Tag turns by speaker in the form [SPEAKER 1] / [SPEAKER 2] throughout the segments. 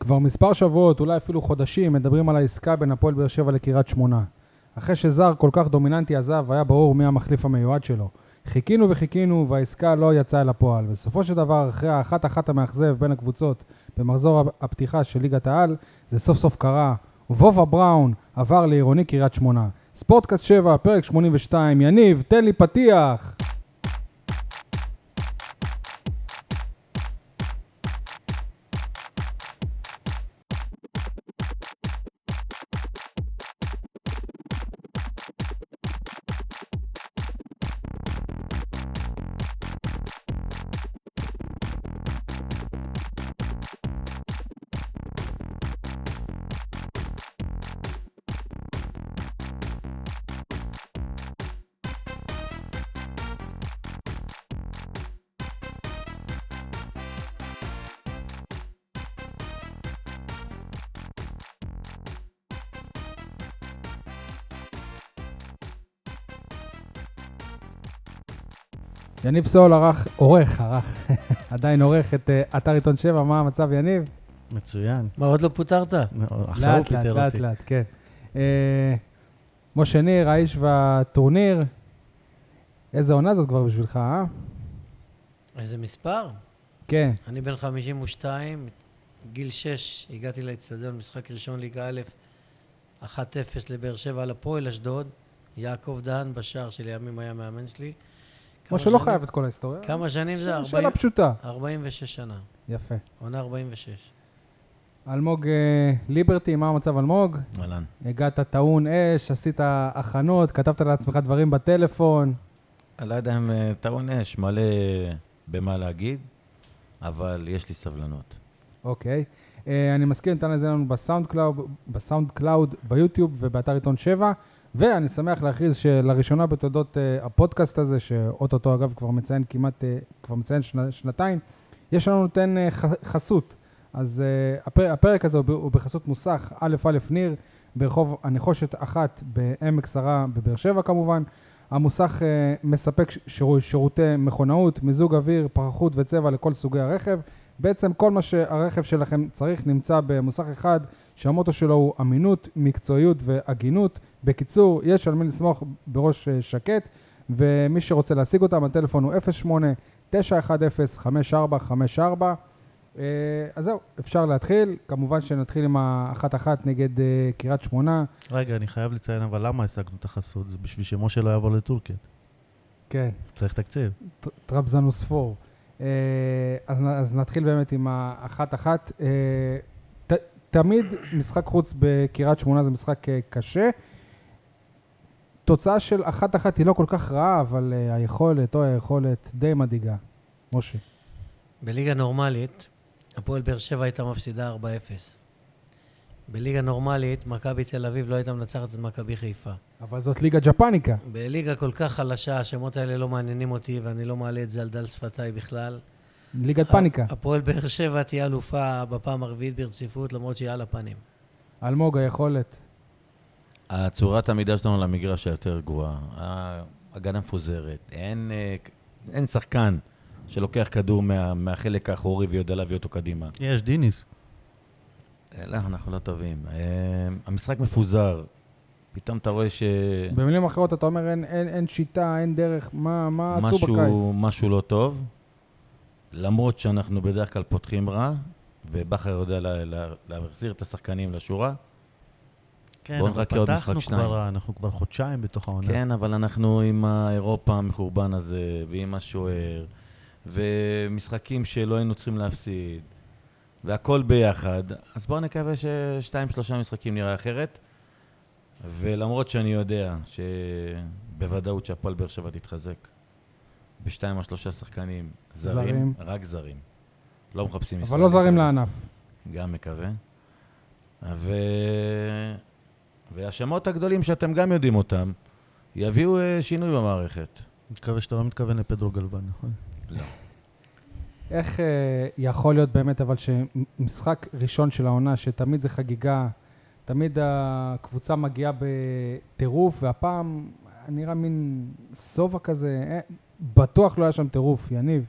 [SPEAKER 1] כבר מספר שבועות, אולי אפילו חודשים, מדברים על העסקה בין הפועל באר שבע לקריית שמונה. אחרי שזר כל כך דומיננטי עזב, היה ברור מי המחליף המיועד שלו. חיכינו וחיכינו, והעסקה לא יצאה אל הפועל. בסופו של דבר, אחרי האחת-אחת המאכזב בין הקבוצות במחזור הפתיחה של ליגת העל, זה סוף סוף קרה. וובה בראון עבר לעירוני קריית שמונה. ספורטקאסט 7, פרק 82. יניב, תן לי פתיח! יניב סול ערך, עורך, ערך, עדיין עורך את אה, אתר עיתון 7, מה המצב, יניב?
[SPEAKER 2] מצוין.
[SPEAKER 3] מה, עוד לא פוטרת?
[SPEAKER 2] עכשיו הוא
[SPEAKER 1] לאט, לאט,
[SPEAKER 2] פיטר
[SPEAKER 1] לאט,
[SPEAKER 2] אותי.
[SPEAKER 1] לאט, כן. אה, משה ניר, האיש והטורניר, איזה עונה זאת כבר בשבילך, אה?
[SPEAKER 3] איזה מספר?
[SPEAKER 1] כן,
[SPEAKER 3] אני בן 52, גיל 6 הגעתי לאצטדיון, משחק ראשון ליגה א', 1-0 לבאר שבע על הפועל אשדוד, יעקב דהן בשער שלימים היה מאמן שלי.
[SPEAKER 1] כמו שלא
[SPEAKER 3] כמה שנים-
[SPEAKER 1] לא חייב את כל ההיסטוריה.
[SPEAKER 3] כמה שנים זה?
[SPEAKER 1] שאלה
[SPEAKER 3] 40
[SPEAKER 1] פשוטה.
[SPEAKER 3] 46 שנה,
[SPEAKER 1] יפה.
[SPEAKER 3] עונה 46.
[SPEAKER 1] אלמוג אה, ליברטי, מה המצב, אלמוג?
[SPEAKER 4] אהלן.
[SPEAKER 1] הגעת טעון אש, עשית הכנות, כתבת לעצמך דברים בטלפון.
[SPEAKER 4] אני לא יודע אם אה, טעון אש, מלא במה להגיד, אבל יש לי סבלנות.
[SPEAKER 1] אוקיי. אה, אני מזכיר, ניתן לזה לנו בסאונד קלאוד, בסאונד קלאוד, ביוטיוב ובאתר עיתון 7, ואני שמח להכריז שלראשונה בתולדות אה, הפודקאסט הזה, שאו-טו-טו אגב כבר מציין כמעט, אה, כבר מציין שנ, שנתיים, יש לנו נותן אה, ח, חסות. אז אה, הפר, הפרק הזה הוא ב- הוא בחסות מוסך א"א ניר, ברחוב הנחושת אחת בעמק שרה בבאר שבע כמובן. המוסך אה, מספק ש- שירו- שירותי מכונאות, מיזוג אוויר, פחחות וצבע לכל סוגי הרכב. בעצם כל מה שהרכב שלכם צריך נמצא במוסך אחד, שהמוטו שלו הוא אמינות, מקצועיות והגינות. בקיצור, יש על מי לסמוך בראש אה, שקט, ומי שרוצה להשיג אותם, הטלפון הוא 08-910-5454. אה, אז זהו, אפשר להתחיל. כמובן שנתחיל עם האחת-אחת נגד אה, קריית שמונה.
[SPEAKER 2] רגע, אני חייב לציין, אבל למה השגנו את החסות? זה בשביל שמשה לא יעבור לטורקיה.
[SPEAKER 1] כן.
[SPEAKER 2] צריך תקציב.
[SPEAKER 1] טר- טרבזנוספור. אה, אז, נ- אז נתחיל באמת עם האחת-אחת. אה, ת, תמיד משחק חוץ בקריית שמונה זה משחק אה, קשה. תוצאה של אחת-אחת היא לא כל כך רעה, אבל אה, היכולת, אוי היכולת, די מדאיגה. משה.
[SPEAKER 3] בליגה נורמלית, הפועל באר שבע הייתה מפסידה 4-0. בליגה נורמלית, מכבי תל אביב לא הייתה מנצחת את מכבי חיפה.
[SPEAKER 1] אבל זאת ליגה ג'פניקה.
[SPEAKER 3] בליגה כל כך חלשה, השמות האלה לא מעניינים אותי, ואני לא מעלה את זה על דל שפתיי בכלל.
[SPEAKER 1] ליגת פאניקה.
[SPEAKER 3] הפועל באר שבע תהיה אלופה בפעם הרביעית ברציפות, למרות שהיא על הפנים.
[SPEAKER 1] אלמוג, היכולת.
[SPEAKER 4] הצורת המידה שלנו למגרש היותר גרועה. ההגנה מפוזרת. אין, אה, אין שחקן שלוקח כדור מה, מהחלק האחורי ויודע להביא אותו קדימה.
[SPEAKER 2] יש, דיניס.
[SPEAKER 4] אה, לא, אנחנו לא טובים. אה, המשחק מפוזר. פתאום אתה רואה ש...
[SPEAKER 1] במילים אחרות אתה אומר אין, אין, אין שיטה, אין דרך, מה, מה עשו
[SPEAKER 4] משהו,
[SPEAKER 1] בקיץ?
[SPEAKER 4] משהו לא טוב, למרות שאנחנו בדרך כלל פותחים רע, ובכר יודע לה, לה, להחזיר את השחקנים לשורה.
[SPEAKER 2] כן,
[SPEAKER 4] בואו
[SPEAKER 2] אבל
[SPEAKER 4] נחכה עוד
[SPEAKER 2] פתחנו
[SPEAKER 4] משחק,
[SPEAKER 2] כבר,
[SPEAKER 4] שניים.
[SPEAKER 2] אנחנו כבר חודשיים בתוך העונה.
[SPEAKER 4] כן, אבל אנחנו עם האירופה המחורבן הזה, ועם השוער, ומשחקים שלא היינו צריכים להפסיד, והכל ביחד, אז בואו נקווה ששתיים, שלושה משחקים נראה אחרת. ולמרות שאני יודע שבוודאות שהפועל באר שבע תתחזק בשתיים או שלושה שחקנים זרים,
[SPEAKER 1] זרים.
[SPEAKER 4] זרים, רק זרים. לא מחפשים
[SPEAKER 1] אבל לא זרים לענף.
[SPEAKER 4] גם מקווה. ו... והשמות הגדולים שאתם גם יודעים אותם, יביאו אה, שינוי במערכת.
[SPEAKER 2] מקווה שאתה לא מתכוון לפדרו גלבן, נכון?
[SPEAKER 1] לא. איך אה, יכול להיות באמת, אבל שמשחק ראשון של העונה, שתמיד זה חגיגה, תמיד הקבוצה מגיעה בטירוף, והפעם נראה מין שובע כזה, אה, בטוח לא היה שם טירוף, יניב.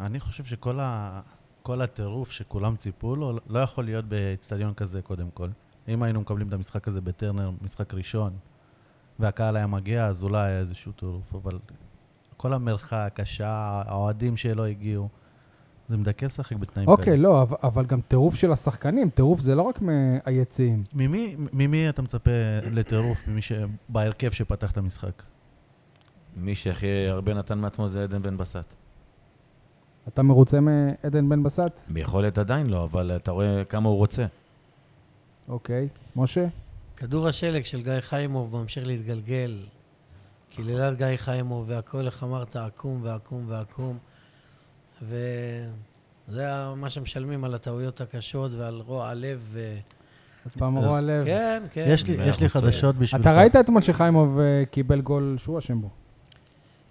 [SPEAKER 2] אני חושב שכל ה... כל כל הטירוף שכולם ציפו לו, לא יכול להיות באצטדיון כזה קודם כל. אם היינו מקבלים את המשחק הזה בטרנר, משחק ראשון, והקהל היה מגיע, אז אולי היה איזשהו טירוף, אבל כל המרחק, השעה, האוהדים שלא הגיעו, זה מדכא לשחק בתנאים
[SPEAKER 1] אוקיי,
[SPEAKER 2] כאלה.
[SPEAKER 1] לא, אבל- אבל גם טירוף של השחקנים, טירוף זה לא רק מהיציעים.
[SPEAKER 2] ממי, ממי אתה מצפה לטירוף? ממי ש... בהרכב שפתח את המשחק.
[SPEAKER 4] מי שהכי הרבה נתן מעצמו זה עדן בן בסט.
[SPEAKER 1] אתה מרוצה מעדן בן בסט?
[SPEAKER 4] ביכולת עדיין לא, אבל אתה רואה כמה הוא רוצה.
[SPEAKER 1] אוקיי. משה?
[SPEAKER 3] כדור השלג של גיא חיימוב ממשיך להתגלגל. קללת גיא חיימוב והכל, איך אמרת, עקום ועקום ועקום. וזה ה- מה שמשלמים על הטעויות הקשות ועל רוע לב. ו...
[SPEAKER 1] עוד פעם
[SPEAKER 2] אז-
[SPEAKER 1] רוע לב.
[SPEAKER 3] כן, כן.
[SPEAKER 2] יש לי, יש לי
[SPEAKER 4] אנחנו
[SPEAKER 2] חדשות בשבילך.
[SPEAKER 1] אתה ראית אתמול שחיימוב אה, קיבל גול שהוא אשם בו.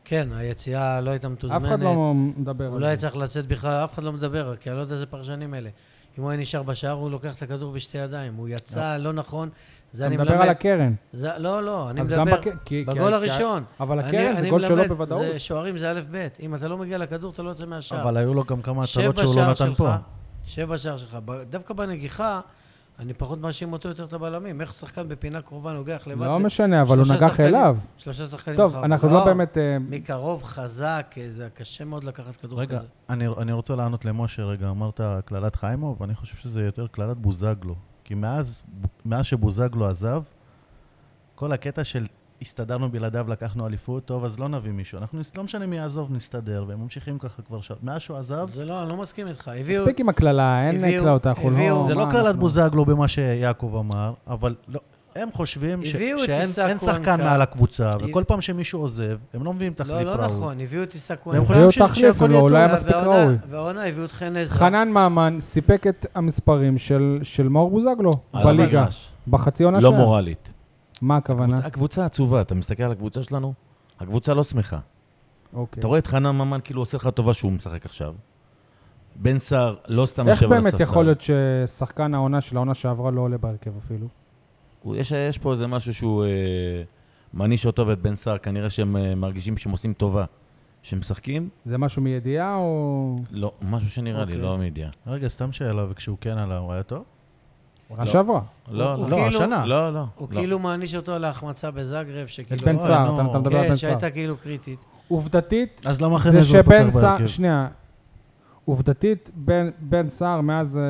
[SPEAKER 3] כן, היציאה לא הייתה מתוזמנת.
[SPEAKER 1] אף אחד לא מדבר
[SPEAKER 3] הוא לא היה
[SPEAKER 1] על זה.
[SPEAKER 3] צריך לצאת בכלל, אף אחד לא מדבר, כי אני לא יודע איזה פרשנים אלה. אם הוא היה נשאר בשער, הוא לוקח את הכדור בשתי ידיים. הוא יצא לא נכון, זה
[SPEAKER 1] אתה
[SPEAKER 3] אני
[SPEAKER 1] מדבר על
[SPEAKER 3] מלמד.
[SPEAKER 1] הקרן.
[SPEAKER 3] זה- לא, לא, אני
[SPEAKER 1] אז גם
[SPEAKER 3] מדבר.
[SPEAKER 1] בק- כי- כי-
[SPEAKER 3] בגול
[SPEAKER 1] כי-
[SPEAKER 3] הראשון.
[SPEAKER 1] אבל
[SPEAKER 3] אני-
[SPEAKER 1] הקרן זה
[SPEAKER 3] אני
[SPEAKER 1] גול שלו
[SPEAKER 3] מלמד,
[SPEAKER 1] בוודאות.
[SPEAKER 3] זה שוערים זה א'-ב'. אם אתה לא מגיע לכדור, אתה לא יוצא מהשער.
[SPEAKER 2] אבל היו לו גם כמה
[SPEAKER 3] שב
[SPEAKER 2] הצלות שהוא לא
[SPEAKER 3] בשער
[SPEAKER 2] נתן
[SPEAKER 3] שלך,
[SPEAKER 2] פה.
[SPEAKER 3] שב בשער שלך. ב- דווקא בנגיחה, אני פחות מאשים אותו יותר את הבלמים. איך שחקן בפינה קרובה נוגח לבד?
[SPEAKER 1] לא
[SPEAKER 3] זה-
[SPEAKER 1] משנה, אבל הוא
[SPEAKER 3] שלושה
[SPEAKER 1] נגח
[SPEAKER 3] שחקנים.
[SPEAKER 1] אליו.
[SPEAKER 3] שלושה שחקנים
[SPEAKER 1] טוב,
[SPEAKER 3] אחר-
[SPEAKER 1] אנחנו לא באמת... אה,
[SPEAKER 3] מקרוב, חזק, אה, זה קשה מאוד לקחת כדור
[SPEAKER 2] רגע,
[SPEAKER 3] כזה.
[SPEAKER 2] אני, אני רוצה לענות למשה רגע, אמרת קללת חיימוב, אני חושב שזה יותר קללת בוזגלו. כי מאז, מאז שבוזגלו עזב, כל הקטע של הסתדרנו בלעדיו, לקחנו אליפות, טוב, אז לא נביא מישהו. אנחנו נס- לא משנה מי יעזוב, נסתדר, והם ממשיכים ככה כבר שעות. מאז שהוא עזב,
[SPEAKER 3] זה לא, אני לא מסכים איתך. הביאו...
[SPEAKER 1] מספיק עם הקללה, אין
[SPEAKER 3] הביאו-
[SPEAKER 1] קללות, אנחנו
[SPEAKER 3] הביאו-
[SPEAKER 1] לא...
[SPEAKER 2] זה
[SPEAKER 1] מה
[SPEAKER 2] לא קללת
[SPEAKER 1] אנחנו-
[SPEAKER 2] בוזגלו במה שיעקב אמר, אבל לא, הם חושבים ש-
[SPEAKER 3] הביאו את
[SPEAKER 2] שאין
[SPEAKER 3] עיסק
[SPEAKER 2] אין שחקן
[SPEAKER 3] וונקה.
[SPEAKER 2] מעל הקבוצה,
[SPEAKER 3] הביא-
[SPEAKER 2] וכל פעם שמישהו עוזב, הם לא מביאים תחליף
[SPEAKER 3] לא,
[SPEAKER 2] ראוי.
[SPEAKER 3] לא נכון, הביאו את עיסק
[SPEAKER 2] והם
[SPEAKER 3] כהן.
[SPEAKER 1] הביאו
[SPEAKER 2] חושבים ש-
[SPEAKER 1] תחליף,
[SPEAKER 2] שהכל
[SPEAKER 1] אבל
[SPEAKER 2] יהיה
[SPEAKER 1] הוא לא
[SPEAKER 2] טוב.
[SPEAKER 1] היה מספיק
[SPEAKER 3] והעונה-
[SPEAKER 1] ראוי.
[SPEAKER 3] והעונה הביאו את חן עזרא.
[SPEAKER 1] חנן ממן סיפק את המספרים של- של מאור בוזגלו
[SPEAKER 3] אה, לא
[SPEAKER 4] על
[SPEAKER 1] בליגה,
[SPEAKER 4] המגרש.
[SPEAKER 1] בחצי עונה
[SPEAKER 4] לא
[SPEAKER 1] שלה.
[SPEAKER 4] מורלית.
[SPEAKER 1] מה הכוונה?
[SPEAKER 4] הקבוצה עצובה, אתה מסתכל על הקבוצה שלנו, הקבוצה לא שמחה.
[SPEAKER 1] אוקיי.
[SPEAKER 4] אתה רואה את חנן ממן כאילו עושה לך טובה שהוא משחק עכשיו. בן סער לא סתם
[SPEAKER 1] איך
[SPEAKER 4] יושב על הספסל.
[SPEAKER 1] באמת יכול להיות ששחקן העונה של העונה שעברה לא עולה בהרכב אפילו?
[SPEAKER 4] הוא- יש, יש פה איזה משהו שהוא אה, מעניש אותו ואת בן סער, כנראה שהם אה, מרגישים שהם עושים טובה. שהם משחקים?
[SPEAKER 1] זה משהו מידיעה או...
[SPEAKER 4] לא, משהו שנראה לי,
[SPEAKER 1] אוקיי.
[SPEAKER 4] לא מידיעה.
[SPEAKER 2] רגע, סתם שאלה, וכשהוא כן עלה, הוא היה טוב?
[SPEAKER 1] עונה שעברה.
[SPEAKER 4] לא,
[SPEAKER 3] הוא
[SPEAKER 4] לא.
[SPEAKER 2] לא,
[SPEAKER 3] כאילו-
[SPEAKER 2] השנה.
[SPEAKER 4] לא, לא.
[SPEAKER 3] הוא
[SPEAKER 4] לא.
[SPEAKER 3] כאילו מעניש אותו על ההחמצה בזאגרב,
[SPEAKER 1] את
[SPEAKER 3] שכאילו...
[SPEAKER 1] בן
[SPEAKER 2] אוי,
[SPEAKER 1] סער,
[SPEAKER 2] נו.
[SPEAKER 1] אתה אתה מדבר על
[SPEAKER 3] לא, כן,
[SPEAKER 1] בן סער.
[SPEAKER 3] שהייתה כאילו קריטית.
[SPEAKER 1] עובדתית,
[SPEAKER 2] אז למה חן
[SPEAKER 1] זה
[SPEAKER 2] עזרא
[SPEAKER 1] שבן
[SPEAKER 2] פותח בהרכב?
[SPEAKER 1] סער... שנייה. עובדתית, בן- בן סער, מאז אה,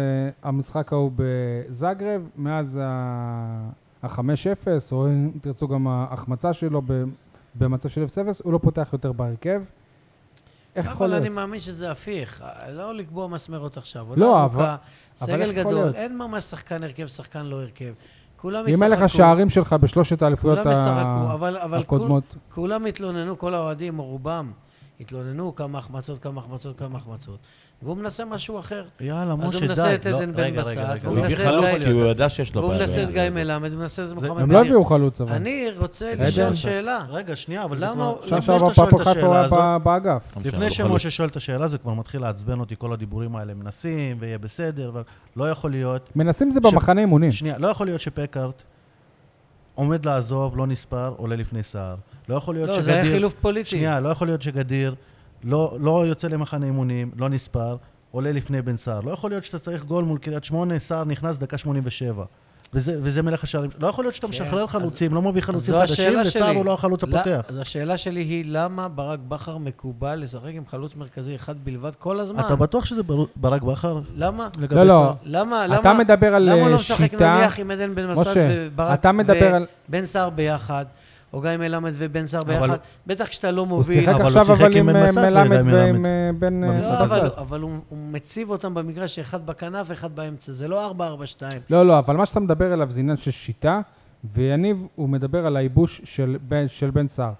[SPEAKER 1] המשחק ההוא בזאגרב, מאז ה-5-0, או אם תרצו גם ההחמצה שלו ב- במצב של 0-0, הוא לא פותח יותר בהרכב. איך יכול
[SPEAKER 3] אבל
[SPEAKER 1] להיות?
[SPEAKER 3] אני מאמין שזה הפיך. לא לקבוע מסמרות עכשיו. עונה
[SPEAKER 1] לא,
[SPEAKER 3] ארוכה,
[SPEAKER 1] אבל- אבל
[SPEAKER 3] סגל
[SPEAKER 1] איך יכול
[SPEAKER 3] גדול,
[SPEAKER 1] להיות?
[SPEAKER 3] אין ממש שחקן הרכב, שחקן לא הרכב. כולם
[SPEAKER 1] אם אין לך שערים שלך בשלושת האליפויות
[SPEAKER 3] כולם ישחקו,
[SPEAKER 1] ה-
[SPEAKER 3] אבל- אבל כול-
[SPEAKER 1] הקודמות,
[SPEAKER 3] כולם התלוננו, כל האוהדים, או רובם, התלוננו כמה החמצות, כמה החמצות, כמה החמצות. והוא מנסה משהו אחר.
[SPEAKER 2] יאללה,
[SPEAKER 3] אז הוא
[SPEAKER 2] משה, די.
[SPEAKER 3] מנסה את
[SPEAKER 2] לא,
[SPEAKER 3] עדן בן
[SPEAKER 2] רגע,
[SPEAKER 3] בסט,
[SPEAKER 2] רגע, רגע.
[SPEAKER 4] הוא הביא
[SPEAKER 3] מנסה את
[SPEAKER 4] חלוץ
[SPEAKER 3] גיא-
[SPEAKER 4] כי הוא ידע שיש
[SPEAKER 2] לא
[SPEAKER 4] לו
[SPEAKER 3] והוא
[SPEAKER 4] בעיה.
[SPEAKER 3] מנסה את גיא
[SPEAKER 4] בעניין הזה.
[SPEAKER 3] מלמד, הוא מנסה את מוחמד
[SPEAKER 1] הם לא
[SPEAKER 3] בדיר.
[SPEAKER 1] הביאו חלוץ אבל.
[SPEAKER 3] אני רוצה
[SPEAKER 2] זה
[SPEAKER 3] לשאול
[SPEAKER 1] בסדר.
[SPEAKER 3] שאלה.
[SPEAKER 2] רגע, שנייה, אבל זה
[SPEAKER 3] למה
[SPEAKER 2] כבר...
[SPEAKER 3] הוא-
[SPEAKER 1] עכשיו
[SPEAKER 2] לפני
[SPEAKER 1] שעבר
[SPEAKER 2] שאתה שואל
[SPEAKER 1] פאפו
[SPEAKER 2] את
[SPEAKER 1] חיפה הוא
[SPEAKER 2] השאלה
[SPEAKER 1] היה
[SPEAKER 2] הזאת,
[SPEAKER 1] ב- באגף.
[SPEAKER 4] לא משנה,
[SPEAKER 2] לפני
[SPEAKER 4] הוא חלוץ.
[SPEAKER 2] שמשה שואל את השאלה, זה כבר מתחיל לעצבן אותי, כל הדיבורים האלה, מנסים, ויהיה בסדר, אבל לא יכול להיות.
[SPEAKER 1] מנסים זה
[SPEAKER 2] ש-
[SPEAKER 1] במחנה אימונים.
[SPEAKER 2] שנייה, לא יכול להיות שפקארט עומד לעזוב, לא נספר, עולה לפני סער. לא יכול להיות
[SPEAKER 3] לא,
[SPEAKER 2] שגדיר...
[SPEAKER 3] זה היה חילוף פוליטי.
[SPEAKER 2] שנייה, לא יכול להיות שגדיר לא, לא יוצא למחנה אימונים, לא נספר, עולה לפני בן סער. לא יכול להיות שאתה צריך גול מול קריית שמונה, סער נכנס דקה 87. וזה, וזה מלך השערים. לא יכול להיות שאתה
[SPEAKER 3] כן,
[SPEAKER 2] משחרר
[SPEAKER 3] אז-
[SPEAKER 2] חלוצים, לא מביא חלוצים
[SPEAKER 3] זו
[SPEAKER 2] חדשים,
[SPEAKER 3] השאלה
[SPEAKER 2] וסער
[SPEAKER 3] שלי.
[SPEAKER 2] הוא לא החלוץ
[SPEAKER 3] לא,
[SPEAKER 2] הפותח.
[SPEAKER 3] אז השאלה שלי היא, למה ברק בכר מקובל לשחק עם חלוץ מרכזי אחד בלבד כל הזמן?
[SPEAKER 2] אתה בטוח שזה בר- ברק בכר?
[SPEAKER 3] למה?
[SPEAKER 2] לגבי
[SPEAKER 1] לא,
[SPEAKER 2] סער?
[SPEAKER 1] לא.
[SPEAKER 3] למה?
[SPEAKER 1] אתה
[SPEAKER 3] למה?
[SPEAKER 1] מדבר על
[SPEAKER 3] למה הוא לא
[SPEAKER 1] אה,
[SPEAKER 3] משחק
[SPEAKER 1] שיטה...
[SPEAKER 3] נניח עם עדן בן מסד
[SPEAKER 1] משה,
[SPEAKER 3] וברק...
[SPEAKER 1] אתה מדבר על...
[SPEAKER 3] ובן סער ביחד, או גיא מלמד ובן סער
[SPEAKER 2] אבל-
[SPEAKER 3] ביחד, בטח כשאתה לא
[SPEAKER 1] הוא
[SPEAKER 3] מוביל.
[SPEAKER 1] שיחק
[SPEAKER 2] אבל הוא
[SPEAKER 1] עכשיו
[SPEAKER 2] שיחק
[SPEAKER 1] אבל
[SPEAKER 2] עם
[SPEAKER 1] עם
[SPEAKER 2] בן
[SPEAKER 1] אה,
[SPEAKER 2] בסט ועדיין
[SPEAKER 1] מלמד ועם
[SPEAKER 2] מלמד.
[SPEAKER 1] אה, בן אה,
[SPEAKER 2] במשחק
[SPEAKER 3] לא,
[SPEAKER 1] בסט.
[SPEAKER 3] אבל, אבל הוא, הוא מציב אותם במגרש שאחד בכנף ואחד באמצע, זה לא 4-4-2.
[SPEAKER 1] לא, לא, אבל מה שאתה מדבר עליו זה עניין של שיטה, ויניב, הוא מדבר על הייבוש של בן, של בן סער.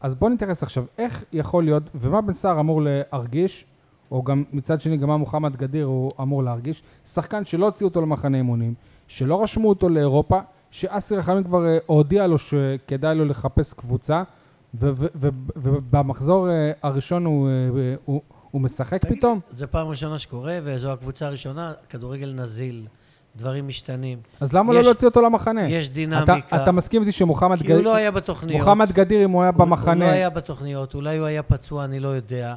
[SPEAKER 1] אז בוא נתייחס עכשיו, איך יכול להיות, ומה בן סער אמור להרגיש, או גם מצד שני, גם מה מוחמד גדיר הוא אמור להרגיש, שחקן שלא הוציאו אותו למחנה אימונים, שלא רשמו אותו לאירופה, שאסי רחמים כבר אה, הודיע לו שכדאי לו לחפש קבוצה, ו- ו- ו- ובמחזור אה, הראשון הוא, אה, הוא, הוא משחק
[SPEAKER 3] תגיד לי,
[SPEAKER 1] פתאום?
[SPEAKER 3] זו פעם ראשונה שקורה, וזו הקבוצה הראשונה, כדורגל נזיל, דברים משתנים,
[SPEAKER 1] אז למה לא
[SPEAKER 3] יש-
[SPEAKER 1] להוציא אותו למחנה?
[SPEAKER 3] יש
[SPEAKER 1] אתה,
[SPEAKER 3] דינמיקה.
[SPEAKER 1] אתה מסכים איתי שמוחמד
[SPEAKER 3] כי הוא לא היה בתוכניות.
[SPEAKER 1] מוחמד גדיר, אם הוא היה
[SPEAKER 3] הוא- הוא
[SPEAKER 1] במחנה,
[SPEAKER 3] לא היה בתוכניות, אולי הוא היה פצוע, אני לא יודע.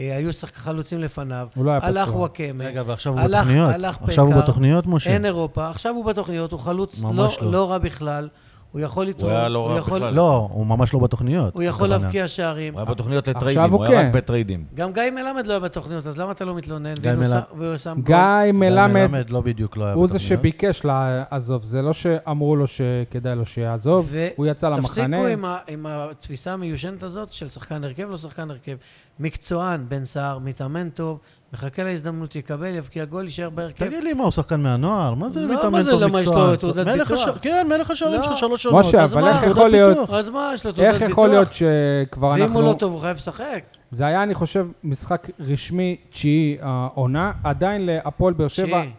[SPEAKER 3] אה, היו שחק- חלוצים לפניו.
[SPEAKER 1] הוא לא היה
[SPEAKER 3] הלך
[SPEAKER 1] פצוע.
[SPEAKER 3] וואקמה,
[SPEAKER 2] רגע, ועכשיו הוא
[SPEAKER 3] הלך-
[SPEAKER 2] בתוכניות.
[SPEAKER 3] הלך
[SPEAKER 2] עכשיו הוא
[SPEAKER 3] פקאר.
[SPEAKER 2] בתוכניות, משה?
[SPEAKER 3] אין אירופה, עכשיו הוא בתוכניות, הוא חלוץ לא,
[SPEAKER 2] ממש
[SPEAKER 3] לא.
[SPEAKER 2] לא.
[SPEAKER 3] רע בכלל, הוא יכול לתרום,
[SPEAKER 4] היה לא רע
[SPEAKER 3] יכול,
[SPEAKER 4] בכלל.
[SPEAKER 2] לא, הוא ממש לא בתוכניות.
[SPEAKER 3] הוא יכול
[SPEAKER 2] הכוונה.
[SPEAKER 3] להבקיע שערים.
[SPEAKER 4] הוא היה בתוכניות
[SPEAKER 1] עכשיו
[SPEAKER 4] לטריידים,
[SPEAKER 1] הוא
[SPEAKER 4] הוא היה
[SPEAKER 1] כן.
[SPEAKER 4] רק בטריידים.
[SPEAKER 3] גם גיא מלמד לא היה בתוכניות, אז למה אתה לא מתלונן?
[SPEAKER 2] גיא
[SPEAKER 3] והנה הוא
[SPEAKER 2] מלמד.
[SPEAKER 3] שם- והוא שם גול.
[SPEAKER 1] גיא
[SPEAKER 2] גיא
[SPEAKER 1] מלמד
[SPEAKER 2] לא בדיוק לא היה
[SPEAKER 1] הוא זה
[SPEAKER 2] בתוכניות.
[SPEAKER 1] שביקש לעזוב, זה לא שאמרו לו שכדאי לו שיעזוב,
[SPEAKER 3] ו-
[SPEAKER 1] הוא יצא למחנה.
[SPEAKER 3] תפסיקו עם, ה, עם התפיסה המיושנת הזאת של שחקן הרכב, לא שחקן הרכב. מקצוען, בן סער, מתאמן טוב, מחכה להזדמנות, יקבל, יבקיע גול, יישאר בהרכב.
[SPEAKER 2] תגיד לי, מה, הוא שחקן מהנוער? מה זה
[SPEAKER 3] לא,
[SPEAKER 2] מתאמן טוב
[SPEAKER 3] מה זה,
[SPEAKER 2] מקצוען?
[SPEAKER 3] למה יש לו תעודת
[SPEAKER 2] מלך
[SPEAKER 3] ביטוח?
[SPEAKER 2] הש- כן, מלך השערים
[SPEAKER 3] לא.
[SPEAKER 2] שלך שלוש שנות.
[SPEAKER 1] משה,
[SPEAKER 2] אז
[SPEAKER 1] אבל
[SPEAKER 2] מה,
[SPEAKER 1] איך
[SPEAKER 2] תעודת
[SPEAKER 1] יכול להיות-
[SPEAKER 2] ביטוח?
[SPEAKER 3] אז מה, יש לו תעודת
[SPEAKER 1] איך
[SPEAKER 3] ביטוח?
[SPEAKER 1] יכול להיות שכבר
[SPEAKER 3] ואם
[SPEAKER 1] אנחנו...
[SPEAKER 3] הוא לא טוב, הוא חייב לשחק.
[SPEAKER 1] זה היה, אני חושב, משחק רשמי תשיעי העונה. עדיין להפועל באר שבע
[SPEAKER 3] שיעי.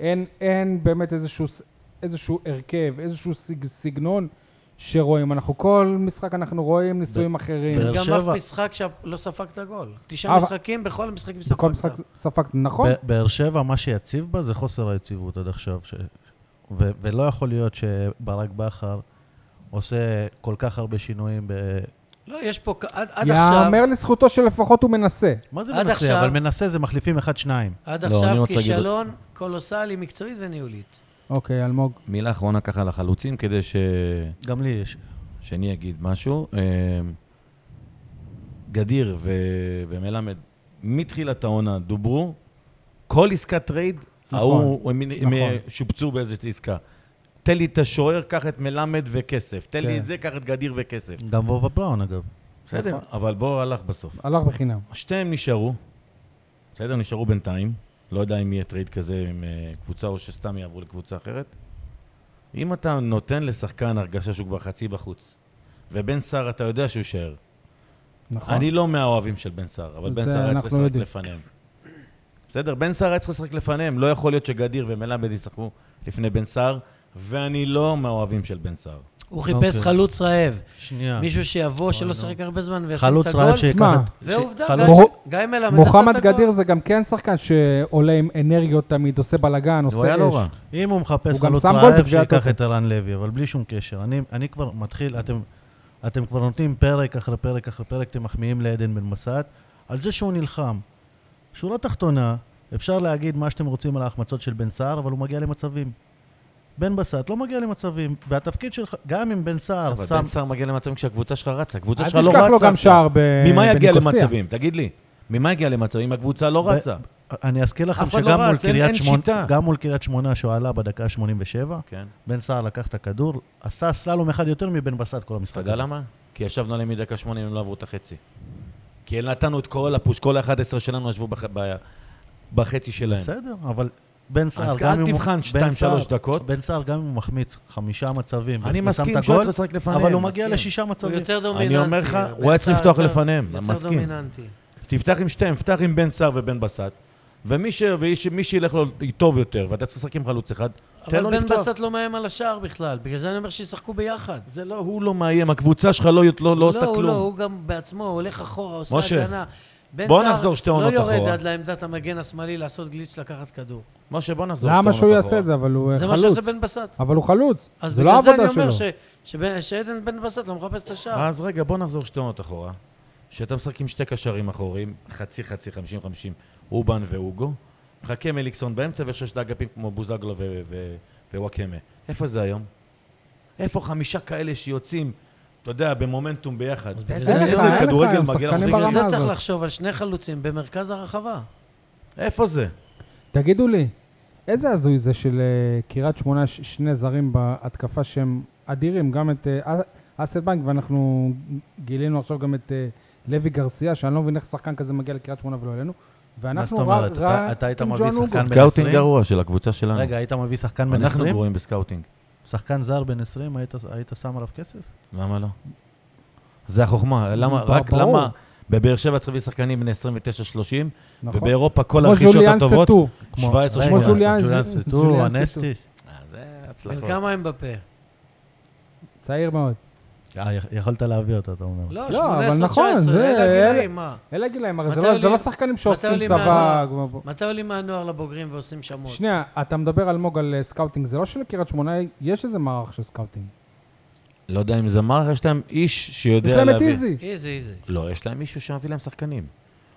[SPEAKER 1] אין, אין באמת איזשהו, ס- איזשהו הרכב, איזשהו סג, סגנון שרואים. אנחנו כל משחק אנחנו רואים ניסויים אחרים.
[SPEAKER 2] באר
[SPEAKER 3] גם אף
[SPEAKER 2] שבע.
[SPEAKER 3] משחק לא שלא ספגת גול. תשעה
[SPEAKER 1] אבל-
[SPEAKER 3] משחקים, בכל משחקים ספגת.
[SPEAKER 1] בכל משחק ספגת, נכון?
[SPEAKER 2] ב- באר שבע, מה שיציב בה זה חוסר היציבות עד עכשיו. ש- ו- ולא יכול להיות שברק בכר עושה כל כך הרבה שינויים ב...
[SPEAKER 3] לא, יש פה, כ- עד עד עכשיו,
[SPEAKER 1] יאמר לזכותו שלפחות הוא מנסה.
[SPEAKER 2] מה זה
[SPEAKER 3] עד
[SPEAKER 2] מנסה?
[SPEAKER 3] עכשיו-
[SPEAKER 2] אבל מנסה זה מחליפים אחד-שניים.
[SPEAKER 3] עד
[SPEAKER 4] לא, אני
[SPEAKER 3] עכשיו
[SPEAKER 4] רוצה להגיד-
[SPEAKER 3] כישלון קולוסלי מקצועית וניהולית.
[SPEAKER 1] אוקיי, אלמוג.
[SPEAKER 4] מילה אחרונה ככה לחלוצים, כדי ש...
[SPEAKER 2] גם לי יש.
[SPEAKER 4] שאני אגיד משהו. אה, גדיר ו... ומלמד, מתחילת העונה דוברו, כל עסקת טרייד,
[SPEAKER 1] נכון,
[SPEAKER 4] ההוא, הם, הם
[SPEAKER 1] נכון.
[SPEAKER 4] שופצו באיזו עסקה. תן לי את השוער, קח את מלמד וכסף. תן לי
[SPEAKER 1] כן. נכון.
[SPEAKER 4] את זה, קח את גדיר וכסף.
[SPEAKER 2] גם וובה בראון, אגב.
[SPEAKER 3] נכון.
[SPEAKER 4] בסדר, אבל בוא הלך בסוף.
[SPEAKER 1] הלך בחינם.
[SPEAKER 4] שתיהם נשארו, בסדר? נשארו בינתיים. לא יודע אם יהיה טרייד כזה עם אה, קבוצה או שסתם יעברו לקבוצה אחרת. אם אתה נותן לשחקן הרגשה שהוא כבר חצי בחוץ, ובן סער אתה יודע שהוא יישאר.
[SPEAKER 1] נכון.
[SPEAKER 4] אני לא מהאוהבים של בן סער, אבל בן
[SPEAKER 1] זה
[SPEAKER 4] סער היה
[SPEAKER 1] אנחנו לא
[SPEAKER 4] צריך לשחק
[SPEAKER 1] יודעים.
[SPEAKER 4] לפניהם. בסדר? בן סער היה צריך לשחק לפניהם. לא יכול להיות שגדיר ומלמד ישחקו לפני בן סער, ואני לא מהאוהבים של בן סער.
[SPEAKER 3] הוא חיפש
[SPEAKER 2] אוקיי.
[SPEAKER 3] חלוץ רעב.
[SPEAKER 4] אה.
[SPEAKER 2] שנייה.
[SPEAKER 3] מישהו שיבוא, שלא
[SPEAKER 2] לא.
[SPEAKER 3] שיחק הרבה זמן וישים
[SPEAKER 2] חלוץ
[SPEAKER 3] את
[SPEAKER 2] רעב
[SPEAKER 3] הגול.
[SPEAKER 2] שיקח
[SPEAKER 1] שמע,
[SPEAKER 2] את...
[SPEAKER 3] ועובדה,
[SPEAKER 2] חלוץ-
[SPEAKER 1] מוהו-
[SPEAKER 3] גיא- גיא מלמד
[SPEAKER 1] מוחמד
[SPEAKER 3] עשה את הגול.
[SPEAKER 1] גדיר זה גם כן שחקן שעולה עם אנרגיות תמיד, עושה בלאגן, עושה אש.
[SPEAKER 4] הוא היה לא רע.
[SPEAKER 2] אם הוא
[SPEAKER 1] הוא
[SPEAKER 2] מחפש
[SPEAKER 1] גם
[SPEAKER 2] חלוץ
[SPEAKER 1] שם גול
[SPEAKER 2] רעב,
[SPEAKER 1] בגביעת
[SPEAKER 2] שייקח
[SPEAKER 1] הטוטו.
[SPEAKER 2] את ערן לוי, אבל בלי שום קשר. אני, אני כבר מתחיל, אתם, אתם כבר נותנים פרק אחרי פרק אחרי פרק, אתם מחמיאים לעדן בן מסעת, על זה שהוא נלחם. שורה תחתונה, אפשר להגיד מה שאתם רוצים על ההחמצות של בן סער, אבל הוא מגיע למצבים. בן בסט לא מגיע למצבים, והתפקיד שלך, גם אם בן סער
[SPEAKER 4] אבל
[SPEAKER 2] שם...
[SPEAKER 4] בן סער מגיע למצבים כשהקבוצה שלך רצה.
[SPEAKER 1] אל
[SPEAKER 4] הקבוצה שלך לא רצה.
[SPEAKER 1] תשכח לו גם שער ב- בניקוסיה.
[SPEAKER 4] ממה יגיע למצבים? תגיד לי. ממה יגיע למצבים? אם הקבוצה לא
[SPEAKER 2] ב-
[SPEAKER 4] רצה.
[SPEAKER 2] אני אזכיר לכם
[SPEAKER 4] אף אחד לא
[SPEAKER 2] שגם מול
[SPEAKER 4] רץ, אין-
[SPEAKER 2] קריית
[SPEAKER 4] אין
[SPEAKER 2] שמונה-
[SPEAKER 4] שיטה.
[SPEAKER 2] גם מול קריית שמונה, שהוא עלה בדקה ה-87,
[SPEAKER 4] כן.
[SPEAKER 2] בן סער לקח את הכדור, עשה סללום אחד יותר מבן בסט כל המשחק
[SPEAKER 4] אתה יודע
[SPEAKER 2] הזה.
[SPEAKER 4] למה? כי ישבנו עליהם מדקה שמונה, הם לא עברו את החצי. כי נתנו את כל הפוש, כל ה-11 שלנו ישבו בח- ב- בחצי שלהם.
[SPEAKER 2] בסדר, אבל בן סער,
[SPEAKER 4] כן. אז
[SPEAKER 2] גם
[SPEAKER 4] אל
[SPEAKER 2] אם הוא...
[SPEAKER 4] תבחן
[SPEAKER 2] בן
[SPEAKER 4] שתיים,
[SPEAKER 2] סער-
[SPEAKER 4] שלוש דקות.
[SPEAKER 2] בן סער, גם אם הוא מחמיץ חמישה מצבים,
[SPEAKER 4] אני
[SPEAKER 2] ושם את
[SPEAKER 4] מסכים
[SPEAKER 2] הגול,
[SPEAKER 4] שהוא היה צריך לשחק לפניהם.
[SPEAKER 2] אבל הוא מגיע
[SPEAKER 4] מסכים.
[SPEAKER 2] לשישה
[SPEAKER 3] הוא
[SPEAKER 2] מצבים.
[SPEAKER 3] יותר דומיננטי.
[SPEAKER 4] אני אומר לך,
[SPEAKER 3] בן
[SPEAKER 4] הוא היה צריך
[SPEAKER 3] סער
[SPEAKER 4] לפתוח
[SPEAKER 3] יותר-
[SPEAKER 4] לפניהם,
[SPEAKER 3] יותר
[SPEAKER 4] מסכים.
[SPEAKER 3] דומיננטי.
[SPEAKER 4] תפתח עם שתיהם, פתח עם בן סער ובן בסט. ומי ש... ואיש- מי שילך לו טוב יותר, ואתה צריך לשחק עם חלוץ אחד, תן לו
[SPEAKER 3] אבל בן
[SPEAKER 4] לפתוח.
[SPEAKER 3] בסט לא מאיים על השער בכלל, בגלל זה אני אומר שישחקו ביחד.
[SPEAKER 4] זה לא, הוא לא מאיים, הקבוצה שלך לא, לא, לא עושה
[SPEAKER 3] הוא
[SPEAKER 4] כלום.
[SPEAKER 3] לא, הוא גם בעצמו, הוא הולך אחורה, עושה
[SPEAKER 4] משה,
[SPEAKER 3] הגנה. בן
[SPEAKER 4] בוא
[SPEAKER 3] סער
[SPEAKER 4] נחזור שתי עונות
[SPEAKER 3] לא יורד
[SPEAKER 4] אחורה.
[SPEAKER 3] עד לעמדת המגן השמאלי לעשות גליץ' לקחת כדור.
[SPEAKER 4] משה, בוא נחזור.
[SPEAKER 1] למה
[SPEAKER 4] שתי
[SPEAKER 1] שהוא
[SPEAKER 4] עונות
[SPEAKER 1] יעשה
[SPEAKER 4] אחורה.
[SPEAKER 1] את זה? אבל הוא אה,
[SPEAKER 3] זה מה
[SPEAKER 1] חלוץ.
[SPEAKER 3] שעושה בן בסט.
[SPEAKER 1] אבל הוא חלוץ.
[SPEAKER 3] אז
[SPEAKER 1] זה לא
[SPEAKER 3] בגלל זה אני
[SPEAKER 1] העבודה שלו.
[SPEAKER 3] אומר ש- שבן- שעדן בן בסט לא מחפש את השער.
[SPEAKER 4] אז רגע, בוא נחזור שתי עונות אחורה. שאתה משחק עם שתי קשרים אחוריים, חצי חצי, חמישים חמישים, אובן ואוגו. מחכה מליקסון באמצע וששת אגפים כמו בוזגלו ו- ו- ווואקמה. איפה זה היום? איפה חמישה כאלה שיוצאים, אתה יודע, במומנטום ביחד?
[SPEAKER 3] אז
[SPEAKER 4] איזה
[SPEAKER 3] אין לך,
[SPEAKER 4] איזה
[SPEAKER 3] אין לך
[SPEAKER 4] כדורגל
[SPEAKER 1] היום
[SPEAKER 4] מגיע
[SPEAKER 1] שחקנים
[SPEAKER 4] לך?
[SPEAKER 1] ברמה
[SPEAKER 3] בגלל זה צריך
[SPEAKER 1] הזאת.
[SPEAKER 3] לחשוב על שני חלוצים במרכז הרחבה.
[SPEAKER 4] נכון. איפה זה?
[SPEAKER 1] תגידו לי, איזה הזוי זה של אה, קריית שמונה ש- שני זרים בהתקפה שהם אדירים, גם את אה, א- אסד בנק, ואנחנו גילינו עכשיו גם את אה, לוי גרסיה, שאני לא מבין איך שחקן כזה מגיע לקריית שמונה ולא אלינו,
[SPEAKER 2] מה זאת
[SPEAKER 1] ואנחנו רק-
[SPEAKER 2] אומרת? אתה-
[SPEAKER 1] רק
[SPEAKER 2] אתה היית
[SPEAKER 1] עם
[SPEAKER 2] מביא
[SPEAKER 1] ג'ון אוגו.
[SPEAKER 2] שחקן בן
[SPEAKER 4] סקאוטינג
[SPEAKER 2] 20?
[SPEAKER 4] גרוע של הקבוצה שלנו.
[SPEAKER 2] רגע, היית מביא שחקן בן
[SPEAKER 4] אנחנו
[SPEAKER 2] 20?
[SPEAKER 4] גרועים בסקאוטינג.
[SPEAKER 2] שחקן זר בן 20, היית- היית שם עליו כסף?
[SPEAKER 4] למה לא? זה החוכמה. למה,
[SPEAKER 1] ב-
[SPEAKER 4] רק
[SPEAKER 1] ברור.
[SPEAKER 4] למה בבאר שבע צריך להביא שחקנים בני 29-30,
[SPEAKER 1] נכון.
[SPEAKER 4] ובאירופה כל
[SPEAKER 1] כמו
[SPEAKER 4] הרכישות
[SPEAKER 1] ז'וליאן
[SPEAKER 4] הטובות,
[SPEAKER 1] סטו.
[SPEAKER 4] 17
[SPEAKER 1] כמו ג'וליאן
[SPEAKER 2] ג'וליאן
[SPEAKER 1] ז-
[SPEAKER 2] סטור,
[SPEAKER 1] ג'וליאן
[SPEAKER 2] אנסטי.
[SPEAKER 4] אה, זה
[SPEAKER 3] בן
[SPEAKER 4] הצלחות.
[SPEAKER 3] כמה הם בפה?
[SPEAKER 1] צעיר מאוד.
[SPEAKER 2] אה, יכ- יכולת להביא אותו, אתה אומר.
[SPEAKER 3] לא,
[SPEAKER 1] אבל
[SPEAKER 3] 18,
[SPEAKER 1] נכון,
[SPEAKER 3] 19,
[SPEAKER 1] זה-
[SPEAKER 3] אלה
[SPEAKER 1] אלה-
[SPEAKER 3] הגילאים, מה?
[SPEAKER 1] אלה גילאים, הרי זה
[SPEAKER 3] מתי
[SPEAKER 1] לא- זה
[SPEAKER 3] עולים-
[SPEAKER 1] לא שחקנים שעושים
[SPEAKER 3] עולים
[SPEAKER 1] צבא.
[SPEAKER 3] מהנוער?
[SPEAKER 1] כמו-
[SPEAKER 3] מתי עולים מהנוער לבוגרים ועושים שמות?
[SPEAKER 1] שנייה, אתה מדבר אלמוג על אה, סקאוטינג, זה לא שלקריית שמונה יש איזה מערך של סקאוטינג.
[SPEAKER 4] לא יודע אם זה מרחה, יש להם איש
[SPEAKER 1] יש
[SPEAKER 4] שיודע
[SPEAKER 1] להם את
[SPEAKER 4] להביא.
[SPEAKER 1] איזי.
[SPEAKER 3] איזי, איזי.
[SPEAKER 4] לא, יש להם מישהו שמביא להם שחקנים.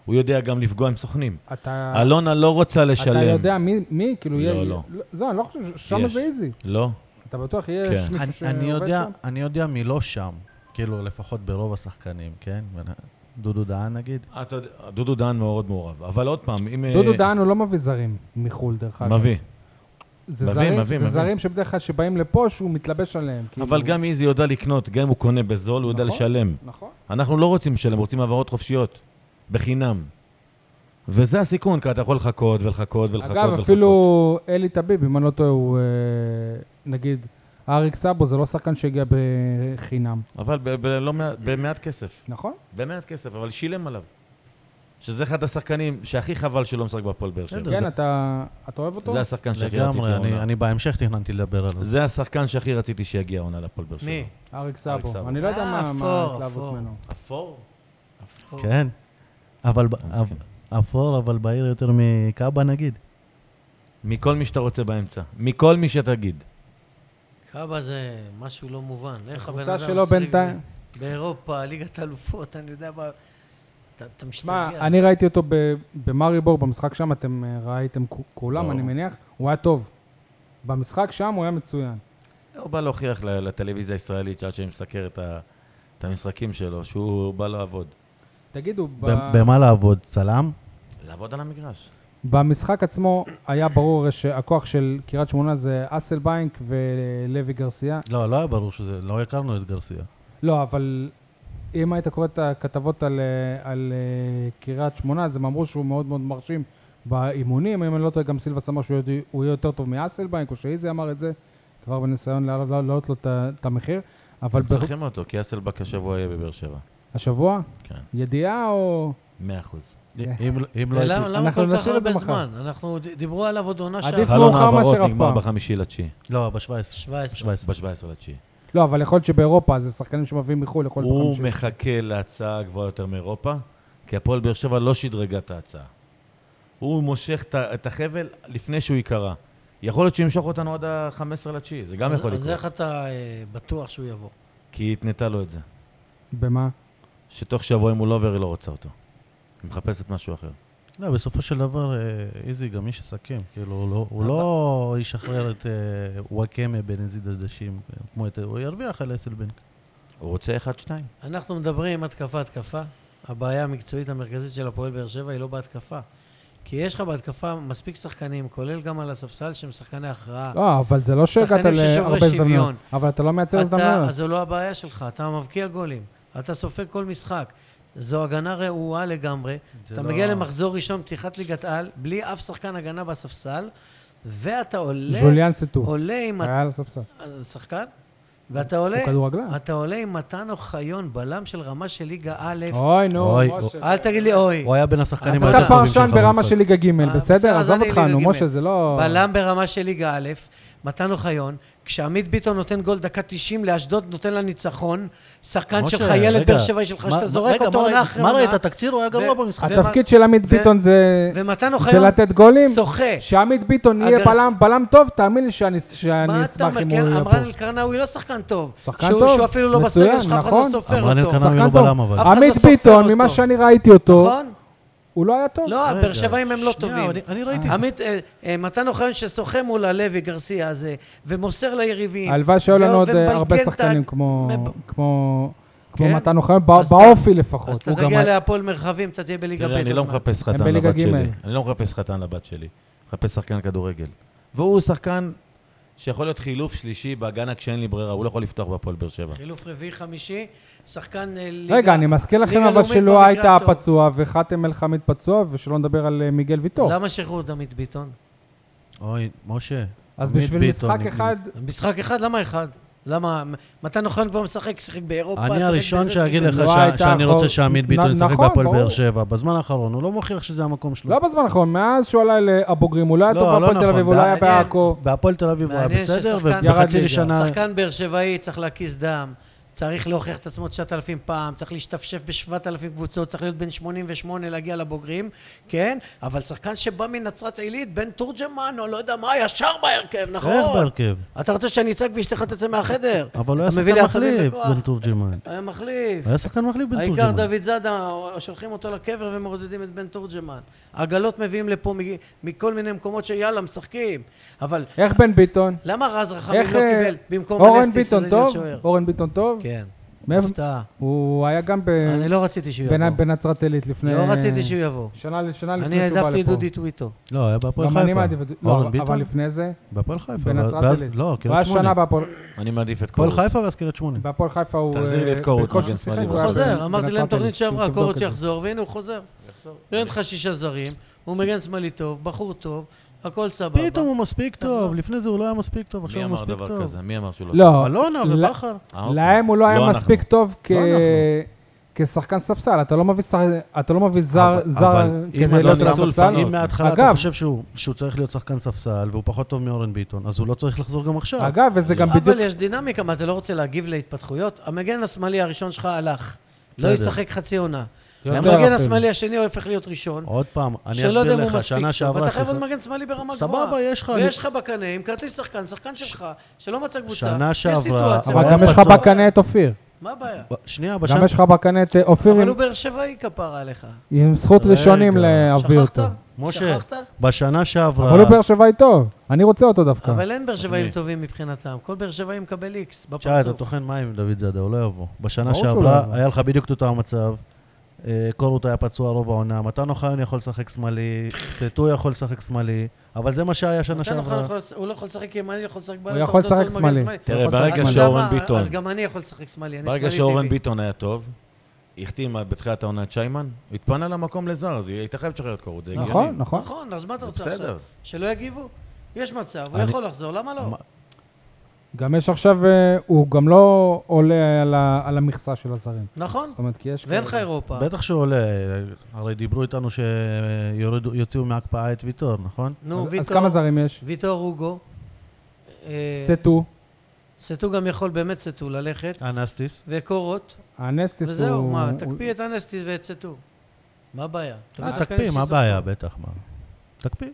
[SPEAKER 4] הוא יודע גם לפגוע עם סוכנים.
[SPEAKER 2] אה,
[SPEAKER 1] אתה
[SPEAKER 4] אלונה לא רוצה לשלם.
[SPEAKER 1] אה. אתה יודע מי, מי? כאילו,
[SPEAKER 4] לא,
[SPEAKER 1] יהיה...
[SPEAKER 4] לא.
[SPEAKER 1] לא, אני לא חושב, ש- שם
[SPEAKER 4] יש.
[SPEAKER 1] זה איזי.
[SPEAKER 4] לא.
[SPEAKER 1] אתה בטוח יהיה
[SPEAKER 4] כן.
[SPEAKER 1] מישהו
[SPEAKER 2] אני-
[SPEAKER 1] שעובד
[SPEAKER 2] אני יודע,
[SPEAKER 1] שם?
[SPEAKER 2] אני יודע מי לא שם, כאילו, לפחות ברוב השחקנים, כן? דודו דהן נגיד?
[SPEAKER 4] אה, אתה יודע, דודו דהן מאוד מעורב. אבל עוד פעם, אם... אה,
[SPEAKER 1] דודו דהן הוא לא מביא זרים מחו"ל, דרך אגב.
[SPEAKER 4] מביא.
[SPEAKER 1] זה
[SPEAKER 4] מביא,
[SPEAKER 1] זרים,
[SPEAKER 4] מביא,
[SPEAKER 1] זה
[SPEAKER 4] מביא.
[SPEAKER 1] זרים שבדרך כלל שבאים לפה שהוא מתלבש עליהם. כאילו.
[SPEAKER 4] אבל גם איזי יודע לקנות, גם אם הוא קונה בזול, הוא יודע
[SPEAKER 1] נכון.
[SPEAKER 4] לשלם.
[SPEAKER 1] נכון.
[SPEAKER 4] אנחנו לא רוצים לשלם, רוצים העברות חופשיות. בחינם. וזה הסיכון, כי אתה יכול לחכות ולחכות ולחכות
[SPEAKER 1] אגב,
[SPEAKER 4] ולחכות.
[SPEAKER 1] אפילו אלי טביב, אם אני לא טועה, הוא אה, נגיד, אריק סאבו זה לא שחקן שהגיע בחינם,
[SPEAKER 4] אבל ב- ב- לא מע- במעט כסף.
[SPEAKER 1] נכון?
[SPEAKER 4] במעט כסף, אבל שילם עליו. שזה אחד השחקנים שהכי חבל שלא משחק בהפועל באר שבע.
[SPEAKER 2] בסדר.
[SPEAKER 1] כן, אתה אתה אוהב אותו?
[SPEAKER 4] זה השחקן שהכי רציתי
[SPEAKER 2] לגמרי, אני-
[SPEAKER 4] העונה.
[SPEAKER 2] אני בהמשך תכננתי לדבר עליו.
[SPEAKER 4] זה השחקן שהכי רציתי שיגיע העונה להפועל באר שבע.
[SPEAKER 3] מי?
[SPEAKER 1] אריק
[SPEAKER 4] אריק
[SPEAKER 1] סאבו.
[SPEAKER 4] סאבו.
[SPEAKER 1] אני לא יודע
[SPEAKER 3] אה,
[SPEAKER 1] מה
[SPEAKER 3] אפור,
[SPEAKER 1] מה ההתלהבות
[SPEAKER 3] אפור.
[SPEAKER 1] ממנו.
[SPEAKER 4] אפור?
[SPEAKER 2] כן. אבל ב-
[SPEAKER 4] מסכים.
[SPEAKER 2] אב- אפור, אבל בעיר יותר מקאבה נגיד.
[SPEAKER 4] מכל מי שאתה רוצה באמצע. מכל מי שתגיד.
[SPEAKER 3] קאבה זה משהו לא מובן. איך הבן אדם
[SPEAKER 1] הקבוצה שלו
[SPEAKER 3] משחק
[SPEAKER 1] בינתיים...
[SPEAKER 3] באירופה, ליגת אלופות, אני יודע מה... אתה אתה
[SPEAKER 1] שמע,
[SPEAKER 3] משתגע.
[SPEAKER 1] אני לא ראיתי אותו ב- במאריבור, במשחק שם, אתם אה, ראיתם כ- כולם,
[SPEAKER 4] לא.
[SPEAKER 1] אני מניח, הוא היה טוב. במשחק שם הוא היה מצוין.
[SPEAKER 4] הוא בא להוכיח ל- לטלוויזיה הישראלית, שעד שאני מסקר את ה- את המשחקים שלו, שהוא בא לא לעבוד.
[SPEAKER 1] תגידו, ב-
[SPEAKER 2] ב- במה לעבוד? צלם?
[SPEAKER 4] לעבוד על המגרש.
[SPEAKER 1] במשחק עצמו היה ברור שהכוח של קריית שמונה זה אסלביינק ולוי גרסיה.
[SPEAKER 2] לא, לא היה ברור שזה, לא הכרנו את גרסיה.
[SPEAKER 1] לא, אבל אם היית קורא את הכתבות על, אה, על אה, קריית שמונה, אז הם אמרו שהוא מאוד מאוד מרשים באימונים. אם אני לא טועה, גם סילבס אמר שהוא יודע- הוא יהיה יותר טוב מאסלביינק, או שאיזי אמר את זה, כבר בניסיון להעלות- להעלות לו את ה- את המחיר. אבל ב-
[SPEAKER 4] צריכים אותו, כי אסלבק השבוע יהיה בבאר שבע.
[SPEAKER 1] השבוע,
[SPEAKER 4] כן.
[SPEAKER 1] ידיעה או...
[SPEAKER 4] מאה אחוז.
[SPEAKER 2] אם אם לא הייתי...
[SPEAKER 3] ולמה אה, למה
[SPEAKER 1] אנחנו
[SPEAKER 3] כל כך
[SPEAKER 1] נשאיר את זה
[SPEAKER 3] הרבה
[SPEAKER 1] מחר.
[SPEAKER 3] זמן? אנחנו ד- דיברו עליו עוד עונה
[SPEAKER 1] עדיף
[SPEAKER 3] שעברה.
[SPEAKER 4] חלון
[SPEAKER 1] מאוחר מאשר
[SPEAKER 4] ההעברות
[SPEAKER 1] אף
[SPEAKER 4] נגמר
[SPEAKER 1] פעם.
[SPEAKER 4] בחמישי לתשיעי.
[SPEAKER 2] לא, ב-17.
[SPEAKER 3] 17.
[SPEAKER 2] 17.
[SPEAKER 4] ב-17 לתשיעי.
[SPEAKER 1] לא, אבל יכול להיות שבאירופה זה שחקנים שמביאים מחו"ל, יכול להיות
[SPEAKER 4] הוא
[SPEAKER 1] בחמישי.
[SPEAKER 4] מחכה להצעה גבוהה יותר מאירופה, כי הפועל באר שבע לא שדרגה את ההצעה. הוא מושך את ה- את החבל לפני שהוא ייקרע. יכול להיות שהוא ימשוך אותנו עד ה-15 לתשיעי, זה גם
[SPEAKER 3] אז-
[SPEAKER 4] יכול
[SPEAKER 3] אז איך
[SPEAKER 4] לקרות.
[SPEAKER 3] אתה אה, בטוח שהוא יבוא?
[SPEAKER 4] כי היא התנתה לו את זה.
[SPEAKER 1] במה?
[SPEAKER 4] שתוך שבוע אם הוא לא עובר, היא לא רוצה אותו. היא מחפשת משהו אחר.
[SPEAKER 2] לא, בסופו של דבר, אה, איזי גם איש עסקים. כאילו, הוא לא- הוא לא ישחרר את אה, וואקמה בנזיד עדשים, אה, כמו את... הוא ירוויח על אסלבנק.
[SPEAKER 4] הוא רוצה אחד-שתיים.
[SPEAKER 3] אנחנו מדברים התקפה-התקפה. הבעיה המקצועית המרכזית של הפועל באר שבע היא לא בהתקפה. כי יש לך בהתקפה מספיק שחקנים, כולל גם על הספסל, שהם שחקני הכרעה.
[SPEAKER 1] לא, אבל זה לא שהגעת
[SPEAKER 3] שחקנים ששוברי
[SPEAKER 1] להרבה הזדמנויות.
[SPEAKER 3] שוויון.
[SPEAKER 1] אבל אתה לא מייצר
[SPEAKER 3] אתה,
[SPEAKER 1] הזדמנויות.
[SPEAKER 3] אז זו לא הבעיה שלך, אתה מבקיע גולים, אתה סופג כל משחק. זו הגנה רעועה לגמרי.
[SPEAKER 2] זה
[SPEAKER 3] אתה
[SPEAKER 2] לא-
[SPEAKER 3] מגיע למחזור ראשון, פתיחת ליגת על, בלי אף שחקן הגנה בספסל, ואתה עולה,
[SPEAKER 1] ז'וליאן סטו,
[SPEAKER 3] עולה עם...
[SPEAKER 1] היה על הספסל.
[SPEAKER 3] ה- שחקן? ואתה עולה,
[SPEAKER 1] הוא כדורגלן.
[SPEAKER 3] אתה עולה עם מתן אוחיון, בלם של רמה של ליגה א',
[SPEAKER 1] אוי, נו,
[SPEAKER 2] אוי,
[SPEAKER 1] משה.
[SPEAKER 3] אל תגיד לי אוי.
[SPEAKER 2] הוא היה בין השחקנים
[SPEAKER 3] אבל
[SPEAKER 1] אתה
[SPEAKER 2] היותר טובים
[SPEAKER 1] פרשן
[SPEAKER 2] שלך
[SPEAKER 1] ברמה
[SPEAKER 2] במשחק.
[SPEAKER 1] של ליגה ג',
[SPEAKER 3] אה, בסדר,
[SPEAKER 1] בסדר?
[SPEAKER 3] אז
[SPEAKER 1] עזוב
[SPEAKER 3] אני
[SPEAKER 1] אותך,
[SPEAKER 3] ליגה
[SPEAKER 1] נו,
[SPEAKER 3] ג'.
[SPEAKER 1] משה, זה לא...
[SPEAKER 3] בלם ברמה של ליגה א', מתן אוחיון, כשעמית ביטון נותן גול דקה 90 לאשדוד, נותן לה ניצחון, שחקן
[SPEAKER 2] משה,
[SPEAKER 3] שלך, ילד
[SPEAKER 2] רגע,
[SPEAKER 3] באר שבעי שלך,
[SPEAKER 2] מה-
[SPEAKER 3] שאתה
[SPEAKER 2] מה-
[SPEAKER 3] זורק
[SPEAKER 2] רגע,
[SPEAKER 3] אותו
[SPEAKER 2] מה
[SPEAKER 3] עונה
[SPEAKER 2] ראית?
[SPEAKER 3] אחרי
[SPEAKER 2] מה
[SPEAKER 3] עונה.
[SPEAKER 2] ראית? התקציב הוא היה גרוע
[SPEAKER 3] ו-
[SPEAKER 2] במשחק.
[SPEAKER 3] אתה-
[SPEAKER 1] התפקיד של עמית
[SPEAKER 3] ו-
[SPEAKER 1] ביטון זה...
[SPEAKER 3] ומתן
[SPEAKER 1] זה
[SPEAKER 3] אוחיון
[SPEAKER 1] לתת גולים.
[SPEAKER 3] שוחה.
[SPEAKER 1] שעמית ביטון יהיה
[SPEAKER 3] אגב,
[SPEAKER 1] בלם, בלם טוב, תאמין לי שאני שאני
[SPEAKER 3] מה אתה
[SPEAKER 1] אשמח
[SPEAKER 3] אומר?
[SPEAKER 1] אם
[SPEAKER 3] כן,
[SPEAKER 1] הוא יהיה
[SPEAKER 3] אמרן
[SPEAKER 1] פה.
[SPEAKER 3] אלקרנאווי לא שחקן טוב.
[SPEAKER 1] שחקן
[SPEAKER 3] שהוא-
[SPEAKER 1] טוב,
[SPEAKER 3] שהוא אפילו לא
[SPEAKER 1] מצוין,
[SPEAKER 3] בסגל שלך, אף אחד
[SPEAKER 1] נכון.
[SPEAKER 3] לא סופר
[SPEAKER 2] אברהם
[SPEAKER 3] אותו.
[SPEAKER 2] אלקרנאוי
[SPEAKER 1] שחקן
[SPEAKER 2] הוא
[SPEAKER 1] טוב.
[SPEAKER 2] בלם, אבל.
[SPEAKER 3] אף אחד לא
[SPEAKER 1] עמית
[SPEAKER 3] סופר
[SPEAKER 1] ביטון,
[SPEAKER 3] אותו.
[SPEAKER 1] ממה שאני ראיתי אותו,
[SPEAKER 3] נכון?
[SPEAKER 1] הוא לא היה טוב.
[SPEAKER 3] לא,
[SPEAKER 2] רגע,
[SPEAKER 3] הבאר שבעים הם לא
[SPEAKER 2] שנייה,
[SPEAKER 3] טובים.
[SPEAKER 2] אני- אני ראיתי.
[SPEAKER 3] עמית, אה, אה, מתן אוחיון ששוחה מול הלוי גרסיה הזה, ומוסר ליריבים.
[SPEAKER 1] הלוואי שהיו לנו
[SPEAKER 3] ו-
[SPEAKER 1] עוד אה,
[SPEAKER 3] ומבלגן
[SPEAKER 1] הרבה
[SPEAKER 3] את ה-
[SPEAKER 1] שחקנים כמו
[SPEAKER 3] מב-
[SPEAKER 1] כמו- כמו
[SPEAKER 3] כן.
[SPEAKER 1] מתן אוחיון,
[SPEAKER 3] אז אתה-
[SPEAKER 1] באופי
[SPEAKER 3] אז
[SPEAKER 1] לפחות.
[SPEAKER 3] אתה
[SPEAKER 2] הוא גם
[SPEAKER 3] תגיע
[SPEAKER 2] היה-
[SPEAKER 3] להפועל מרחבים, אתה תהיה בליגה ב'.
[SPEAKER 4] תראה, אני לא
[SPEAKER 3] עוד מעט.
[SPEAKER 4] מחפש
[SPEAKER 1] הם
[SPEAKER 4] חתן
[SPEAKER 1] בליגה
[SPEAKER 4] לבת
[SPEAKER 1] ג'.
[SPEAKER 4] שלי. אני לא מחפש חתן לבת שלי. מחפש שחקן כדורגל. והוא שחקן שיכול להיות חילוף שלישי בהגנה כשאין לי ברירה, הוא לא יכול לפתוח בהפועל באר שבע.
[SPEAKER 3] חילוף רביעי חמישי, שחקן אה, ליגה...
[SPEAKER 1] רגע, אני מזכיר לכם
[SPEAKER 3] ליגה
[SPEAKER 1] אבל
[SPEAKER 3] לאומית
[SPEAKER 1] שלא
[SPEAKER 3] במקרה
[SPEAKER 1] הייתה
[SPEAKER 3] הטוב.
[SPEAKER 1] פצוע וחתם אל חמיד פצוע, ושלא נדבר על אה, מיגל ויטור.
[SPEAKER 3] למה שחררו את עמית ביטון?
[SPEAKER 2] אוי, משה.
[SPEAKER 1] אז
[SPEAKER 2] עמית
[SPEAKER 1] בשביל
[SPEAKER 2] ביטון,
[SPEAKER 1] משחק
[SPEAKER 2] אני-
[SPEAKER 1] אחד,
[SPEAKER 3] משחק אחד, למה אחד? למה? מתן אוחיון כבר משחק, שיחק באירופה,
[SPEAKER 2] אני
[SPEAKER 3] שיחק
[SPEAKER 2] הראשון
[SPEAKER 3] בזה,
[SPEAKER 2] שיגיד
[SPEAKER 3] שיחק
[SPEAKER 2] לך
[SPEAKER 1] לא
[SPEAKER 2] שה-
[SPEAKER 1] הייתה
[SPEAKER 2] שאני
[SPEAKER 1] אחור-
[SPEAKER 2] רוצה שעמית ביטון
[SPEAKER 1] נ-
[SPEAKER 2] ישחק
[SPEAKER 1] נכון,
[SPEAKER 2] בהפועל
[SPEAKER 1] ברור.
[SPEAKER 2] באר שבע. בזמן האחרון הוא לא מוכיח שזה המקום שלו.
[SPEAKER 1] לא בזמן האחרון, מאז שהוא עלה לבוגרים, הוא לא היה
[SPEAKER 2] לא,
[SPEAKER 1] טוב
[SPEAKER 2] לא
[SPEAKER 1] בהפועל תל
[SPEAKER 2] נכון,
[SPEAKER 1] אביב, הוא לא היה
[SPEAKER 3] מעניין.
[SPEAKER 1] בעכו.
[SPEAKER 2] בהפועל תל אביב הוא היה
[SPEAKER 3] מעניין
[SPEAKER 2] בסדר,
[SPEAKER 3] ששחקן-
[SPEAKER 1] ירד
[SPEAKER 2] ובחצי
[SPEAKER 1] ליגה.
[SPEAKER 2] שנה...
[SPEAKER 3] שחקן באר שבעי צריך להקיס דם, צריך להוכיח את עצמו 9,000 פעם, צריך להשתפשף ב-7,000 קבוצות, צריך להיות בן 88 להגיע לבוגרים, כן? אבל שחקן שבא מנצרת עילית, בן תורג'מן, או לא יודע מה, ישר בהרכב, נכון?
[SPEAKER 2] איך בהרכב?
[SPEAKER 3] אתה רוצה שאני אצעק ואשתך תצא מהחדר?
[SPEAKER 2] אבל לא היה
[SPEAKER 3] אתה מביא לי
[SPEAKER 2] שחקן
[SPEAKER 3] עצבים
[SPEAKER 2] מחליף
[SPEAKER 3] בכוח.
[SPEAKER 2] בן תורג'מן.
[SPEAKER 3] היה מחליף.
[SPEAKER 2] היה שחקן מחליף בן
[SPEAKER 3] העיקר
[SPEAKER 2] תורג'מן.
[SPEAKER 3] דוד זאדה, שולחים אותו לקבר ומעודדים את בן תורג'מן. עגלות מביאים לפה מ- מכל מיני מקומות שיאללה, משחקים. אבל
[SPEAKER 1] איך בן ביטון?
[SPEAKER 3] למה רז רחמים
[SPEAKER 1] איך...
[SPEAKER 3] לא
[SPEAKER 1] אה,
[SPEAKER 3] קיבל במקום
[SPEAKER 1] אורן
[SPEAKER 3] הנסטיס
[SPEAKER 1] ביטון
[SPEAKER 3] הזה
[SPEAKER 1] טוב?
[SPEAKER 3] להיות שוער?
[SPEAKER 1] אורן ביטון טוב?
[SPEAKER 3] כן,
[SPEAKER 1] מאיפה-
[SPEAKER 3] הפתעה.
[SPEAKER 1] הוא היה גם ב-
[SPEAKER 3] אני לא רציתי שהוא
[SPEAKER 1] בנ-
[SPEAKER 3] יבוא.
[SPEAKER 1] בנצרת עילית לפני...
[SPEAKER 3] לא רציתי שהוא יבוא.
[SPEAKER 1] שנה, שנה לפני
[SPEAKER 3] אני
[SPEAKER 1] שהוא בא לפה.
[SPEAKER 3] העדפתי את דודי טוויטו.
[SPEAKER 2] לא, היה בהפועל
[SPEAKER 1] גם
[SPEAKER 2] חיפה.
[SPEAKER 1] אני מעדיף את דודי. לא,
[SPEAKER 2] אורן
[SPEAKER 1] אבל-
[SPEAKER 2] ביטון?
[SPEAKER 1] אבל לפני זה,
[SPEAKER 2] בהפועל חיפה.
[SPEAKER 1] בנצרת
[SPEAKER 2] ואז-
[SPEAKER 1] עילית.
[SPEAKER 2] לא,
[SPEAKER 1] הוא היה
[SPEAKER 2] קריית
[SPEAKER 1] שנה
[SPEAKER 2] שמונה.
[SPEAKER 1] בהפועל-
[SPEAKER 4] אני מעדיף את
[SPEAKER 2] הפועל
[SPEAKER 4] קורות.
[SPEAKER 2] חיפה ואז קריית שמונה.
[SPEAKER 1] בהפועל חיפה הוא...
[SPEAKER 4] תחזיר לי את
[SPEAKER 1] אה,
[SPEAKER 4] קורות,
[SPEAKER 1] בקושי
[SPEAKER 4] מגן
[SPEAKER 1] שיחק,
[SPEAKER 4] שמאלי.
[SPEAKER 1] הוא
[SPEAKER 3] הוא
[SPEAKER 1] היה
[SPEAKER 3] חוזר,
[SPEAKER 1] בנ-
[SPEAKER 3] אמרתי
[SPEAKER 1] בנצרת
[SPEAKER 3] להם תוכנית
[SPEAKER 1] עילית.
[SPEAKER 3] שעברה,
[SPEAKER 1] תבדוק
[SPEAKER 3] קורות
[SPEAKER 1] את זה.
[SPEAKER 3] יחזור, והנה הוא חוזר. אין לך שישה זרים, הוא מגן שמאלי טוב, בחור טוב, הכל סבבה.
[SPEAKER 2] פתאום הוא מספיק
[SPEAKER 3] נכון.
[SPEAKER 2] טוב, לפני זה הוא לא היה מספיק טוב, עכשיו
[SPEAKER 4] מי
[SPEAKER 2] הוא
[SPEAKER 4] אמר
[SPEAKER 2] מספיק
[SPEAKER 4] דבר
[SPEAKER 2] טוב.
[SPEAKER 4] כזה? מי אמר שהוא לא?
[SPEAKER 1] לא,
[SPEAKER 2] אלונה
[SPEAKER 1] לא-
[SPEAKER 2] ובכר.
[SPEAKER 4] אה, אוקיי.
[SPEAKER 1] להם הוא לא היה
[SPEAKER 4] לא אנחנו.
[SPEAKER 1] מספיק טוב כ-
[SPEAKER 2] לא אנחנו.
[SPEAKER 1] כשחקן ספסל. אתה לא מביא שח- אתה לא מביא זר
[SPEAKER 2] אבל-
[SPEAKER 1] זר לא
[SPEAKER 2] אבל
[SPEAKER 1] כדי
[SPEAKER 2] אם לא
[SPEAKER 1] להיות
[SPEAKER 2] אתה
[SPEAKER 1] שחקן
[SPEAKER 4] שם
[SPEAKER 1] ספסל.
[SPEAKER 4] לפניו.
[SPEAKER 2] אם מההתחלה אתה
[SPEAKER 1] אגב-
[SPEAKER 2] חושב שהוא שהוא צריך להיות שחקן ספסל והוא פחות טוב מאורן ביטון, אז הוא לא צריך לחזור גם עכשיו.
[SPEAKER 1] אגב, וזה גם בדיוק...
[SPEAKER 3] אבל יש דינמיקה, מה, אתה לא רוצה להגיב להתפתחויות? המגן השמאלי הראשון שלך הלך. לא
[SPEAKER 2] בסדר.
[SPEAKER 3] ישחק חצי עונה.
[SPEAKER 1] יותר
[SPEAKER 3] המגן
[SPEAKER 1] אפילו.
[SPEAKER 3] השמאלי השני הופך להיות ראשון.
[SPEAKER 2] עוד פעם, אני
[SPEAKER 3] שלא יודע
[SPEAKER 2] אסביר
[SPEAKER 3] אם הוא
[SPEAKER 2] לך,
[SPEAKER 3] מספיק
[SPEAKER 2] שנה
[SPEAKER 3] טוב,
[SPEAKER 2] שעברה
[SPEAKER 3] ואתה חייב
[SPEAKER 2] שיחק-
[SPEAKER 3] עוד מגן שמאלי ברמה
[SPEAKER 2] סבבה,
[SPEAKER 3] גבוהה.
[SPEAKER 2] יש לך-
[SPEAKER 3] ויש לך בקנה עם כרטיס שחקן, שחקן שלך, שלא מצא קבוצה.
[SPEAKER 2] שנה
[SPEAKER 3] יש
[SPEAKER 2] שעברה-
[SPEAKER 3] סיטואציה,
[SPEAKER 1] אבל
[SPEAKER 2] הוא
[SPEAKER 1] גם
[SPEAKER 2] היה
[SPEAKER 1] יש לך
[SPEAKER 2] פצוע.
[SPEAKER 1] בקנה את אופיר.
[SPEAKER 3] מה הבעיה?
[SPEAKER 2] ב- שנייה,
[SPEAKER 1] גם
[SPEAKER 2] בשנה...
[SPEAKER 1] יש לך בקנה את אה, אופיר
[SPEAKER 3] אבל
[SPEAKER 1] עם-
[SPEAKER 3] הוא באר שבעי כפרה עליך.
[SPEAKER 1] עם זכות
[SPEAKER 2] רגע,
[SPEAKER 1] ראשונים להביא
[SPEAKER 3] שכחת?
[SPEAKER 1] אותו.
[SPEAKER 2] משה,
[SPEAKER 3] שכחת?
[SPEAKER 2] בשנה שעברה...
[SPEAKER 1] אבל הוא באר שבעי טוב, אני רוצה אותו דווקא.
[SPEAKER 3] אבל אין באר שבעים
[SPEAKER 4] מי?
[SPEAKER 3] טובים מבחינתם. כל באר שבעי מקבל איקס
[SPEAKER 2] שי, אתה
[SPEAKER 3] בפרצוף.
[SPEAKER 2] טוחן מים עם דוד זאדה, הוא לא יבוא. בשנה
[SPEAKER 1] ברור שהוא לא יבוא.
[SPEAKER 2] שעברה היה לך בדיוק את אותו המצב. אה, קורות היה פצוע רוב העונה, מתן אוחיון יכול לשחק שמאלי, סטו יכול לשחק שמאלי, אבל זה מה שהיה שנה
[SPEAKER 3] מתן אוחיון
[SPEAKER 2] שעברה.
[SPEAKER 3] יכול- הוא לא יכול לשחק ימני, הוא יכול לשחק בלם.
[SPEAKER 1] הוא
[SPEAKER 3] אתה
[SPEAKER 1] יכול
[SPEAKER 3] רוצה אותו
[SPEAKER 1] לשחק
[SPEAKER 3] למגן
[SPEAKER 1] שמאלי.
[SPEAKER 4] תראה,
[SPEAKER 1] הוא יכול לשחק
[SPEAKER 4] ברגע
[SPEAKER 1] שמאלי.
[SPEAKER 3] אז
[SPEAKER 4] שאורן
[SPEAKER 3] למה-
[SPEAKER 4] ביטון-
[SPEAKER 3] אז גם אני יכול לשחק שמאלי, אני שמאלי
[SPEAKER 4] ברגע
[SPEAKER 3] טבעי.
[SPEAKER 4] שאורן ביטון היה טוב, החתים בתחילת העונה את שיימן, הוא התפנה למקום לזר, אז היא הייתה חייבת לשחרר את קורות, זה הגיוני.
[SPEAKER 1] נכון, נכון.
[SPEAKER 3] נכון, אז מה אתה
[SPEAKER 4] זה
[SPEAKER 3] רוצה
[SPEAKER 4] בסדר.
[SPEAKER 3] עכשיו? שלא יגיבו? יש מצב, הוא
[SPEAKER 2] אני-
[SPEAKER 3] יכול לחזור, למה לא?
[SPEAKER 2] מה-
[SPEAKER 1] גם יש עכשיו, אה, הוא גם לא עולה על ה- על המכסה של הזרים.
[SPEAKER 3] נכון,
[SPEAKER 1] זאת אומרת, כי יש...
[SPEAKER 3] ואין
[SPEAKER 1] כאלה-
[SPEAKER 3] לך אירופה.
[SPEAKER 2] בטח שהוא עולה, הרי דיברו איתנו שיוציאו מההקפאה את ויטור, נכון?
[SPEAKER 1] אז-
[SPEAKER 3] נו,
[SPEAKER 1] אז
[SPEAKER 3] ויטור,
[SPEAKER 1] כמה זרים יש?
[SPEAKER 3] ויטור אוגו. אה,
[SPEAKER 1] סטו,
[SPEAKER 3] סטו גם יכול באמת סטו ללכת,
[SPEAKER 2] אה. אנסטיס.
[SPEAKER 3] וקורות,
[SPEAKER 1] הנסטיס הוא...
[SPEAKER 3] וזהו, מה,
[SPEAKER 1] הוא-
[SPEAKER 3] תקפיא את אנסטיס ואת סטו. מה הבעיה? תביא
[SPEAKER 2] אז
[SPEAKER 3] שחקנים
[SPEAKER 2] אה, תקפיא, מה
[SPEAKER 3] שישחקו.
[SPEAKER 2] הבעיה? בטח, מה. תקפיא.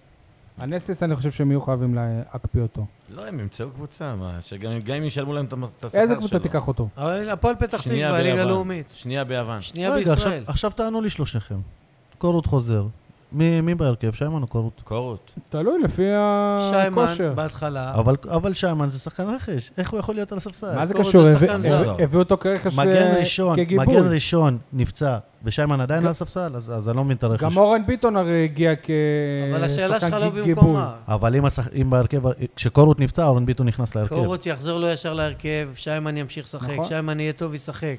[SPEAKER 1] הנסטיס, אני חושב שהם יהיו חייבים להקפיא אותו.
[SPEAKER 4] לא, הם ימצאו קבוצה, מה, שגם גם אם ישלמו להם את המס- את השכר שלו.
[SPEAKER 1] איזה קבוצה תיקח אותו?
[SPEAKER 3] אבל הפועל פתח
[SPEAKER 4] שנייה
[SPEAKER 3] תקווה, הליגה
[SPEAKER 4] ביוון.
[SPEAKER 3] הלאומית.
[SPEAKER 4] שנייה ביוון.
[SPEAKER 3] שנייה
[SPEAKER 2] רגע, עכשיו-
[SPEAKER 3] בישראל.
[SPEAKER 2] עכשיו תענו לי שלושכם. קורות חוזר. מי מי בהרכב? שיימן או קורות?
[SPEAKER 4] קורות.
[SPEAKER 1] תלוי לפי
[SPEAKER 3] שיימן
[SPEAKER 1] הכושר.
[SPEAKER 3] בהתחלה,
[SPEAKER 2] אבל אבל שיימן זה שחקן רכש, איך הוא יכול להיות על הספסל?
[SPEAKER 1] מה זה
[SPEAKER 3] קורות
[SPEAKER 1] קשור?
[SPEAKER 3] זה
[SPEAKER 1] הביא-
[SPEAKER 3] שחקן
[SPEAKER 1] הביא-
[SPEAKER 4] זר.
[SPEAKER 1] הביאו אותו כרכש
[SPEAKER 2] מגן
[SPEAKER 1] אה,
[SPEAKER 2] ראשון,
[SPEAKER 1] כגיבוי.
[SPEAKER 2] מגן ראשון נפצע, ושיימן עדיין
[SPEAKER 1] גם-
[SPEAKER 2] על הספסל, אז אז אני לא מבין את הרכש.
[SPEAKER 1] גם אורן ביטון הרי הגיע כ...
[SPEAKER 3] אבל השאלה שלך
[SPEAKER 1] שחקן
[SPEAKER 3] לא
[SPEAKER 1] ג- גיבוי.
[SPEAKER 3] במקומה.
[SPEAKER 2] אבל אם השח- אם בהרכב, כשקורות נפצע, אורן ביטון נכנס להרכב.
[SPEAKER 3] קורות יחזור לו ישר להרכב, שיימן ימשיך לשחק,
[SPEAKER 1] כן. נכון.
[SPEAKER 3] שיימן יהיה טוב ישחק.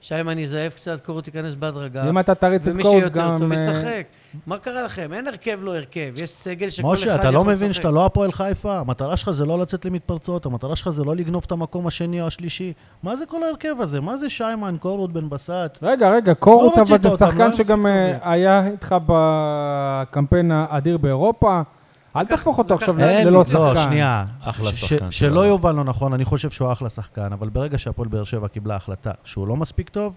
[SPEAKER 3] שיימן יזייף קצת, קורות ייכנס בהדרגה.
[SPEAKER 1] אם אתה תריץ את
[SPEAKER 3] ומי
[SPEAKER 1] קורס
[SPEAKER 3] שיותר
[SPEAKER 1] גם...
[SPEAKER 3] טוב
[SPEAKER 1] אה,
[SPEAKER 3] ישחק. מה קרה לכם? אין הרכב לא הרכב, יש סגל שכל אחד יכול
[SPEAKER 2] משה,
[SPEAKER 3] לשחק.
[SPEAKER 2] אתה לא מבין שאתה לא הפועל חיפה? המטרה שלך זה לא לצאת למתפרצות, המטרה שלך זה לא לגנוב את המקום השני או השלישי. מה זה כל ההרכב הזה? מה זה שיימן, קורות, בן בסט?
[SPEAKER 1] רגע, רגע, קורות
[SPEAKER 2] לא
[SPEAKER 1] אבל
[SPEAKER 2] רצית
[SPEAKER 1] זה
[SPEAKER 2] אותם, לא
[SPEAKER 1] שחקן
[SPEAKER 2] הם
[SPEAKER 1] שגם אה, היה איתך בקמפיין האדיר באירופה. אל תהפוך אותו
[SPEAKER 3] לקח-
[SPEAKER 1] עכשיו
[SPEAKER 3] אין,
[SPEAKER 1] ללא שחקן.
[SPEAKER 2] לא, שנייה.
[SPEAKER 4] אחלה
[SPEAKER 2] ש-
[SPEAKER 4] שחקן,
[SPEAKER 2] ש-
[SPEAKER 4] סבבה.
[SPEAKER 2] שלא יובן לא נכון, אני חושב שהוא אחלה שחקן, אבל ברגע שהפועל באר שבע קיבלה החלטה שהוא לא מספיק טוב,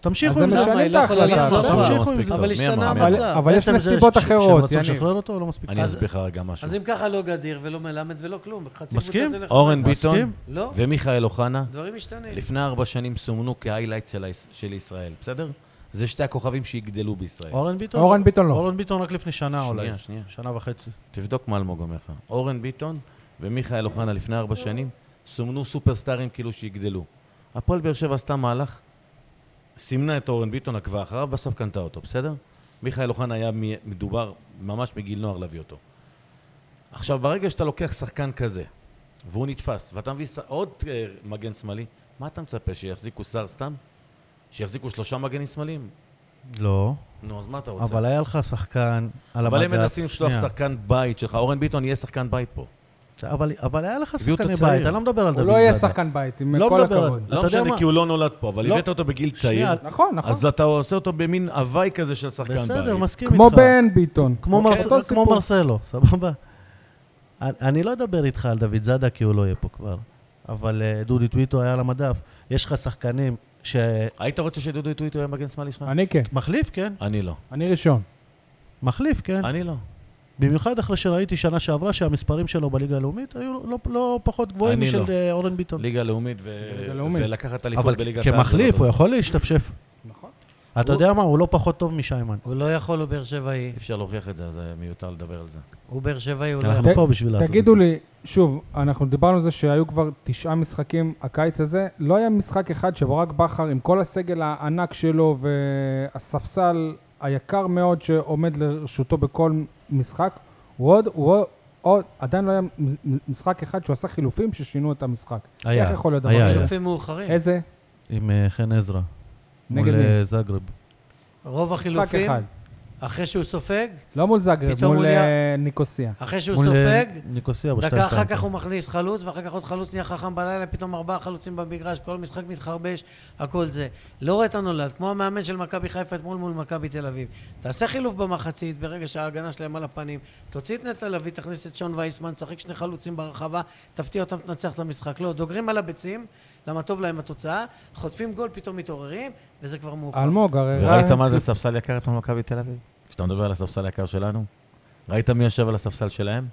[SPEAKER 2] תמשיכו
[SPEAKER 1] אז
[SPEAKER 2] עם
[SPEAKER 1] זה
[SPEAKER 2] זה.
[SPEAKER 1] משנה.
[SPEAKER 3] למה?
[SPEAKER 1] משנים
[SPEAKER 3] היא
[SPEAKER 1] את
[SPEAKER 3] לא יכולה
[SPEAKER 1] ההחלטה.
[SPEAKER 3] לחזור
[SPEAKER 2] עכשיו
[SPEAKER 4] הוא
[SPEAKER 3] בה.
[SPEAKER 4] לא
[SPEAKER 2] שימשיכו עם
[SPEAKER 4] מספיק
[SPEAKER 2] זה.
[SPEAKER 4] טוב.
[SPEAKER 3] אבל
[SPEAKER 4] מי אמר?
[SPEAKER 3] השתנה
[SPEAKER 4] מי אמר?
[SPEAKER 1] אבל-
[SPEAKER 3] המצב.
[SPEAKER 1] אבל יש
[SPEAKER 2] עצם זה
[SPEAKER 1] נסיבות
[SPEAKER 2] ש- שהם
[SPEAKER 1] אחרות,
[SPEAKER 2] רצו
[SPEAKER 1] יניב.
[SPEAKER 2] לשחרר אותו, הוא לא מספיק
[SPEAKER 4] אני
[SPEAKER 2] טוב.
[SPEAKER 3] אז-
[SPEAKER 4] אסביר לך רגע משהו.
[SPEAKER 3] אז אם ככה לא גדיר ולא מלמד ולא כלום. חצי
[SPEAKER 2] מסכים?
[SPEAKER 3] קבוצה תלך-
[SPEAKER 4] אורן
[SPEAKER 2] מסכים?
[SPEAKER 4] ביטון
[SPEAKER 3] לא,
[SPEAKER 4] ומיכאל אוחנה,
[SPEAKER 3] דברים משתנים.
[SPEAKER 4] לפני ארבע שנים סומנו כהיילייט של היש- של ישראל, בסדר? זה שתי הכוכבים שיגדלו בישראל.
[SPEAKER 2] אורן ביטון?
[SPEAKER 1] אורן ביטון לא.
[SPEAKER 2] אורן ביטון רק לפני שנה אולי.
[SPEAKER 4] שנייה, שנייה.
[SPEAKER 2] שנה וחצי.
[SPEAKER 4] תבדוק מה אלמוג אומר לך. אורן ביטון ומיכאל אוחנה לפני ארבע שנים סומנו סופרסטארים כאילו שיגדלו. הפועל באר שבע עשתה מהלך, סימנה את אורן ביטון, עקבה אחריו, בסוף קנתה אותו, בסדר? מיכאל אוחנה היה מ- מדובר ממש מגיל נוער להביא אותו. עכשיו, ברגע שאתה לוקח שחקן כזה, והוא נתפס, ואתה מביא ש... עוד אה, מגן שמאלי, מה אתה מצפה, שיחזיקו שר סתם? שיחזיקו שלושה מגנים שמאליים?
[SPEAKER 2] לא.
[SPEAKER 4] נו, אז מה אתה רוצה?
[SPEAKER 2] אבל היה לך שחקן על המדף.
[SPEAKER 4] אבל הם מנסים לשלוח
[SPEAKER 2] שנייה.
[SPEAKER 4] שחקן בית שלך, אורן ביטון יהיה שחקן בית פה.
[SPEAKER 2] אבל, אבל היה לך
[SPEAKER 4] הביאו את
[SPEAKER 2] שחקני
[SPEAKER 4] הצעיר.
[SPEAKER 2] בית, אני לא מדבר על דוד
[SPEAKER 1] הוא
[SPEAKER 2] זאדה.
[SPEAKER 1] לא יהיה שחקן בית, עם
[SPEAKER 2] לא
[SPEAKER 1] כל
[SPEAKER 2] מדבר על-
[SPEAKER 1] הכבוד.
[SPEAKER 2] אתה
[SPEAKER 4] לא
[SPEAKER 2] יודע
[SPEAKER 4] משנה,
[SPEAKER 2] מה?
[SPEAKER 4] כי הוא לא נולד פה, אבל
[SPEAKER 2] לא.
[SPEAKER 4] הבאת אותו בגיל צעיר,
[SPEAKER 2] שנייה,
[SPEAKER 1] נכון, נכון.
[SPEAKER 4] אז אתה עושה אותו במין הוואי כזה של שחקן בית.
[SPEAKER 2] בסדר, לא מסכים
[SPEAKER 1] כמו
[SPEAKER 2] איתך.
[SPEAKER 1] בן ביטון.
[SPEAKER 2] כמו,
[SPEAKER 1] אוקיי,
[SPEAKER 2] מרס...
[SPEAKER 1] אותו
[SPEAKER 2] כמו
[SPEAKER 1] סיפור.
[SPEAKER 2] מרסלו, סבבה? אני, אני לא אדבר איתך על דוד זאדה, כי הוא לא יהיה פה כבר. אבל אה, דודי טוויטו היה על המדף. יש לך שחקנים שמחליף,
[SPEAKER 4] היית רוצה שדודו טוויטו יהיה מגן שמאלי שלך?
[SPEAKER 1] אני כן,
[SPEAKER 2] כן?
[SPEAKER 4] אני לא.
[SPEAKER 1] אני ראשון.
[SPEAKER 2] מחליף, כן?
[SPEAKER 4] אני לא.
[SPEAKER 2] במיוחד אחרי שראיתי שנה שעברה שהמספרים שלו בליגה הלאומית היו לא- לא- לא פחות גבוהים
[SPEAKER 4] אני
[SPEAKER 2] משל
[SPEAKER 4] לא.
[SPEAKER 2] אה, אורן ביטון.
[SPEAKER 4] ליגה לאומית ו-
[SPEAKER 1] ליגה לאומית.
[SPEAKER 4] ולקחת
[SPEAKER 2] אבל
[SPEAKER 4] אליפות בליגת העל.
[SPEAKER 2] כמחליף
[SPEAKER 4] זה
[SPEAKER 2] הוא
[SPEAKER 4] לא
[SPEAKER 2] יכול להשתפשף.
[SPEAKER 1] נכון.
[SPEAKER 2] אתה
[SPEAKER 3] הוא-
[SPEAKER 2] יודע מה? הוא לא פחות טוב משיימן.
[SPEAKER 3] הוא לא יכול, הוא באר שבעי.
[SPEAKER 4] טוב. אי אפשר להוכיח את זה, אז אה, מיותר לדבר על זה.
[SPEAKER 3] הוא באר שבעי, הוא לא
[SPEAKER 1] אה,
[SPEAKER 3] יכול.
[SPEAKER 2] אנחנו פה בשביל לעשות את זה.
[SPEAKER 1] תגידו לי, שוב, אנחנו דיברנו על זה שהיו כבר תשעה משחקים הקיץ הזה, לא היה משחק אחד שברק בכר עם כל הסגל הענק שלו והספסל היקר מאוד שעומד לרשותו בכל משחק, הוא עוד, הוא עוד, עוד עדיין לא היה מ- משחק אחד שהוא עשה חילופים ששינו את המשחק.
[SPEAKER 2] היה,
[SPEAKER 1] איך יכול להיות דבר
[SPEAKER 2] היה,
[SPEAKER 1] כזה?
[SPEAKER 2] היה.
[SPEAKER 3] חילופים מאוחרים.
[SPEAKER 1] אה. איזה?
[SPEAKER 2] עם אה, חן עזרא.
[SPEAKER 1] נגד
[SPEAKER 2] מול
[SPEAKER 1] מי?
[SPEAKER 2] אה, זאגרב.
[SPEAKER 3] רוב
[SPEAKER 1] משחק
[SPEAKER 3] החילופים,
[SPEAKER 1] אחד.
[SPEAKER 3] אחרי שהוא סופג,
[SPEAKER 1] לא מול זאגרב,
[SPEAKER 3] פתאום
[SPEAKER 1] מול
[SPEAKER 3] הוא נהיה-
[SPEAKER 1] אה, ניקוסיה.
[SPEAKER 3] אחרי שהוא
[SPEAKER 2] מול, אה,
[SPEAKER 3] סופג,
[SPEAKER 2] ניקוסיה בשתיים.
[SPEAKER 3] דקה אחר כך הוא מכניס חלוץ, ואחר כך עוד חלוץ נהיה חכם בלילה, פתאום ארבעה חלוצים במגרש, כל משחק מתחרבש, הכל זה. לא רואה את הנולד, כמו המאמן של מכבי חיפה אתמול מול מכבי תל אביב. תעשה חילוף במחצית, ברגע שההגנה שלהם על הפנים, תוציא את נטע לביא, תכניס את שון וייסמן, תשחק שני חלוצים ברחבה, תפתיע אותם, תנצח את המשחק. לא, דוגרים על הביצים, למה טוב להם התוצאה, חוטפים גול, פתאום מתעוררים, וזה כבר מאוחר.
[SPEAKER 1] אלמוג, הרי...
[SPEAKER 4] וראית מה
[SPEAKER 1] אה.
[SPEAKER 4] זה ספסל יקר אתמול במכבי תל אביב? כשאתה מדבר על הספסל היקר שלנו? ראית מי יושב על הספסל שלהם?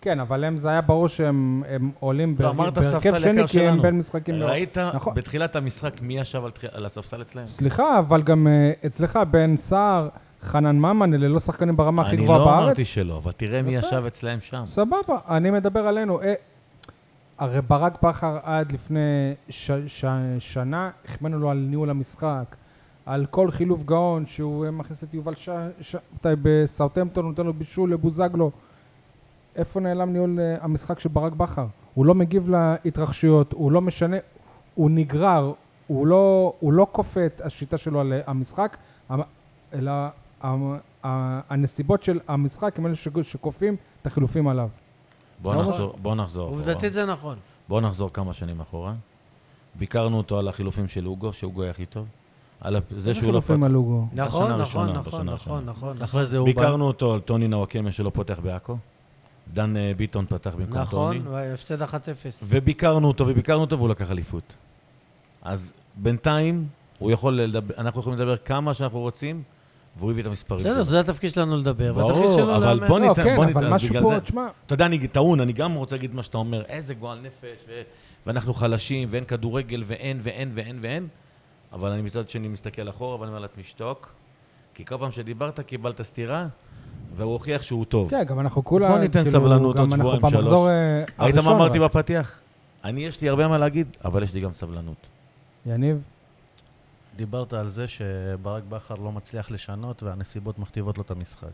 [SPEAKER 1] כן, אבל הם, זה היה ברור שהם הם עולים
[SPEAKER 4] לא,
[SPEAKER 1] בהר-
[SPEAKER 4] אמרת
[SPEAKER 1] בהרכב
[SPEAKER 4] ספסל
[SPEAKER 1] שני,
[SPEAKER 4] יקר
[SPEAKER 1] כי הם
[SPEAKER 4] שלנו.
[SPEAKER 1] בין משחקים... לא-
[SPEAKER 4] ראית
[SPEAKER 1] נכון.
[SPEAKER 4] בתחילת המשחק מי ישב על תח- על הספסל אצלהם?
[SPEAKER 1] סליחה, אבל גם אה, אצלך בן סער, חנן ממן, אלה לא שחקנים ברמה הכי
[SPEAKER 4] אני
[SPEAKER 1] גבוהה
[SPEAKER 4] לא
[SPEAKER 1] בארץ.
[SPEAKER 4] אמרתי שלא, אבל תראה מי
[SPEAKER 1] יפה.
[SPEAKER 4] ישב אצלהם שם.
[SPEAKER 1] סבבה, אני מדבר עלינו. אה, הרי ברק בכר עד לפני ש- ש- שנה, החמאנו לו על ניהול המשחק, על כל חילוף גאון, שהוא אה, מכניס את יובל ש- שבתאי בסאוטהמפטון, נותן לו בישול לבוזגלו. איפה נעלם ניהול אה, המשחק של ברק בכר? הוא לא מגיב להתרחשויות, הוא לא משנה, הוא נגרר, הוא לא, הוא לא כופה את השיטה שלו על אה, המשחק, המ- אלא המ- ה- הנסיבות של המשחק הם אלה שג- שכופים את החילופים עליו.
[SPEAKER 4] בוא
[SPEAKER 3] נכון.
[SPEAKER 4] נחזור- בוא נחזור אחורה.
[SPEAKER 3] עובדתית זה נכון.
[SPEAKER 4] בואו נחזור כמה שנים אחורה. ביקרנו אותו על החילופים של אוגו, שאוגו היה הכי טוב. על הפ- זה שהוא לא...
[SPEAKER 1] חילופים
[SPEAKER 4] פת-
[SPEAKER 1] על לוגו.
[SPEAKER 3] נכון, נכון,
[SPEAKER 4] הראשונה,
[SPEAKER 3] נכון,
[SPEAKER 4] בשנה
[SPEAKER 3] נכון,
[SPEAKER 4] הראשונה.
[SPEAKER 3] נכון.
[SPEAKER 2] אחרי זה הוא...
[SPEAKER 4] ביקרנו אותו על טוני נוואקמה שלא פותח בעכו. דן אה, ביטון פתח במקום טוני.
[SPEAKER 3] נכון, והפסד 1-0.
[SPEAKER 4] וביקרנו אותו, וביקרנו אותו, והוא לקח אליפות. אז בינתיים, הוא יכול לדבר, אנחנו יכולים לדבר כמה שאנחנו רוצים, והוא הביא את המספרים
[SPEAKER 3] בסדר,
[SPEAKER 4] שלו.
[SPEAKER 3] זה התפקיד שלנו לדבר. והתפקיד
[SPEAKER 4] אוקיי. ברור,
[SPEAKER 3] שלו
[SPEAKER 4] אבל
[SPEAKER 3] לאמן.
[SPEAKER 4] בוא
[SPEAKER 1] לא,
[SPEAKER 4] ניתן-
[SPEAKER 1] כן,
[SPEAKER 4] בוא
[SPEAKER 1] אבל
[SPEAKER 4] ניתן, אז
[SPEAKER 1] משהו
[SPEAKER 4] בגלל
[SPEAKER 1] פה,
[SPEAKER 4] זה-
[SPEAKER 1] תשמע,
[SPEAKER 4] אתה יודע, אני טעון, אני גם רוצה להגיד מה שאתה אומר, איזה גועל נפש, ו... ואנחנו חלשים, ואין כדורגל, ואין, ואין, ואין, ואין, אבל אני מצד שני מסתכל אחורה, ואני אומר לה, תשתוק, כי כל פעם שדיברת קיבלת סטירה, והוא הוכיח שהוא טוב.
[SPEAKER 1] כן, גם אנחנו כולה...
[SPEAKER 4] בוא ניתן
[SPEAKER 1] כאילו,
[SPEAKER 4] סבלנות
[SPEAKER 1] גם
[SPEAKER 4] עוד
[SPEAKER 1] אנחנו
[SPEAKER 4] שבועיים,
[SPEAKER 1] במחזור,
[SPEAKER 4] שלוש.
[SPEAKER 1] אה,
[SPEAKER 4] ראית מה
[SPEAKER 1] הראשון,
[SPEAKER 4] אמרתי
[SPEAKER 1] אבל-
[SPEAKER 4] בפתיח? אני, יש לי הרבה מה להגיד, אבל יש לי גם סבלנות.
[SPEAKER 1] יניב,
[SPEAKER 2] דיברת על זה שברק בכר לא מצליח לשנות והנסיבות מכתיבות לו את המשחק.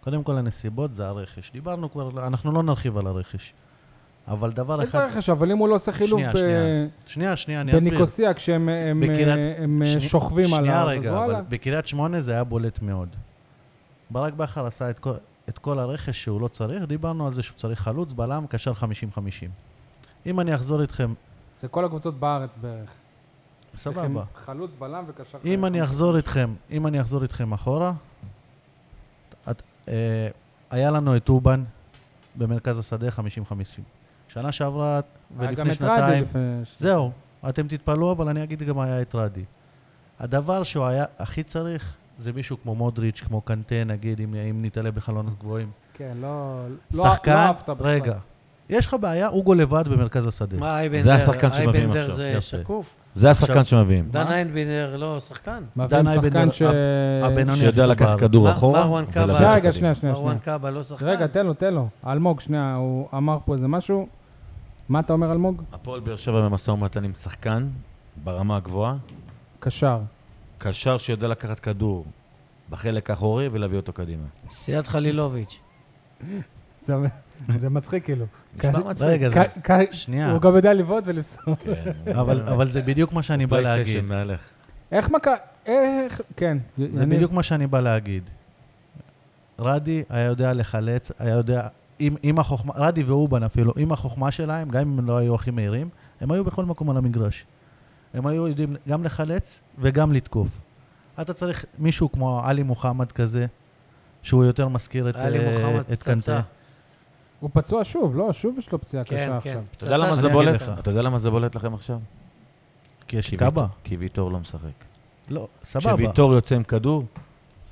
[SPEAKER 2] קודם כל, הנסיבות זה הרכש. דיברנו כבר, אנחנו לא נרחיב על הרכש. אבל דבר
[SPEAKER 1] איזה
[SPEAKER 2] אחד...
[SPEAKER 1] רכש, אבל אם הוא לא עושה חילוף
[SPEAKER 2] שנייה,
[SPEAKER 1] ב-
[SPEAKER 2] שנייה. שנייה, שנייה, אני אסביר.
[SPEAKER 1] בניקוסיה, כשהם אה, הם, אה,
[SPEAKER 2] בקריית-
[SPEAKER 1] הם, אה,
[SPEAKER 2] שני-
[SPEAKER 1] שוכבים עליו,
[SPEAKER 2] שנייה
[SPEAKER 1] אז
[SPEAKER 2] רגע, אבל
[SPEAKER 1] וואלה.
[SPEAKER 2] בקריית שמונה זה היה בולט מאוד. ברק בכר עשה את כל, את כל הרכש שהוא לא צריך, דיברנו על זה שהוא צריך חלוץ, בלם, קשר 50-50. אם אני אחזור איתכם,
[SPEAKER 1] זה כל הקבוצות בארץ בערך.
[SPEAKER 2] סבבה.
[SPEAKER 1] צריכים חלוץ, בלם וקשר.
[SPEAKER 2] אם אני אחזור איתכם, אם אני אחזור איתכם אחורה, את, אה, היה לנו את אובן במרכז השדה 50-50. שנה שעברה
[SPEAKER 1] אה,
[SPEAKER 2] ולפני שנתיים, זהו, אתם תתפלאו, אבל אני אגיד גם היה את רדי. הדבר שהוא היה הכי צריך זה מישהו כמו מודריץ', כמו קנטה, נגיד, אם, אם נתעלה בחלונות גבוהים.
[SPEAKER 1] כן, לא... לא-
[SPEAKER 2] שחקן,
[SPEAKER 1] לא אהבת בכלל.
[SPEAKER 2] רגע, יש לך בעיה, אוגו לבד במרכז השדה.
[SPEAKER 3] מה אייבנדר?
[SPEAKER 4] זה השחקן שמביאים
[SPEAKER 3] אייבנדר
[SPEAKER 4] עכשיו,
[SPEAKER 3] זה
[SPEAKER 2] יפה.
[SPEAKER 3] שקוף.
[SPEAKER 4] זה
[SPEAKER 2] עכשיו-
[SPEAKER 4] השחקן שמביאים.
[SPEAKER 3] דן איינבינדר לא שחקן.
[SPEAKER 1] מביאים שחקן
[SPEAKER 2] דן אייבנדר,
[SPEAKER 1] ש...
[SPEAKER 2] הבינוני הכי
[SPEAKER 4] שיודע
[SPEAKER 2] טוב
[SPEAKER 4] לקחת
[SPEAKER 2] בארץ.
[SPEAKER 4] כדור
[SPEAKER 3] מה-
[SPEAKER 4] אחורה.
[SPEAKER 3] מרואן
[SPEAKER 4] ולהביא
[SPEAKER 3] קאבה.
[SPEAKER 4] אותו
[SPEAKER 1] שנייה, רגע,
[SPEAKER 4] קדימה.
[SPEAKER 1] שנייה, שנייה.
[SPEAKER 3] מרואן
[SPEAKER 1] שנייה.
[SPEAKER 3] קאבה לא שחקן.
[SPEAKER 1] רגע, תן לו, תן לו. אלמוג, שנייה, הוא אמר פה איזה משהו. מה אתה אומר, אלמוג?
[SPEAKER 4] הפועל באר שבע במשא ומתן עם שחקן ברמה הגבוהה,
[SPEAKER 1] קשר.
[SPEAKER 4] קשר שיודע לקחת כדור בחלק האחורי ולהביא אותו קדימה.
[SPEAKER 3] סיעת חלילוביץ'.
[SPEAKER 1] זה- זה מצחיק כאילו.
[SPEAKER 4] נשמע
[SPEAKER 1] ק-
[SPEAKER 4] מצחיק.
[SPEAKER 2] כן, רגע, זה,
[SPEAKER 1] ק- ק-
[SPEAKER 2] שנייה,
[SPEAKER 1] הוא גם יודע לבעוט ולמסור.
[SPEAKER 4] כן.
[SPEAKER 2] אבל, אבל זה בדיוק מה שאני בא להגיד.
[SPEAKER 4] פלייסטיישן מהלך.
[SPEAKER 1] איך מכה... איך... כן.
[SPEAKER 2] זה
[SPEAKER 1] אני-
[SPEAKER 2] בדיוק מה שאני בא להגיד. רדי היה יודע לחלץ, היה יודע, עם, עם החוכמה, רדי ואובן אפילו, עם החוכמה שלהם, גם אם הם לא היו הכי מהירים, הם היו בכל מקום על המגרש. הם היו יודעים גם לחלץ וגם לתקוף. אתה צריך מישהו כמו עלי מוחמד כזה, שהוא יותר מזכיר את,
[SPEAKER 3] עלי
[SPEAKER 2] אה,
[SPEAKER 3] מוחמד
[SPEAKER 2] את קנטה.
[SPEAKER 3] פצצה.
[SPEAKER 1] הוא פצוע שוב, לא? שוב יש לו פציעה
[SPEAKER 3] כן,
[SPEAKER 1] קשה
[SPEAKER 3] כן.
[SPEAKER 1] עכשיו.
[SPEAKER 4] אתה יודע למה
[SPEAKER 3] פצצה
[SPEAKER 4] זה
[SPEAKER 3] של
[SPEAKER 4] בולט?
[SPEAKER 3] חיפה.
[SPEAKER 4] אתה יודע למה זה בולט לכם עכשיו?
[SPEAKER 2] כי יש
[SPEAKER 4] כי
[SPEAKER 2] קאבה.
[SPEAKER 4] ויט- כי ויטור לא משחק.
[SPEAKER 2] לא, סבבה.
[SPEAKER 4] כשוויטור יוצא עם כדור,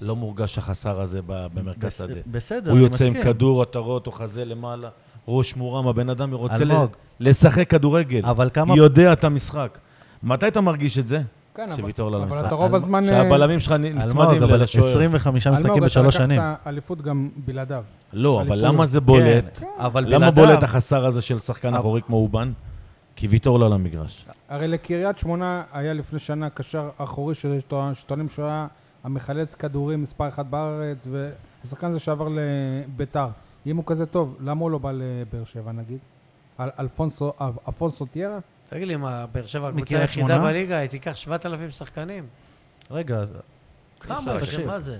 [SPEAKER 4] לא מורגש החסר הזה ב- במרכז
[SPEAKER 2] בס-
[SPEAKER 4] שדה.
[SPEAKER 2] בסדר,
[SPEAKER 4] הוא
[SPEAKER 2] אני
[SPEAKER 4] יוצא עם
[SPEAKER 2] מסכים.
[SPEAKER 4] כדור, אתה רואה אותו חזה למעלה, ראש מורם, הבן אדם רוצה ל-
[SPEAKER 2] אלמוג.
[SPEAKER 4] לשחק כדורגל.
[SPEAKER 2] אבל כמה...
[SPEAKER 4] יודע את המשחק. מתי אתה מרגיש את זה?
[SPEAKER 1] כן, אבל-
[SPEAKER 4] שוויטור לא
[SPEAKER 1] אבל
[SPEAKER 4] למשחק.
[SPEAKER 1] אתה רוב
[SPEAKER 2] אלמוג-
[SPEAKER 1] הזמן... אה,
[SPEAKER 4] שהבלמים שלך נ- נצמדים
[SPEAKER 2] אלמוג, אבל
[SPEAKER 4] לשוער.
[SPEAKER 2] 25
[SPEAKER 1] אלמוג,
[SPEAKER 2] משחקים
[SPEAKER 1] אתה
[SPEAKER 2] בשלוש
[SPEAKER 1] לקחת
[SPEAKER 2] שנים.
[SPEAKER 1] אליפות גם בלעדיו.
[SPEAKER 4] לא, אבל
[SPEAKER 1] אליפות.
[SPEAKER 4] למה זה בולט?
[SPEAKER 2] כן, אבל
[SPEAKER 4] למה
[SPEAKER 2] בלעדיו-
[SPEAKER 4] בולט החסר הזה של שחקן
[SPEAKER 2] אבל-
[SPEAKER 4] אחורי כמו אובן? כי ויטור לא על המגרש.
[SPEAKER 1] הרי לקריית שמונה היה לפני שנה קשר אחורי שטוע- שטוענים שהוא היה המחלץ כדורים מספר אחת בארץ, והשחקן הזה שעבר לביתר. אם הוא כזה טוב, למה הוא לא בא לבאר שבע נגיד? אל- אלפונסו, אב- אפונסו טיירה?
[SPEAKER 3] תגיד לי, מה, באר שבע הקבוצה
[SPEAKER 2] מקריית
[SPEAKER 3] היחידה
[SPEAKER 2] שמונה?
[SPEAKER 3] בליגה, היא תיקח 7,000 שחקנים?
[SPEAKER 2] רגע, אז
[SPEAKER 3] כמה?
[SPEAKER 2] אפשר, תקשיב.
[SPEAKER 3] שמה זה?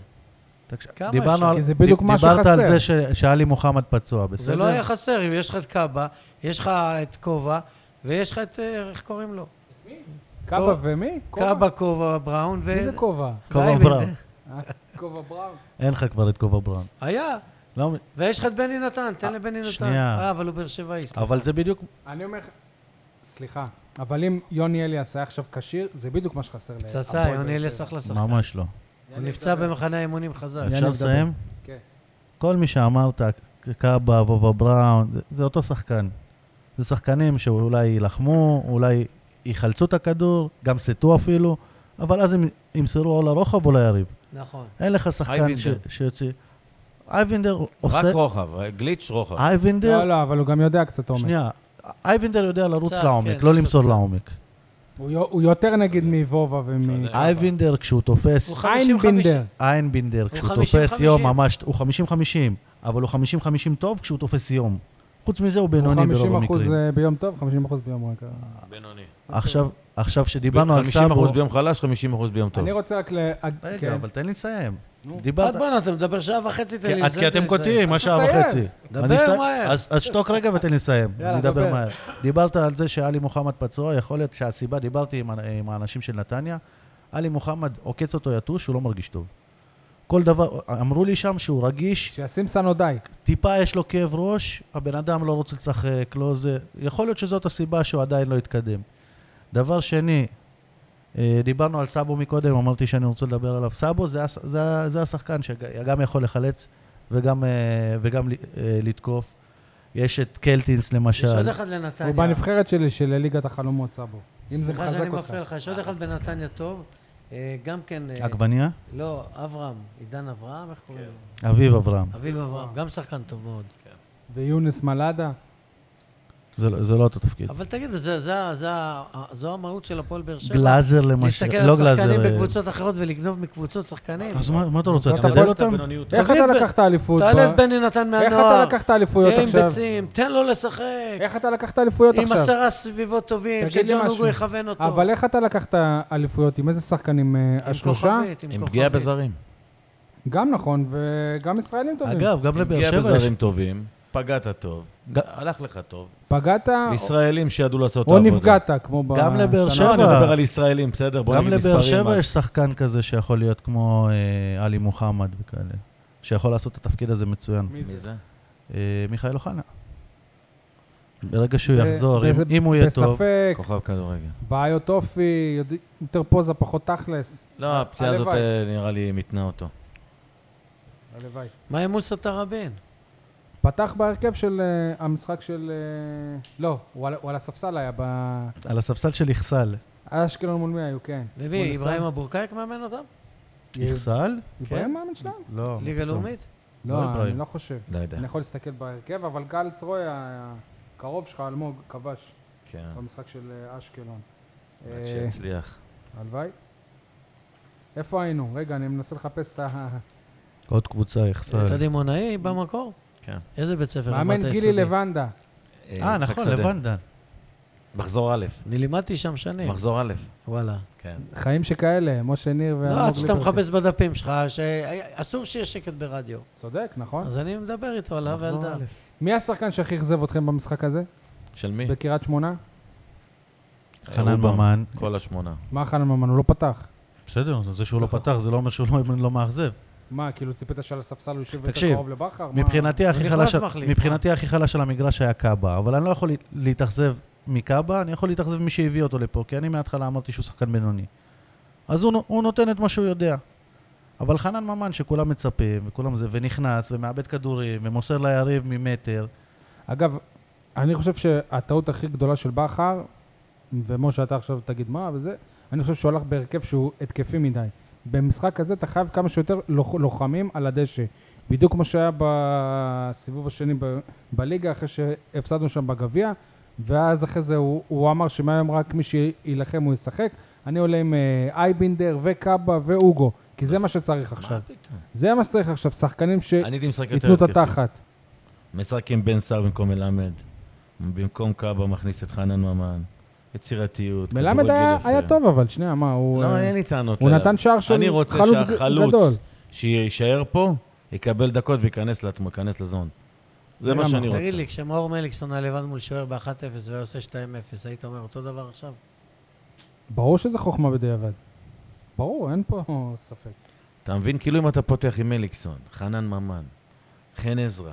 [SPEAKER 2] תקשיב,
[SPEAKER 3] כמה
[SPEAKER 2] דיברנו
[SPEAKER 3] אפשר?
[SPEAKER 2] על...
[SPEAKER 1] כי זה בדיוק
[SPEAKER 2] דיב-
[SPEAKER 1] מה
[SPEAKER 2] דיברת על
[SPEAKER 1] שחסר.
[SPEAKER 2] זה ש- שאלי מוחמד פצוע, בסדר?
[SPEAKER 3] זה לא היה חסר, אם יש לך את קאבה, יש לך את כובע, ויש לך את, אה, איך קוראים לו?
[SPEAKER 1] קאבה ומי? כובע?
[SPEAKER 3] קאבה, כובע, בראון ו...
[SPEAKER 1] מי זה כובע?
[SPEAKER 2] קובה
[SPEAKER 3] די,
[SPEAKER 2] בראון.
[SPEAKER 1] אה, כובע בראון.
[SPEAKER 2] אין לך כבר את קובה בראון.
[SPEAKER 3] היה.
[SPEAKER 2] לא,
[SPEAKER 3] ויש לך את בני נתן, תן לבני נתן.
[SPEAKER 2] שנייה.
[SPEAKER 3] אה, אבל הוא באר שבעי. סליחה.
[SPEAKER 2] אבל זה בדיוק...
[SPEAKER 1] אני אומר לך, סליחה, אבל אם יוני אליאס היה עכשיו כשיר, זה בדיוק מה שחסר להפועל
[SPEAKER 3] פצצה,
[SPEAKER 1] באר
[SPEAKER 3] יוני
[SPEAKER 1] שבע.
[SPEAKER 3] אליאס אחלה שחקן.
[SPEAKER 2] ממש לא.
[SPEAKER 3] הוא נפצע במחנה האימונים חזק.
[SPEAKER 1] יאללה,
[SPEAKER 2] אפשר
[SPEAKER 1] נדבר.
[SPEAKER 2] לסיים?
[SPEAKER 1] כן.
[SPEAKER 2] כל מי שאמרת, קאבה, וובה בראון, זה, זה אותו שחקן. זה שחקנים שאולי יילחמו, אולי יחלצו את הכדור, גם סטו אפילו, אבל אז הם ימסרו או לרוחב או ליריב.
[SPEAKER 3] נכון.
[SPEAKER 2] אין לך שחקן ש-
[SPEAKER 4] אייבינדר.
[SPEAKER 2] שיוצא... אייבינדר הוא
[SPEAKER 4] רק
[SPEAKER 2] עושה... אה,
[SPEAKER 4] רוחב, גליץ' רוחב.
[SPEAKER 2] אייבינדר,
[SPEAKER 1] לא, לא, אבל הוא גם יודע קצת עומק.
[SPEAKER 2] שנייה, אייבינדר יודע לרוץ
[SPEAKER 3] קצת,
[SPEAKER 2] לעומק,
[SPEAKER 3] כן,
[SPEAKER 2] לא
[SPEAKER 3] יש לו
[SPEAKER 2] למסור
[SPEAKER 3] קצת.
[SPEAKER 2] לעומק.
[SPEAKER 1] הוא יו- הוא יותר נגיד מוובה ומ...
[SPEAKER 4] בסדר.
[SPEAKER 2] אייבינדר כשהוא תופס,
[SPEAKER 3] הוא ח-
[SPEAKER 1] איינבינדר.
[SPEAKER 2] איינבינדר כשהוא
[SPEAKER 3] 50-50.
[SPEAKER 2] תופס יום ממש, הוא 50-50, אבל הוא 50-50 טוב כשהוא תופס יום. חוץ מזה הוא בינוני ברוב
[SPEAKER 1] הוא 50%
[SPEAKER 2] המקרים.
[SPEAKER 1] אה, ביום טוב, 50% ביום רע.
[SPEAKER 4] בינוני.
[SPEAKER 2] עכשיו, עכשיו שדיברנו על
[SPEAKER 4] 50%
[SPEAKER 2] סאבו...
[SPEAKER 4] ביום חלש, 50% ביום טוב.
[SPEAKER 1] אני רוצה רק אה, כן. להגיד...
[SPEAKER 3] כן.
[SPEAKER 2] רגע, אבל תן לי לסיים.
[SPEAKER 3] עד
[SPEAKER 2] דיברת...
[SPEAKER 3] בואנה, אתה מדבר שעה וחצי, אה, תן לי
[SPEAKER 2] כי- אה,
[SPEAKER 3] לסיים.
[SPEAKER 2] כי אתם קוטעים, מה
[SPEAKER 1] אז
[SPEAKER 2] שעה
[SPEAKER 1] תסיים.
[SPEAKER 2] וחצי.
[SPEAKER 3] דבר
[SPEAKER 2] אני אסיים-
[SPEAKER 3] מהר.
[SPEAKER 2] אז- אז שתוק רגע ותן לי לסיים.
[SPEAKER 1] יאללה,
[SPEAKER 2] אני אדבר
[SPEAKER 1] דבר.
[SPEAKER 2] מהר. דיברת על זה שאלי מוחמד פצוע, יכול להיות שהסיבה, דיברתי עם ה- עם האנשים של נתניה, עלי מוחמד עוקץ אותו יתוש, הוא לא מרגיש טוב. כל דבר, אמרו לי שם שהוא רגיש,
[SPEAKER 1] שישים סנודאי.
[SPEAKER 2] טיפה יש לו כאב ראש, הבן אדם לא רוצה לשחק, לא זה. יכול להיות שזאת הסיבה שהוא עדיין לא התקדם. דבר שני, אה, דיברנו על סאבו מקודם, אמרתי שאני רוצה לדבר עליו. סאבו זה, הש- זה, ה- זה השחקן שגם יכול לחלץ וגם, אה, וגם ל- אה, לתקוף. יש את קלטינס
[SPEAKER 3] יש עוד
[SPEAKER 2] למשל.
[SPEAKER 3] אחד לנתניה.
[SPEAKER 1] הוא בנבחרת שלי של ליגת החלומות, סבו. אם זה
[SPEAKER 3] סליחה שאני
[SPEAKER 1] מחזק אותך.
[SPEAKER 3] מפריע לך, יש
[SPEAKER 2] אה,
[SPEAKER 3] עוד אחד בנתניה טוב. אה, גם כן... אה,
[SPEAKER 2] עגבניה?
[SPEAKER 3] לא, אברהם, עידן אברהם, איך קוראים
[SPEAKER 1] כן.
[SPEAKER 3] לו?
[SPEAKER 2] אביב אברהם.
[SPEAKER 3] אביב אברהם, גם שחקן טוב מאוד.
[SPEAKER 2] כן.
[SPEAKER 1] ויונס מלאדה.
[SPEAKER 2] זה, לא- זה לא אותו תפקיד.
[SPEAKER 3] אבל תגידו, זה- זה- זה- זו המהות של הפועל באר שבע?
[SPEAKER 2] גלאזר למשל,
[SPEAKER 3] להסתכל
[SPEAKER 2] לא
[SPEAKER 3] על שחקנים
[SPEAKER 2] גלאזר. אה,
[SPEAKER 3] בקבוצות אחרות ולגנוב מקבוצות שחקנים?
[SPEAKER 2] אז מה, מה אתה רוצה?
[SPEAKER 1] אתה
[SPEAKER 2] תגדל
[SPEAKER 1] יכול-
[SPEAKER 2] אותם?
[SPEAKER 1] איך
[SPEAKER 3] תביא
[SPEAKER 1] אתה
[SPEAKER 3] את ב-
[SPEAKER 1] לקחת אליפות?
[SPEAKER 3] תעלה את
[SPEAKER 1] ב-
[SPEAKER 3] בני נתן מהנוער.
[SPEAKER 1] איך אתה לא- לקחת אליפויות
[SPEAKER 3] תהיה עם
[SPEAKER 1] עכשיו?
[SPEAKER 3] ביצים, תן לו לשחק.
[SPEAKER 1] איך אתה לקחת אליפויות
[SPEAKER 3] עם
[SPEAKER 1] עכשיו?
[SPEAKER 3] עשרה סביבות טובים,
[SPEAKER 1] תגיד לי
[SPEAKER 3] שג'ון
[SPEAKER 1] משהו.
[SPEAKER 3] אוגו יכוון אותו.
[SPEAKER 1] אבל איך אתה לקחת אליפויות? עם איזה שחקנים? אה,
[SPEAKER 3] עם
[SPEAKER 1] השלושה?
[SPEAKER 3] כוכבית,
[SPEAKER 4] עם פגיעה
[SPEAKER 3] כוכבית.
[SPEAKER 4] בזרים.
[SPEAKER 1] גם נכון, וגם ישראלים טובים.
[SPEAKER 2] אגב, גם
[SPEAKER 4] עם
[SPEAKER 2] לבאר
[SPEAKER 4] פגיעה
[SPEAKER 2] שבע יש...
[SPEAKER 4] בזרים טובים, פגעת טוב,
[SPEAKER 2] ג- אה,
[SPEAKER 4] הלך לך טוב.
[SPEAKER 1] פגעת
[SPEAKER 4] ישראלים שידעו לעשות את
[SPEAKER 1] או
[SPEAKER 4] העבודה.
[SPEAKER 1] נפגעת, כמו בשנה.
[SPEAKER 2] גם לבאר
[SPEAKER 4] לא, אני
[SPEAKER 2] שבע.
[SPEAKER 4] מדבר על ישראלים, בסדר? בוא
[SPEAKER 2] גם
[SPEAKER 4] נגיד מספרים.
[SPEAKER 2] לבאר שבע
[SPEAKER 4] אז-
[SPEAKER 2] יש שחקן כזה שיכול להיות כמו אה, עלי מוחמד וכאלה, שיכול לעשות את התפקיד הזה מצוין.
[SPEAKER 1] מי
[SPEAKER 4] מי זה?
[SPEAKER 2] אה, מיכאל אוחנה. ברגע שהוא
[SPEAKER 1] ב-
[SPEAKER 2] יחזור, אם-
[SPEAKER 1] באיזה-
[SPEAKER 2] אם הוא יהיה טוב,
[SPEAKER 1] בספק,
[SPEAKER 4] כוכב כדורגל.
[SPEAKER 1] בעיות אופי, יודע- יותר פוזה, פחות תכלס.
[SPEAKER 4] לא, הפציעה הזאת
[SPEAKER 1] הלוואי.
[SPEAKER 4] אה, נראה לי מיתנה אותו.
[SPEAKER 1] הלוואי.
[SPEAKER 3] מה עם מוסא תראבין?
[SPEAKER 1] פתח בהרכב של אה, המשחק של... אה, לא, הוא על- הוא על הספסל היה, ב-
[SPEAKER 2] על הספסל של איכסל.
[SPEAKER 1] אשקלון מול מי היו, כן.
[SPEAKER 3] ומי, אברהים אבורקאיק מאמן אותם?
[SPEAKER 1] לא,
[SPEAKER 2] איכסל?
[SPEAKER 1] איברהים מאמן שלהם?
[SPEAKER 2] לא.
[SPEAKER 3] ליגה לאומית?
[SPEAKER 2] לא
[SPEAKER 1] לא,
[SPEAKER 2] איברהים.
[SPEAKER 1] אני לא חושב.
[SPEAKER 4] לא יודע.
[SPEAKER 1] אני
[SPEAKER 2] נכון.
[SPEAKER 1] יכול להסתכל בהרכב, אבל גל צרוי, הקרוב שלך, אלמוג, כבש
[SPEAKER 4] כן.
[SPEAKER 1] במשחק של אה, אשקלון.
[SPEAKER 4] עד
[SPEAKER 1] אה,
[SPEAKER 4] שיצליח.
[SPEAKER 1] הלוואי. איפה היינו? רגע, אני מנסה לחפש את ה...
[SPEAKER 2] עוד קבוצה איכסל.
[SPEAKER 3] אתה דימונאי במקור?
[SPEAKER 4] כן.
[SPEAKER 3] איזה בית ספר? למדת
[SPEAKER 1] מאמן גילי
[SPEAKER 3] יסודי?
[SPEAKER 1] לבנדה.
[SPEAKER 2] אה, נכון, לבנדן.
[SPEAKER 4] מחזור א',
[SPEAKER 3] אני לימדתי שם
[SPEAKER 2] אה.
[SPEAKER 3] שנים.
[SPEAKER 4] מחזור א'.
[SPEAKER 3] וואלה.
[SPEAKER 4] כן.
[SPEAKER 1] חיים שכאלה, משה ניר
[SPEAKER 3] לא,
[SPEAKER 1] ואלמוג
[SPEAKER 3] עד שאתה מחפש בדפים שלך, שאסור שיהיה שקט ברדיו.
[SPEAKER 1] צודק, נכון.
[SPEAKER 3] אז אני מדבר איתו עליו ועל
[SPEAKER 4] מחזור
[SPEAKER 3] דף.
[SPEAKER 4] א'.
[SPEAKER 1] מי השחקן שהכי אכזב אתכם במשחק הזה?
[SPEAKER 4] של מי?
[SPEAKER 1] בקריית שמונה?
[SPEAKER 2] חנן
[SPEAKER 4] רובם.
[SPEAKER 2] ממן.
[SPEAKER 4] כל השמונה.
[SPEAKER 1] מה חנן ממן? הוא לא פתח.
[SPEAKER 2] נכון. בסדר, זה שהוא לא פתח זה לא אומר שהוא לא- לא מאכזב.
[SPEAKER 1] מה, כאילו ציפית שעל הספסל הוא יושב יותר
[SPEAKER 2] תקשיב,
[SPEAKER 1] קרוב לבכר? מה?
[SPEAKER 2] מבחינתי הכי
[SPEAKER 3] נכנס
[SPEAKER 2] חלש-
[SPEAKER 3] מחליף. אה?
[SPEAKER 2] מבחינתי הכי חלש על המגרש היה קאבה, אבל אני לא יכול להתאכזב מקאבה, אני יכול להתאכזב ממי שהביא אותו לפה, כי אני מההתחלה אמרתי שהוא שחקן בינוני. אז הוא, נו- הוא נותן את מה שהוא יודע. אבל חנן ממן, שכולם מצפים, וכולם זה, ונכנס, ומאבד כדורים, ומוסר ליריב ממטר,
[SPEAKER 1] אגב, אני חושב שהטעות הכי גדולה של בכר, ומשה, אתה עכשיו תגיד מה, וזה, אני חושב שהוא הלך בהרכב שהוא התקפי מדי. במשחק הזה אתה חייב כמה שיותר לוח, לוחמים על הדשא. בדיוק כמו שהיה בסיבוב השני ב, בליגה, אחרי שהפסדנו שם בגביע, ואז אחרי זה הוא, הוא אמר שמהיום רק מי שיילחם הוא ישחק. אני עולה עם אה, אייבינדר וקאבה ואוגו, כי זה נכון. מה שצריך עכשיו. זה מה שצריך עכשיו, שחקנים
[SPEAKER 4] אני הייתי משחק יותר...
[SPEAKER 1] שייתנו את
[SPEAKER 4] התקפי.
[SPEAKER 1] התחת.
[SPEAKER 4] משחק עם בן סער במקום מלמד. במקום קאבה מכניס את חנן ממן. יצירתיות,
[SPEAKER 1] מלמד היה-
[SPEAKER 4] כדורגל
[SPEAKER 1] היה
[SPEAKER 4] יפה.
[SPEAKER 1] טוב אבל, שנייה, מה, הוא...
[SPEAKER 4] לא,
[SPEAKER 1] אה,
[SPEAKER 4] אין לי טענות
[SPEAKER 1] הוא
[SPEAKER 4] אליו.
[SPEAKER 1] נתן שער של
[SPEAKER 4] אני רוצה
[SPEAKER 1] חלוץ ג- גדול.
[SPEAKER 4] שהחלוץ שיישאר פה, יקבל דקות וייכנס לעצמו, ייכנס לזון. זה מה
[SPEAKER 1] לגמרי.
[SPEAKER 4] שאני רוצה.
[SPEAKER 3] תגיד לי, כשמאור מליקסון היה לבד מול שוער ב-1-0 והיה עושה 2-0, היית אומר אותו דבר עכשיו?
[SPEAKER 1] ברור שזה חוכמה בדיעבד. ברור, אין פה ספק.
[SPEAKER 4] אתה מבין? כאילו אם אתה פותח עם מליקסון, חנן ממן, חן עזרא,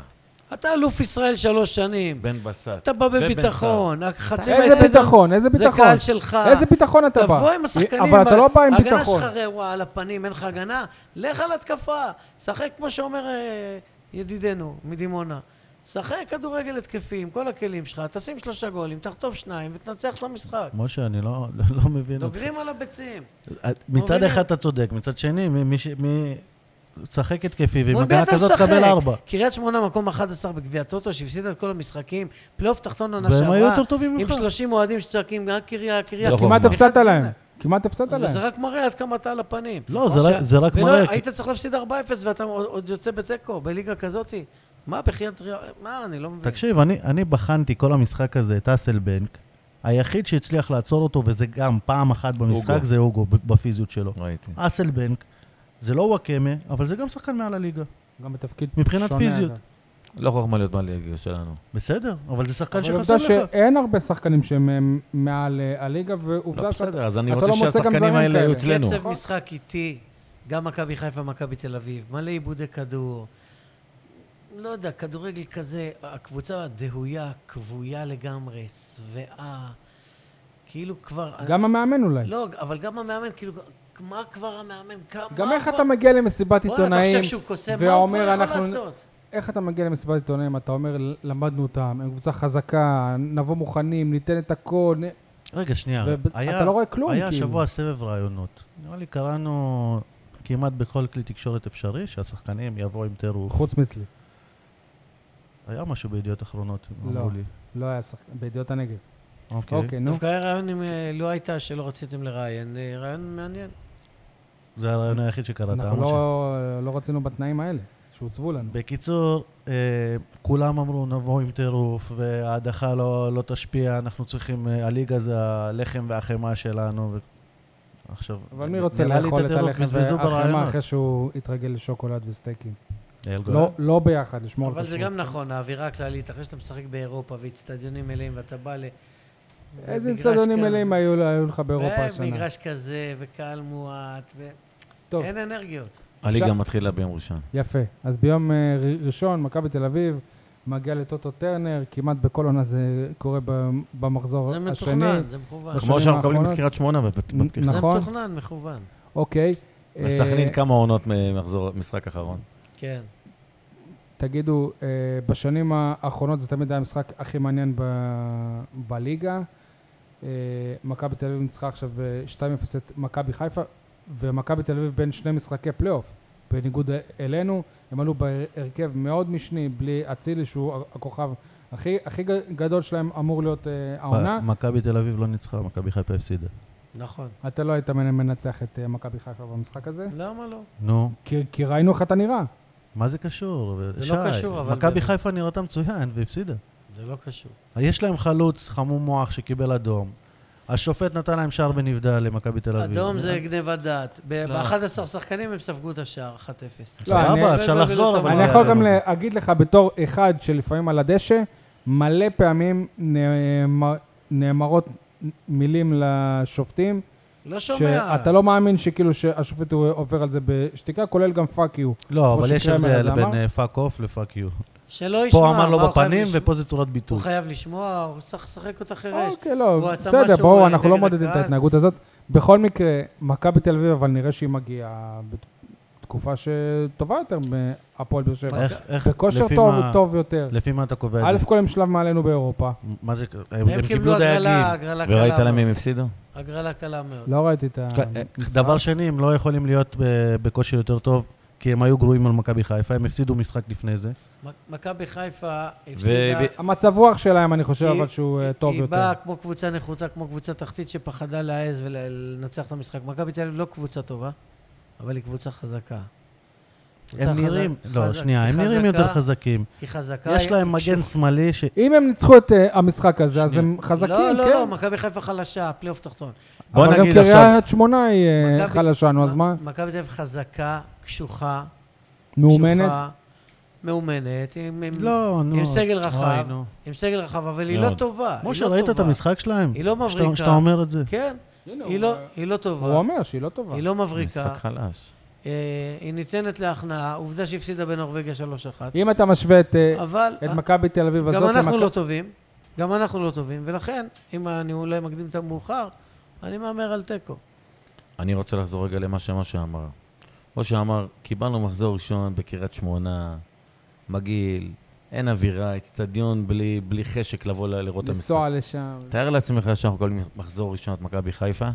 [SPEAKER 3] אתה אלוף ישראל שלוש שנים,
[SPEAKER 4] בן בסט.
[SPEAKER 3] אתה בא
[SPEAKER 4] ובן
[SPEAKER 3] בביטחון, חצי
[SPEAKER 1] איזה ביטחון, איזה
[SPEAKER 3] זה
[SPEAKER 1] ביטחון.
[SPEAKER 3] קהל שלך.
[SPEAKER 1] איזה ביטחון אתה בא?
[SPEAKER 3] תבוא עם השחקנים,
[SPEAKER 1] אבל אתה לא בא עם
[SPEAKER 3] ההגנה
[SPEAKER 1] ביטחון.
[SPEAKER 3] שלך רעועה על הפנים, אין לך הגנה, לך על התקפה. שחק כמו שאומר אה, ידידנו מדימונה. שחק כדורגל התקפי עם כל הכלים שלך, תשים שלושה גולים, תחטוף שניים ותנצח את המשחק.
[SPEAKER 2] משה, אני לא, לא, לא מבין אותך.
[SPEAKER 3] דוגרים על הביצים.
[SPEAKER 2] מצד
[SPEAKER 3] מובילים.
[SPEAKER 2] אחד אתה צודק, מצד שני, מי- מי... ש- מי... שחק התקפי, ועם
[SPEAKER 3] מול מי
[SPEAKER 2] הגנה
[SPEAKER 3] אתה
[SPEAKER 2] כזאת
[SPEAKER 3] משחק?
[SPEAKER 2] תקבל ארבע.
[SPEAKER 3] קריית שמונה מקום 11 בגביע הטוטו, שהפסידה את כל המשחקים, פלייאוף תחתון עונה
[SPEAKER 2] והם
[SPEAKER 3] שעברה.
[SPEAKER 2] היו יותר טובים ממך.
[SPEAKER 3] עם 30 אוהדים שצועקים, רק קריה, קריה.
[SPEAKER 4] לא
[SPEAKER 3] קריה".
[SPEAKER 1] כמעט
[SPEAKER 4] חוכמה.
[SPEAKER 1] הפסדת להם. כמעט הפסדת
[SPEAKER 3] אבל זה
[SPEAKER 1] להם.
[SPEAKER 3] רק מראה עד כמה אתה על הפנים.
[SPEAKER 2] לא, זה
[SPEAKER 3] משה,
[SPEAKER 2] רק- זה רק
[SPEAKER 3] ולא,
[SPEAKER 2] מראה, כי-
[SPEAKER 3] היית צריך להפסיד 4-0 ואתה עוד עוד יוצא בתיקו, בליגה כזאת. מה, בחייאת ריה... מה, אני לא מבין.
[SPEAKER 2] תקשיב, אני, אני בחנתי כל המשחק הזה, את אסלבנק. היחיד שהצליח לעצור אותו, וזה גם פעם אחת במשחק,
[SPEAKER 4] אוגו.
[SPEAKER 2] זה אוגו ב- בפיזיות שלו.
[SPEAKER 1] אוקיי.
[SPEAKER 4] ראיתי.
[SPEAKER 2] אסלבנק, זה לא וואקמה, אבל זה גם שחקן מעל הליגה.
[SPEAKER 1] גם בתפקיד
[SPEAKER 2] מבחינת
[SPEAKER 1] שונה,
[SPEAKER 2] פיזיות.
[SPEAKER 1] אגב.
[SPEAKER 4] לא חוכמה להיות בליגה שלנו.
[SPEAKER 2] בסדר, אבל זה שחקן
[SPEAKER 1] אבל
[SPEAKER 2] שחסר
[SPEAKER 1] עובדה
[SPEAKER 2] לך.
[SPEAKER 1] שאין הרבה שחקנים שהם הם, מעל אה, הליגה, ועובדה
[SPEAKER 4] לא,
[SPEAKER 1] ש...
[SPEAKER 4] בסדר, אז אני
[SPEAKER 1] אתה
[SPEAKER 4] רוצה
[SPEAKER 1] לא מוצא גם זרים
[SPEAKER 4] שהשחקנים האלה
[SPEAKER 1] כאלה.
[SPEAKER 4] יהיו אצלנו.
[SPEAKER 3] קצב משחק איטי, גם מכבי חיפה, מכבי תל אביב, מלא עיבודי כדור. לא יודע, כדורגל כזה, הקבוצה דהויה, כבויה לגמרי, שבעה, כאילו כבר...
[SPEAKER 1] גם המאמן אולי.
[SPEAKER 3] לא, אבל גם המאמן, כאילו, מה כבר המאמן? כמה
[SPEAKER 1] גם איך
[SPEAKER 3] כבר-
[SPEAKER 1] אתה מגיע למסיבת עיתונאים,
[SPEAKER 3] בואנה, אתה חושב שהוא קוסם, מה הוא כבר
[SPEAKER 1] ואומר,
[SPEAKER 3] יכול
[SPEAKER 1] אנחנו-
[SPEAKER 3] לעשות?
[SPEAKER 1] איך אתה מגיע למסיבת עיתונאים, אתה אומר, למדנו אותם, הם קבוצה חזקה, נבוא מוכנים, ניתן את הכל. נ-
[SPEAKER 2] רגע, שנייה.
[SPEAKER 1] וב- אתה
[SPEAKER 2] כן. היה-
[SPEAKER 1] לא רואה כלום,
[SPEAKER 2] היה
[SPEAKER 1] כאילו.
[SPEAKER 2] השבוע סבב רעיונות. נראה לי קראנו כמעט בכל כלי תקשורת אפשרי, שהשחקנים יבואו עם טירוף.
[SPEAKER 1] חוץ מאצלי.
[SPEAKER 2] היה משהו בידיעות אחרונות,
[SPEAKER 1] לא.
[SPEAKER 2] אמרו לי.
[SPEAKER 1] לא היה שחקן, בידיעות הנגב.
[SPEAKER 2] אוקיי.
[SPEAKER 1] אוקיי, נו.
[SPEAKER 3] דווקא היה רעיון אם אה, לא הייתה שלא רציתם לראיין, אה, רעיון מעניין.
[SPEAKER 2] זה הרעיון היחיד שקראת,
[SPEAKER 1] אנחנו
[SPEAKER 2] משה.
[SPEAKER 1] לא- לא רצינו בתנאים האלה, שהוצבו לנו.
[SPEAKER 2] בקיצור, אה, כולם אמרו, נבוא עם טירוף, וההדחה לא, לא תשפיע, אנחנו צריכים, אה, הליגה זה הלחם והחמאה שלנו. ו... עכשיו,
[SPEAKER 1] אבל מי רוצה
[SPEAKER 2] נראה לי
[SPEAKER 1] לאכול את
[SPEAKER 2] הטירוף
[SPEAKER 1] הלחם
[SPEAKER 2] בזבזו
[SPEAKER 1] והחמאה
[SPEAKER 2] ברעיונות. אוקיי.
[SPEAKER 1] אחרי שהוא התרגל לשוקולד וסטייקים?
[SPEAKER 2] יעל גולן?
[SPEAKER 1] לא- לא ביחד, לשמור על כן.
[SPEAKER 3] אבל זה
[SPEAKER 1] כשרות.
[SPEAKER 3] גם נכון, האווירה הכללית, אחרי שאתה משחק באירופה ואיצטדיונים מלאים ואתה בא ל...
[SPEAKER 1] איזה
[SPEAKER 3] במגרש
[SPEAKER 1] אצטדיונים
[SPEAKER 3] כזה-
[SPEAKER 1] מלאים היו היו לך באירופה השנה?
[SPEAKER 3] במגרש אה, כזה, וקהל מועט,
[SPEAKER 1] טוב.
[SPEAKER 3] ואין אנרגיות.
[SPEAKER 4] הליגה מתחילה ביום ראשון.
[SPEAKER 1] יפה. אז ביום אה, ר- ראשון, מכבי תל אביב מגיע לטוטו טרנר, כמעט בכל עונה זה קורה ב- במחזור
[SPEAKER 3] זה
[SPEAKER 1] השני.
[SPEAKER 3] מתוכנן, זה מכוון.
[SPEAKER 1] בשנים
[SPEAKER 4] כמו שאנחנו מקבלים
[SPEAKER 1] האחרונות?
[SPEAKER 4] את קריית שמונה בפת-
[SPEAKER 1] נ-
[SPEAKER 4] בפתיחה.
[SPEAKER 3] זה
[SPEAKER 1] נכון.
[SPEAKER 3] מתוכנן, מכוון.
[SPEAKER 1] אוקיי. אה,
[SPEAKER 4] וסכנין כמה עונות ממחזור משחק אחרון.
[SPEAKER 3] כן.
[SPEAKER 1] תגידו, אה, בשנים האחרונות זה תמיד היה המשחק הכי מעניין ב- בליגה. אה, מכבי תל אביב ניצחה עכשיו אה, 2-0 את מכבי חיפה, ומכבי תל אביב בין שני משחקי פלייאוף, בניגוד אה, אלינו. הם עלו בהרכב מאוד משני, בלי אצילי, שהוא הכוכב הכי, הכי ג- גדול שלהם אמור להיות אה, העונה.
[SPEAKER 2] מכבי תל אביב לא ניצחה, מכבי חיפה הפסידה.
[SPEAKER 3] נכון.
[SPEAKER 1] אתה לא היית מנ- מנצח את אה, מכבי חיפה במשחק הזה?
[SPEAKER 3] למה לא?
[SPEAKER 2] נו,
[SPEAKER 1] כי, כי ראינו איך אתה נראה.
[SPEAKER 2] מה זה קשור?
[SPEAKER 3] זה
[SPEAKER 2] שי,
[SPEAKER 3] לא קשור, אבל
[SPEAKER 2] מכבי
[SPEAKER 3] באמת.
[SPEAKER 2] חיפה נראתה מצוין והפסידה.
[SPEAKER 3] זה לא קשור.
[SPEAKER 2] יש להם חלוץ חמום מוח שקיבל אדום. השופט נתן להם שער בנבדל למכבי תל אביב.
[SPEAKER 3] אדום זה
[SPEAKER 2] נראה-
[SPEAKER 3] גניבת דעת.
[SPEAKER 2] לא.
[SPEAKER 3] ב-11 שחקנים הם ספגו את השער, 1-0.
[SPEAKER 1] לא, אני-
[SPEAKER 2] סבבה,
[SPEAKER 3] לא,
[SPEAKER 2] אפשר
[SPEAKER 3] לא, לא,
[SPEAKER 2] לחזור,
[SPEAKER 3] לא,
[SPEAKER 2] אבל...
[SPEAKER 1] אני
[SPEAKER 2] לא
[SPEAKER 1] יכול
[SPEAKER 2] יעלה
[SPEAKER 1] גם
[SPEAKER 2] לזה.
[SPEAKER 1] להגיד לך בתור אחד שלפעמים על הדשא, מלא פעמים נאמר- נאמרות מילים לשופטים
[SPEAKER 3] לא שומע.
[SPEAKER 1] שאתה לא מאמין שכאילו שהשופט הוא עובר על זה בשתיקה, כולל גם פאק יו.
[SPEAKER 2] לא,
[SPEAKER 1] כמו
[SPEAKER 2] אבל יש
[SPEAKER 1] שקרמר
[SPEAKER 2] הבדל
[SPEAKER 1] הזה אמר?
[SPEAKER 2] בין אה, פאק אוף לפאק יו.
[SPEAKER 3] שלא ישמע.
[SPEAKER 2] פה אמר
[SPEAKER 3] מה,
[SPEAKER 2] לו
[SPEAKER 3] הוא חייב
[SPEAKER 2] בפנים,
[SPEAKER 3] לשמוע?
[SPEAKER 2] ופה זה צורת ביטוי.
[SPEAKER 3] הוא חייב לשמוע, הוא צריך לשחק אותה חירש.
[SPEAKER 1] אוקיי, לא,
[SPEAKER 3] הוא עשה
[SPEAKER 1] בסדר,
[SPEAKER 3] משהו,
[SPEAKER 1] ברור,
[SPEAKER 3] אה,
[SPEAKER 1] אנחנו לא
[SPEAKER 3] נגד
[SPEAKER 1] מודדים את
[SPEAKER 3] הקהל.
[SPEAKER 1] ההתנהגות הזאת. בכל מקרה, מכבי תל אביב, אבל נראה שהיא מגיעה בתקופה שטובה יותר מהפועל באר שבע.
[SPEAKER 2] איך, איך,
[SPEAKER 1] בכושר
[SPEAKER 2] לפי
[SPEAKER 1] טוב,
[SPEAKER 2] מה-
[SPEAKER 1] טוב יותר.
[SPEAKER 2] לפי מה אתה קובע
[SPEAKER 1] א'
[SPEAKER 2] את זה?
[SPEAKER 1] כל הם שלב מעלינו באירופה.
[SPEAKER 2] מה זה,
[SPEAKER 3] הם קיבלו הגרלה,
[SPEAKER 2] דייגים.
[SPEAKER 3] הגרלה
[SPEAKER 4] וראית
[SPEAKER 3] קלה
[SPEAKER 4] להם
[SPEAKER 3] מאוד.
[SPEAKER 4] הם הפסידו?
[SPEAKER 3] הגרלה קלה מאוד.
[SPEAKER 1] לא ראיתי את ה...
[SPEAKER 3] כן, אה,
[SPEAKER 2] דבר שני, הם לא יכולים להיות ב- בכושר יותר טוב, כי הם היו גרועים על מכבי חיפה, הם הפסידו משחק לפני זה.
[SPEAKER 3] מ- מכבי חיפה הפסידה...
[SPEAKER 4] והביא-
[SPEAKER 1] המצב רוח שלהם, אני חושב,
[SPEAKER 3] היא-
[SPEAKER 1] אבל שהוא אה, טוב
[SPEAKER 3] היא
[SPEAKER 1] יותר.
[SPEAKER 3] באה כמו קבוצה נחותה, כמו קבוצה תחתית שפחדה להעז ולנצח את המשחק. מכבי תל אביב לא קבוצה טובה, אבל היא קבוצה חזקה. קבוצה
[SPEAKER 2] הם
[SPEAKER 3] חזק-
[SPEAKER 2] נראים, לא,
[SPEAKER 3] חזק-
[SPEAKER 2] שנייה,
[SPEAKER 3] היא
[SPEAKER 2] הם נראים
[SPEAKER 3] חזקה,
[SPEAKER 2] יותר חזקים.
[SPEAKER 3] היא חזקה.
[SPEAKER 2] יש
[SPEAKER 3] היא-
[SPEAKER 2] להם מגן שמאלי ש...
[SPEAKER 1] אם הם ניצחו את אה, המשחק הזה, אז הם חזקים,
[SPEAKER 3] לא,
[SPEAKER 1] כן.
[SPEAKER 3] לא, לא, מכבי חיפה חלשה, פלייאוף תחתון.
[SPEAKER 4] בוא
[SPEAKER 1] אבל גם
[SPEAKER 4] נגיד עכשיו,
[SPEAKER 1] קריית שמונה היא אה,
[SPEAKER 3] מכבי-
[SPEAKER 1] חלשה, נו, אז
[SPEAKER 3] מ-
[SPEAKER 1] מה?
[SPEAKER 3] מכבי תל אביב חזקה, קשוחה.
[SPEAKER 1] מאומנת?
[SPEAKER 3] קשוחה, מאומנת, עם, עם,
[SPEAKER 2] לא, נו.
[SPEAKER 3] עם סגל רחב,
[SPEAKER 2] אוי, נו.
[SPEAKER 3] עם סגל רחב, אבל היא
[SPEAKER 4] מאוד.
[SPEAKER 3] לא טובה. היא
[SPEAKER 2] משה,
[SPEAKER 3] לא
[SPEAKER 2] ראית את
[SPEAKER 3] טובה.
[SPEAKER 2] המשחק שלהם?
[SPEAKER 3] היא לא
[SPEAKER 2] שאתה-
[SPEAKER 3] מבריקה.
[SPEAKER 2] שאתה אומר את זה.
[SPEAKER 3] כן,
[SPEAKER 1] הנה,
[SPEAKER 3] היא
[SPEAKER 1] הוא-
[SPEAKER 3] לא, היא לא
[SPEAKER 1] הוא
[SPEAKER 3] טובה.
[SPEAKER 1] אומר שהיא לא טובה.
[SPEAKER 3] היא לא
[SPEAKER 4] משחק
[SPEAKER 3] מבריקה,
[SPEAKER 4] חלש.
[SPEAKER 3] אה, היא ניתנת להכנעה, עובדה שהפסידה בנורבגיה 3-1.
[SPEAKER 1] אם אתה משווה את אה,
[SPEAKER 3] אבל
[SPEAKER 1] את
[SPEAKER 3] אה,
[SPEAKER 1] מכבי תל אביב הזאת...
[SPEAKER 3] גם אנחנו
[SPEAKER 1] למכ-
[SPEAKER 3] לא טובים, גם אנחנו לא טובים, ולכן, אם אני אולי מקדים את המאוחר, אני מהמר על תיקו.
[SPEAKER 4] אני רוצה לחזור רגע למה שמשה אמר. משה אמר, קיבלנו מחזור ראשון בקריית שמונה, מגעיל, אין אווירה, אצטדיון בלי, בלי חשק לבוא ל- לראות את המשחק.
[SPEAKER 1] לנסוע לשם.
[SPEAKER 4] תאר לעצמך שאנחנו מקבלים מחזור ראשון את מכבי חיפה,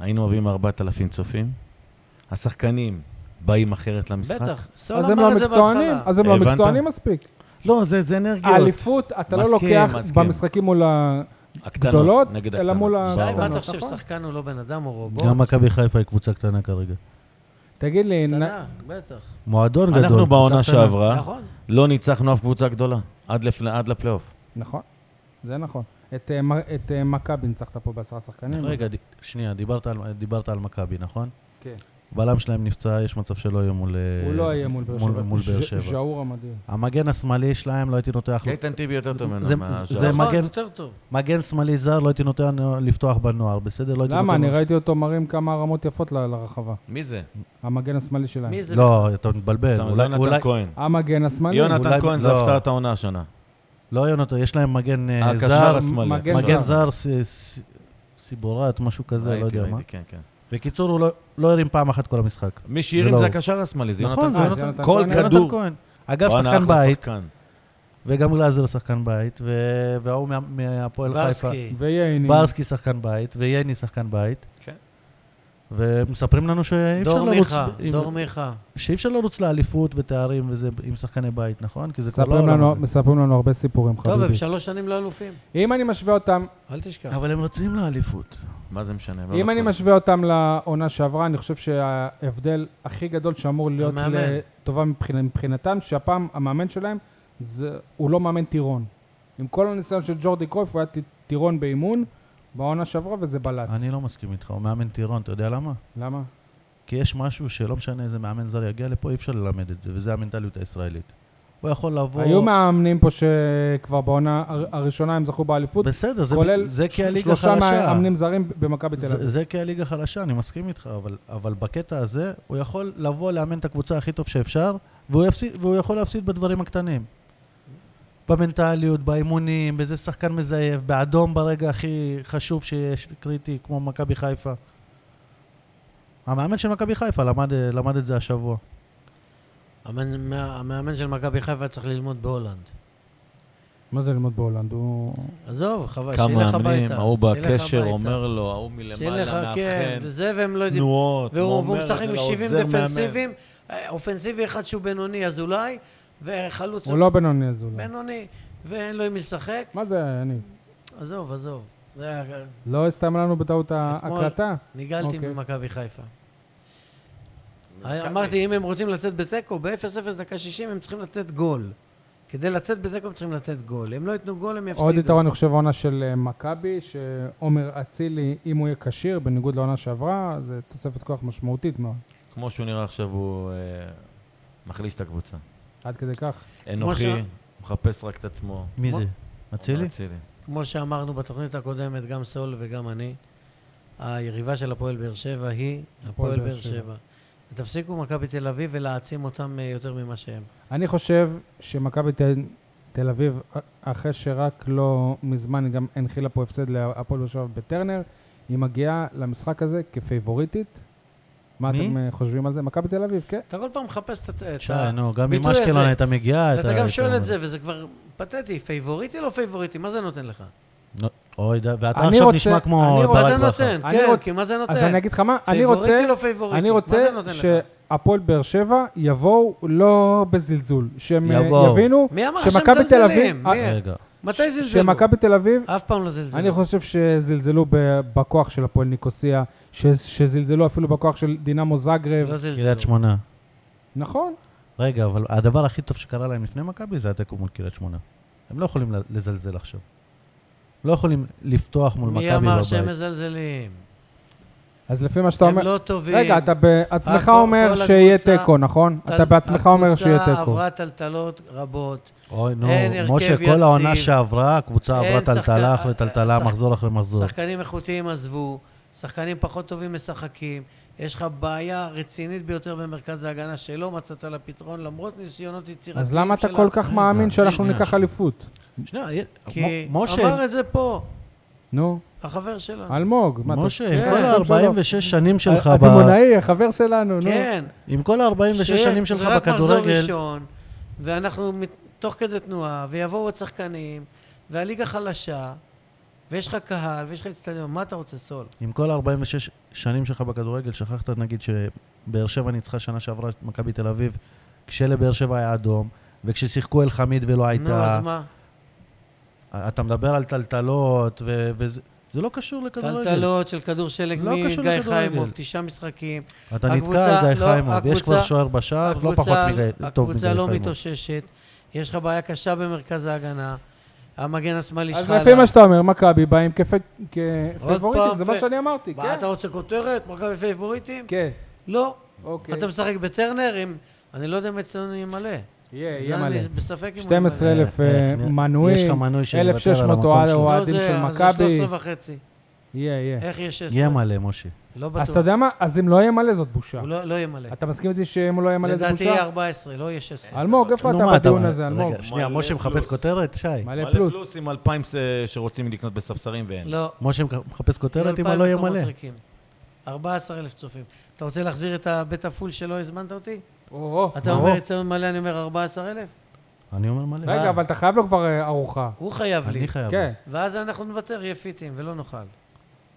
[SPEAKER 4] היינו מביאים 4,000 צופים, השחקנים באים אחרת למשחק.
[SPEAKER 3] בטח, סול
[SPEAKER 1] אז הם לא
[SPEAKER 3] אמר את זה
[SPEAKER 1] מקצוענים,
[SPEAKER 3] בהתחלה.
[SPEAKER 1] אז הם לא
[SPEAKER 4] הבנת?
[SPEAKER 1] מקצוענים מספיק.
[SPEAKER 4] לא, זה, זה אנרגיות.
[SPEAKER 1] האליפות, אתה לא
[SPEAKER 4] מסכים,
[SPEAKER 1] לוקח
[SPEAKER 4] מסכים.
[SPEAKER 1] במשחקים מול ה...
[SPEAKER 4] הקטנות,
[SPEAKER 1] גדולות,
[SPEAKER 4] נגד
[SPEAKER 1] אלא
[SPEAKER 4] הקטנות.
[SPEAKER 1] מול ה-
[SPEAKER 3] שי,
[SPEAKER 4] ברור.
[SPEAKER 3] מה אתה חושב,
[SPEAKER 1] נכון.
[SPEAKER 3] שחקן הוא לא בן אדם או רובוט?
[SPEAKER 2] גם מכבי חיפה היא קבוצה קטנה כרגע.
[SPEAKER 1] תגיד לי, נ-
[SPEAKER 3] קטנה, בטח.
[SPEAKER 2] מועדון גדול.
[SPEAKER 4] אנחנו
[SPEAKER 2] קבוצה
[SPEAKER 4] בעונה
[SPEAKER 2] קטנה.
[SPEAKER 4] שעברה
[SPEAKER 3] נכון.
[SPEAKER 4] לא ניצחנו אף קבוצה גדולה, עד לפ- עד לפלייאוף.
[SPEAKER 1] נכון, זה נכון. את אה, מ- את אה, מכבי ניצחת פה בעשרה שחקנים.
[SPEAKER 2] רגע, ד- שנייה, דיברת על- דיברת על מכבי, נכון?
[SPEAKER 1] כן.
[SPEAKER 2] בלם שלהם נפצע, יש מצב שלא יהיה מול... אה,
[SPEAKER 1] הוא לא יהיה מול באר שבע.
[SPEAKER 2] מול באר
[SPEAKER 1] ז'-
[SPEAKER 2] שבע.
[SPEAKER 1] ז'אור המדהים.
[SPEAKER 2] המגן השמאלי שלהם, לא הייתי נותח לו.
[SPEAKER 1] כן.
[SPEAKER 4] איתן טיבי יותר טוב ממנו.
[SPEAKER 2] זה-
[SPEAKER 4] מה-
[SPEAKER 2] זה
[SPEAKER 4] זה-
[SPEAKER 2] מה-
[SPEAKER 3] נכון,
[SPEAKER 2] מגן-
[SPEAKER 3] יותר טוב.
[SPEAKER 2] מגן שמאלי זר, לא הייתי נותן לו לפתוח בנוער, בסדר? לא הייתי נותן
[SPEAKER 1] למה?
[SPEAKER 2] לו-
[SPEAKER 1] אני ראיתי אותו מרים כמה הרמות יפות ל- לרחבה.
[SPEAKER 4] מי זה?
[SPEAKER 1] המגן השמאלי שלהם.
[SPEAKER 3] מי זה?
[SPEAKER 2] לא, אתה מתבלבל.
[SPEAKER 4] אתה-
[SPEAKER 2] כן, אולי-
[SPEAKER 4] זה יונתן
[SPEAKER 2] אולי-
[SPEAKER 4] כהן.
[SPEAKER 1] המגן השמאלי.
[SPEAKER 4] יונתן
[SPEAKER 2] אולי-
[SPEAKER 4] כהן זה
[SPEAKER 2] לא.
[SPEAKER 4] הפתעת העונה השנה.
[SPEAKER 2] לא יונתן, יש להם מגן אה,
[SPEAKER 4] הקשר
[SPEAKER 2] זר,
[SPEAKER 4] השמאלי.
[SPEAKER 1] מגן
[SPEAKER 2] מגן
[SPEAKER 1] זר.
[SPEAKER 2] זר, ס- ס- סיבורט, משהו כזה, לא
[SPEAKER 4] ראיתי,
[SPEAKER 2] יודע מה.
[SPEAKER 4] ראיתי, כן, כן.
[SPEAKER 2] בקיצור, הוא לא- לא הרים פעם אחת כל המשחק.
[SPEAKER 4] מי
[SPEAKER 2] זה
[SPEAKER 4] שהרים
[SPEAKER 2] לא
[SPEAKER 4] זה
[SPEAKER 2] הוא.
[SPEAKER 4] הקשר השמאלי, זה
[SPEAKER 2] נכון,
[SPEAKER 4] יונתן
[SPEAKER 1] אה,
[SPEAKER 2] זה
[SPEAKER 4] כהן.
[SPEAKER 1] זה יונתן
[SPEAKER 4] כל
[SPEAKER 1] כהן.
[SPEAKER 4] כדור.
[SPEAKER 2] יונתן כהן. אגב,
[SPEAKER 4] וואנה,
[SPEAKER 2] שחקן
[SPEAKER 4] אחלה
[SPEAKER 2] בית,
[SPEAKER 4] שחקן.
[SPEAKER 2] וגם גלאזר שחקן בית, ו- וההוא מה- מהפועל חיפה.
[SPEAKER 3] ברסקי.
[SPEAKER 1] וייני.
[SPEAKER 2] ברסקי שחקן בית, וייני שחקן בית, ומספרים לנו שאי אפשר
[SPEAKER 3] כן. דור
[SPEAKER 2] לרוץ...
[SPEAKER 3] מיכה,
[SPEAKER 2] עם-
[SPEAKER 3] דור מיכה.
[SPEAKER 2] שאי אפשר לרוץ לאליפות ותארים וזה עם שחקני בית, נכון? כי זה כבר לא
[SPEAKER 1] מספרים
[SPEAKER 2] העולם
[SPEAKER 1] לנו-
[SPEAKER 2] הזה.
[SPEAKER 1] מספרים לנו הרבה סיפורים,
[SPEAKER 3] טוב, הם
[SPEAKER 1] חביבי.
[SPEAKER 3] שלוש שנים לא אלופים,
[SPEAKER 1] אם אני משווה אותם
[SPEAKER 3] אל תשכח.
[SPEAKER 2] אבל הם רצים לאליפות.
[SPEAKER 4] מה זה משנה? הם לא
[SPEAKER 1] אם
[SPEAKER 4] לקחו
[SPEAKER 1] אני
[SPEAKER 4] את זה.
[SPEAKER 1] משווה אותם לעונה שעברה, אני חושב שההבדל הכי גדול שאמור להיות
[SPEAKER 3] המאמן.
[SPEAKER 1] לטובה מבחינ- מבחינתם, שהפעם המאמן שלהם, זה- הוא לא מאמן טירון. עם כל הניסיון של ג'ורדי קרויף, הוא היה טי- טירון באימון, בעונה שעברה, וזה בלט.
[SPEAKER 2] אני לא מסכים איתך, הוא מאמן טירון, אתה יודע למה?
[SPEAKER 1] למה?
[SPEAKER 2] כי יש משהו שלא משנה איזה מאמן זר יגיע לפה, אי אפשר ללמד את זה, וזה המנטליות הישראלית. הוא יכול לבוא...
[SPEAKER 1] היו מאמנים פה שכבר בעונה הר- הראשונה הם זכו באליפות,
[SPEAKER 2] בסדר, זה,
[SPEAKER 1] כולל
[SPEAKER 2] זה כי
[SPEAKER 1] של-
[SPEAKER 2] הליגה
[SPEAKER 1] שלושה
[SPEAKER 2] חלשה.
[SPEAKER 1] מאמנים זרים במכבי תל
[SPEAKER 2] זה,
[SPEAKER 1] אביב.
[SPEAKER 2] זה כי הליגה חלשה, אני מסכים איתך, אבל, אבל בקטע הזה, הוא יכול לבוא לאמן את הקבוצה הכי טוב שאפשר, והוא, יפסיד, והוא יכול להפסיד בדברים הקטנים. במנטליות, באימונים, בזה שחקן מזייף, באדום ברגע הכי חשוב שיש, קריטי, כמו מכבי חיפה. המאמן של מכבי חיפה למד, למד את זה השבוע.
[SPEAKER 3] המאמן- המאמן של מכבי חיפה צריך ללמוד בהולנד.
[SPEAKER 1] מה זה ללמוד בהולנד? הוא...
[SPEAKER 3] עזוב, חבל,
[SPEAKER 4] כמה
[SPEAKER 3] שילך
[SPEAKER 4] מאמנים,
[SPEAKER 3] הביתה.
[SPEAKER 4] ההוא
[SPEAKER 3] שילך
[SPEAKER 4] בקשר
[SPEAKER 3] הביתה.
[SPEAKER 4] אומר לו, ההוא
[SPEAKER 3] שילך,
[SPEAKER 4] מלמעלה
[SPEAKER 3] כן,
[SPEAKER 4] מאבחן,
[SPEAKER 3] זה והם לא יודעים.
[SPEAKER 4] תנועות,
[SPEAKER 3] והוא
[SPEAKER 4] הוא
[SPEAKER 3] והוא
[SPEAKER 4] אומר את
[SPEAKER 3] משחק
[SPEAKER 4] זה
[SPEAKER 3] עם 70
[SPEAKER 4] לעוזר מאמן.
[SPEAKER 3] דפנסיבים, אה, אופנסיבי אחד שהוא בינוני, אזולאי, וחלוץ
[SPEAKER 1] הוא לא בינוני אזולאי.
[SPEAKER 3] בינוני, ואין לו עם מי לשחק.
[SPEAKER 1] מה זה, אני?
[SPEAKER 3] עזוב, עזוב. זה היה-
[SPEAKER 1] לא הסתיימה לנו בטעות
[SPEAKER 3] אתמול-
[SPEAKER 1] ההקלטה?
[SPEAKER 3] ניגלתי
[SPEAKER 1] אוקיי.
[SPEAKER 3] ממכבי חיפה. אמרתי, אם הם רוצים לצאת בתיקו, ב-0-0 דקה 60 הם צריכים לתת גול. כדי לצאת בתיקו הם צריכים לתת גול. הם לא ייתנו גול, הם
[SPEAKER 1] עוד
[SPEAKER 3] יפסידו.
[SPEAKER 1] יתרון, אני חושב, העונה של אה, מכבי, שעומר אצילי, אם הוא יהיה כשיר, בניגוד לעונה שעברה, זה תוספת כוח משמעותית מאוד.
[SPEAKER 4] כמו שהוא נראה עכשיו, הוא אה, מחליש את הקבוצה.
[SPEAKER 1] עד כדי כך.
[SPEAKER 4] אנוכי,
[SPEAKER 3] שה-
[SPEAKER 4] מחפש רק את עצמו.
[SPEAKER 2] מי
[SPEAKER 3] זה?
[SPEAKER 2] זה? אצילי?
[SPEAKER 4] אצילי.
[SPEAKER 3] כמו שאמרנו בתוכנית הקודמת, גם סול וגם אני, היריבה של הפועל באר שבע היא הפועל באר שבע. ותפסיקו מכבי תל אביב ולהעצים אותם אה, יותר ממה שהם.
[SPEAKER 1] אני חושב שמכבי תל- תל אביב, אה, אחרי שרק לא מזמן גם הנחילה פה הפסד להפועל באר שבע בטרנר, היא מגיעה למשחק הזה כפייבוריטית. מה
[SPEAKER 2] מי?
[SPEAKER 1] אתם אה, חושבים על זה? מכבי תל אביב, כן.
[SPEAKER 3] אתה כל פעם מחפש את ה- את
[SPEAKER 2] שי,
[SPEAKER 3] ה...
[SPEAKER 2] נו, גם אם
[SPEAKER 3] ביטוי
[SPEAKER 2] אשקלון
[SPEAKER 3] הזה.
[SPEAKER 2] הייתה מגיעה,
[SPEAKER 3] אתה
[SPEAKER 2] הייתה
[SPEAKER 3] גם שואל
[SPEAKER 2] אומרת.
[SPEAKER 3] את זה, וזה כבר פתטי, פייבוריטי לא פייבוריטי, מה זה נותן לך?
[SPEAKER 2] אוי, ד- ואתה
[SPEAKER 1] אני
[SPEAKER 2] עכשיו
[SPEAKER 1] רוצה-
[SPEAKER 2] נשמע כמו
[SPEAKER 1] אני רוצה-
[SPEAKER 3] מה
[SPEAKER 2] ברק
[SPEAKER 3] זה
[SPEAKER 2] בכר.
[SPEAKER 3] נותן?
[SPEAKER 1] לא, אני
[SPEAKER 3] כן,
[SPEAKER 1] רוצ-
[SPEAKER 3] כי מה זה
[SPEAKER 1] אז אני
[SPEAKER 3] נותן?
[SPEAKER 1] אגיד לך מה, אני רוצה...
[SPEAKER 3] פייבוריטי לא פייבוריטי,
[SPEAKER 1] אני
[SPEAKER 3] מה
[SPEAKER 1] רוצה
[SPEAKER 3] זה נותן לך?
[SPEAKER 1] שהפועל באר שבע יבואו לא בזלזול, שהם אה,
[SPEAKER 2] יבואו.
[SPEAKER 1] יבינו
[SPEAKER 3] מי אמר
[SPEAKER 1] שמכבי תל אביב- אה,
[SPEAKER 3] שמזלזלים? מי?
[SPEAKER 1] כן.
[SPEAKER 2] רגע.
[SPEAKER 3] מתי זלזלו?
[SPEAKER 1] שמכבי תל אביב,
[SPEAKER 3] אף פעם לא זלזלו.
[SPEAKER 1] אני חושב שזלזלו ב- בכוח של הפועל ניקוסיה, ש- שזלזלו אפילו בכוח של דינמו זגרב.
[SPEAKER 3] לא זלזלו.
[SPEAKER 2] קריית שמונה.
[SPEAKER 1] נכון,
[SPEAKER 2] רגע, אבל הדבר הכי טוב שקרה להם לפני מכבי זה התיקו מול קריית שמונה. הם לא יכולים ל- לזלזל עכשיו. לא יכולים לפתוח מול מכבי לא
[SPEAKER 3] מי אמר שהם
[SPEAKER 2] בבית.
[SPEAKER 3] מזלזלים?
[SPEAKER 1] אז לפי מה שאתה
[SPEAKER 3] הם
[SPEAKER 1] אומר...
[SPEAKER 3] לא טובים.
[SPEAKER 1] רגע, אתה בעצמך
[SPEAKER 3] הכל-
[SPEAKER 1] אומר
[SPEAKER 3] כל
[SPEAKER 1] שיהיה
[SPEAKER 3] הקבוצה-
[SPEAKER 1] תיקו, נכון?
[SPEAKER 3] טל-
[SPEAKER 1] אתה בעצמך אומר שיהיה
[SPEAKER 3] הקבוצה
[SPEAKER 1] תיקו.
[SPEAKER 3] עברה טלטלות רבות.
[SPEAKER 2] אוי, נו,
[SPEAKER 3] אין הרכב
[SPEAKER 2] משה,
[SPEAKER 3] יציב.
[SPEAKER 2] כל העונה שעברה, הקבוצה
[SPEAKER 3] אין
[SPEAKER 2] עברה טלטלה
[SPEAKER 3] שחקן- אה,
[SPEAKER 2] אחרי טלטלה,
[SPEAKER 3] שח-
[SPEAKER 2] מחזור אחרי מחזור.
[SPEAKER 3] שחקנים איכותיים עזבו, שחקנים פחות טובים משחקים. יש לך בעיה רצינית ביותר במרכז ההגנה שלא מצאת לה פתרון, למרות ניסיונות יצירתיים
[SPEAKER 1] אז למה אתה
[SPEAKER 3] שלה.
[SPEAKER 1] כל כך מאמין שאנחנו
[SPEAKER 2] שנייה,
[SPEAKER 1] ניקח
[SPEAKER 2] שנייה.
[SPEAKER 1] אליפות?
[SPEAKER 2] שנייה, אה,
[SPEAKER 3] כי
[SPEAKER 2] מ-
[SPEAKER 3] אמר
[SPEAKER 2] משה,
[SPEAKER 3] את זה פה,
[SPEAKER 1] נו,
[SPEAKER 3] החבר שלנו.
[SPEAKER 1] אלמוג, מה אתה...
[SPEAKER 2] משה,
[SPEAKER 3] כן,
[SPEAKER 2] כל ה-46 שנים שלך, ב-
[SPEAKER 1] הדימונאי, אה, החבר שלנו, נו.
[SPEAKER 3] כן.
[SPEAKER 2] עם כל ה-46
[SPEAKER 3] שיהיה-
[SPEAKER 2] שנים שלך
[SPEAKER 3] זה רק מחזור
[SPEAKER 2] בכדורגל,
[SPEAKER 3] ראשון, ואנחנו מת- תוך כדי תנועה, ויבואו עוד שחקנים, והליגה חלשה, ויש לך קהל, ויש לך אצטדיון, מה אתה רוצה סול?
[SPEAKER 2] עם כל ה-46 שנים שלך בכדורגל, שכחת נגיד שבאר שבע ניצחה שנה שעברה את מכבי תל אביב, כשלבאר שבע היה אדום, וכששיחקו אל חמיד ולא
[SPEAKER 3] נו, אז
[SPEAKER 2] הייתה.
[SPEAKER 3] מה?
[SPEAKER 2] אתה מדבר על טלטלות, ו- וזה זה לא קשור לכדורגל.
[SPEAKER 3] טלטלות של כדור שלג
[SPEAKER 2] לא קשור
[SPEAKER 3] מגיא
[SPEAKER 2] לכדורגל.
[SPEAKER 3] חיימוב, תשעה משחקים.
[SPEAKER 2] אתה נתקע
[SPEAKER 3] הקבוצה-
[SPEAKER 2] על גיא
[SPEAKER 3] לא,
[SPEAKER 2] חיימוב, יש
[SPEAKER 3] הקבוצה-
[SPEAKER 2] כבר שוער בשער, לא פחות מגיא- טוב מגיא
[SPEAKER 3] הקבוצה לא
[SPEAKER 2] חיימוב.
[SPEAKER 3] מתאוששת, יש לך בעיה קשה במרכז ההגנה, המגן השמאלי שלך...
[SPEAKER 1] אז לפי
[SPEAKER 3] עלה.
[SPEAKER 1] מה שאתה אומר, מכבי באה עם כפ-
[SPEAKER 3] עוד
[SPEAKER 1] כפייבוריטים,
[SPEAKER 3] פעם,
[SPEAKER 1] זה מה
[SPEAKER 3] פי-
[SPEAKER 1] שאני אמרתי,
[SPEAKER 3] מה,
[SPEAKER 1] כן.
[SPEAKER 3] אתה רוצה כותרת? מכבי פייבוריטים?
[SPEAKER 1] כן,
[SPEAKER 3] לא.
[SPEAKER 1] אוקיי.
[SPEAKER 3] אתה משחק בטרנר עם... אני לא יודע אם אצלנו יהיה מלא.
[SPEAKER 1] יהיה,
[SPEAKER 3] זה
[SPEAKER 1] אוקיי, יהיה מלא.
[SPEAKER 3] אני בספק אם הוא יהיה מלא.
[SPEAKER 1] 12,000
[SPEAKER 2] אה,
[SPEAKER 1] אה,
[SPEAKER 2] איך נראה? יש לך
[SPEAKER 1] מנויים,
[SPEAKER 2] מנוי שיוותר על
[SPEAKER 1] 1,600
[SPEAKER 2] המקום שלו.
[SPEAKER 3] לא,
[SPEAKER 1] אוהדים
[SPEAKER 3] זה-
[SPEAKER 1] של
[SPEAKER 3] זה
[SPEAKER 1] מכבי.
[SPEAKER 3] 13 וחצי.
[SPEAKER 1] יהיה, יהיה.
[SPEAKER 3] איך יש 16?
[SPEAKER 2] יהיה מלא, משה.
[SPEAKER 3] לא
[SPEAKER 1] אז אתה
[SPEAKER 3] בטוח.
[SPEAKER 1] יודע מה? אז אם לא יהיה מלא זאת בושה.
[SPEAKER 3] הוא לא לא יהיה מלא.
[SPEAKER 1] אתה מסכים איתי שאם הוא לא יהיה מלא זאת
[SPEAKER 3] לדעתי יהיה
[SPEAKER 1] בושה?
[SPEAKER 3] 14, לא יהיה 16.
[SPEAKER 1] אלמוג, איפה
[SPEAKER 2] נו,
[SPEAKER 1] אתה
[SPEAKER 2] מה
[SPEAKER 1] בדיון הזה,
[SPEAKER 2] רגע,
[SPEAKER 1] אלמוג?
[SPEAKER 2] שנייה,
[SPEAKER 4] מלא
[SPEAKER 2] משה מחפש
[SPEAKER 4] פלוס.
[SPEAKER 2] כותרת? שי.
[SPEAKER 1] מלא
[SPEAKER 4] מלא
[SPEAKER 1] פלוס.
[SPEAKER 4] פלוס עם 2,000 ס- שרוצים לקנות בספסרים ואין.
[SPEAKER 3] לא.
[SPEAKER 2] משה מחפש כותרת אם לא יהיה מלא.
[SPEAKER 3] 14,000 צופים. אתה רוצה להחזיר את הבית הפול שלא הזמנת אותי?
[SPEAKER 1] או, או.
[SPEAKER 3] אתה
[SPEAKER 2] ברור.
[SPEAKER 3] אומר אצלנו מלא, אני אומר 14,000?
[SPEAKER 2] אני אומר מלא.
[SPEAKER 1] רגע, אבל אתה חייב לו כבר אה, ארוחה.
[SPEAKER 3] הוא חייב לי.
[SPEAKER 2] אני חייב.
[SPEAKER 1] כן.
[SPEAKER 3] ואז אנחנו נוותר, יהיה פיטים, ולא נאכל.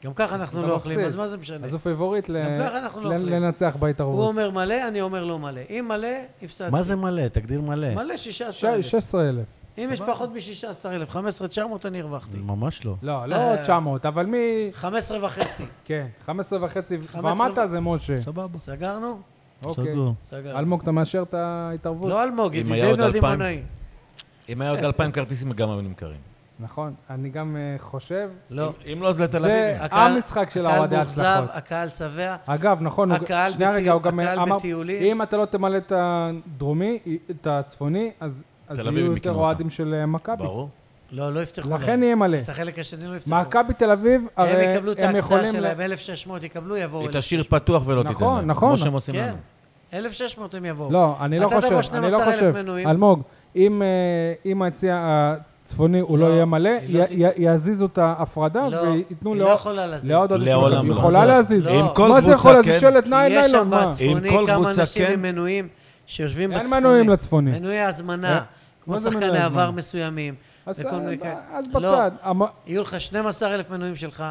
[SPEAKER 3] גם ככה אנחנו
[SPEAKER 1] אתה
[SPEAKER 3] לא אוכלים,
[SPEAKER 1] מפסיד.
[SPEAKER 3] אז מה זה משנה?
[SPEAKER 1] אז הוא פייבוריט ל-
[SPEAKER 3] גם ככה אנחנו לא
[SPEAKER 1] ל-
[SPEAKER 3] אוכלים.
[SPEAKER 1] לנצח
[SPEAKER 3] הוא
[SPEAKER 1] בהתערבות.
[SPEAKER 3] אומר מלא, אני אומר לא מלא. אם מלא, הפסדתי.
[SPEAKER 2] מה זה מלא? תגדיר מלא.
[SPEAKER 3] מלא 16,000.
[SPEAKER 1] 16,000.
[SPEAKER 3] אם יש פחות מ-16,000, 15,900 אני הרווחתי.
[SPEAKER 2] ממש לא.
[SPEAKER 1] לא, לא
[SPEAKER 3] אה.
[SPEAKER 1] 900, אבל מי...
[SPEAKER 3] 15 וחצי.
[SPEAKER 1] כן, 15 וחצי
[SPEAKER 3] 15.
[SPEAKER 1] ומטה זה משה.
[SPEAKER 4] כן.
[SPEAKER 2] סבבה.
[SPEAKER 3] סגרנו?
[SPEAKER 1] אוקיי.
[SPEAKER 2] סגור.
[SPEAKER 3] סגרנו.
[SPEAKER 1] אלמוג, אתה מאשר את ההתערבות?
[SPEAKER 3] לא אלמוג,
[SPEAKER 4] אם היה עוד
[SPEAKER 3] ידידנו
[SPEAKER 4] אלפיים.
[SPEAKER 3] הדימונאי.
[SPEAKER 4] אם היה עוד 2,000 כרטיסים, גם היו נמכרים.
[SPEAKER 1] נכון, אני גם אה, חושב.
[SPEAKER 3] לא.
[SPEAKER 4] אם- אם לא, אז לתל
[SPEAKER 1] זה-
[SPEAKER 4] אביב.
[SPEAKER 3] הקהל-
[SPEAKER 1] המשחק של
[SPEAKER 3] הקהל
[SPEAKER 1] אוהדי
[SPEAKER 3] מאוכזב,
[SPEAKER 1] ההצלחות.
[SPEAKER 3] הקהל שבע.
[SPEAKER 1] אגב, נכון, הוא-
[SPEAKER 3] הקהל
[SPEAKER 1] שנייה
[SPEAKER 3] בטיול-
[SPEAKER 1] רגע, הוא גם אה,
[SPEAKER 3] הקהל
[SPEAKER 1] אמר,
[SPEAKER 3] בטיולים.
[SPEAKER 1] אם אתה לא תמלא את הדרומי, אה, את הצפוני, אז אז
[SPEAKER 4] תל
[SPEAKER 1] יהיו
[SPEAKER 4] אביב
[SPEAKER 1] יותר
[SPEAKER 4] יקנו
[SPEAKER 1] אוהדים של אה, מכבי.
[SPEAKER 4] ברור.
[SPEAKER 3] לא, לא יפתחו
[SPEAKER 1] לכן
[SPEAKER 3] להם.
[SPEAKER 1] יהיה מלא.
[SPEAKER 3] את החלק השני לא יפתחו.
[SPEAKER 1] מכבי תל אביב, הרי
[SPEAKER 3] הם יקבלו את
[SPEAKER 1] הם
[SPEAKER 3] ההקצאה
[SPEAKER 1] יכולים... ל-
[SPEAKER 3] שלהם, 1,600 יקבלו, יבואו
[SPEAKER 4] היא
[SPEAKER 3] אליהם.
[SPEAKER 4] תשאיר פתוח ולא תיתן
[SPEAKER 1] נכון,
[SPEAKER 4] להם.
[SPEAKER 1] נכון.
[SPEAKER 4] כמו שהם עושים
[SPEAKER 3] כן.
[SPEAKER 4] לנו.
[SPEAKER 3] 1,600 הם יבואו.
[SPEAKER 1] לא, אני לא
[SPEAKER 3] אתה תבוא
[SPEAKER 1] חושב, אני לא
[SPEAKER 3] 12,000
[SPEAKER 1] חושב.
[SPEAKER 3] מנויים.
[SPEAKER 1] אלמוג, אם, אה, אם היציע הצפוני הוא לא
[SPEAKER 3] לא,
[SPEAKER 1] יהיה מלא,
[SPEAKER 3] היא לא
[SPEAKER 1] י-
[SPEAKER 3] ת-
[SPEAKER 1] י- יעזיזו את ההפרדה
[SPEAKER 3] לא,
[SPEAKER 1] וייתנו
[SPEAKER 3] היא לא
[SPEAKER 1] לעוד-
[SPEAKER 3] יכולה להזיז.
[SPEAKER 1] לעוד עוד...
[SPEAKER 4] לעולם
[SPEAKER 1] היא
[SPEAKER 4] לא.
[SPEAKER 1] יכולה להזיז.
[SPEAKER 3] לא. עם
[SPEAKER 1] מה
[SPEAKER 4] כל
[SPEAKER 1] זה
[SPEAKER 4] קבוצה
[SPEAKER 1] יכול להזיז?
[SPEAKER 4] כן.
[SPEAKER 1] שלט
[SPEAKER 3] כי
[SPEAKER 1] ניילון, מה?
[SPEAKER 3] יש שם
[SPEAKER 4] אם
[SPEAKER 3] בצפוני
[SPEAKER 4] כל
[SPEAKER 3] כמה
[SPEAKER 4] קבוצה
[SPEAKER 3] אנשים
[SPEAKER 4] כן-
[SPEAKER 3] עם מנויים שיושבים
[SPEAKER 1] לא, אין
[SPEAKER 3] בצפוני.
[SPEAKER 1] מנויים לצפוני.
[SPEAKER 3] מנויי
[SPEAKER 1] אה?
[SPEAKER 3] הזמנה, כמו
[SPEAKER 1] מה זה
[SPEAKER 3] שחקני
[SPEAKER 1] מנויי
[SPEAKER 3] עבר
[SPEAKER 1] הזמנה?
[SPEAKER 3] מסוימים.
[SPEAKER 1] אז
[SPEAKER 3] וכל מיני כאלה.
[SPEAKER 1] אז
[SPEAKER 3] לא.
[SPEAKER 1] בצד. המ-
[SPEAKER 3] יהיו לך 12,000 מנויים שלך,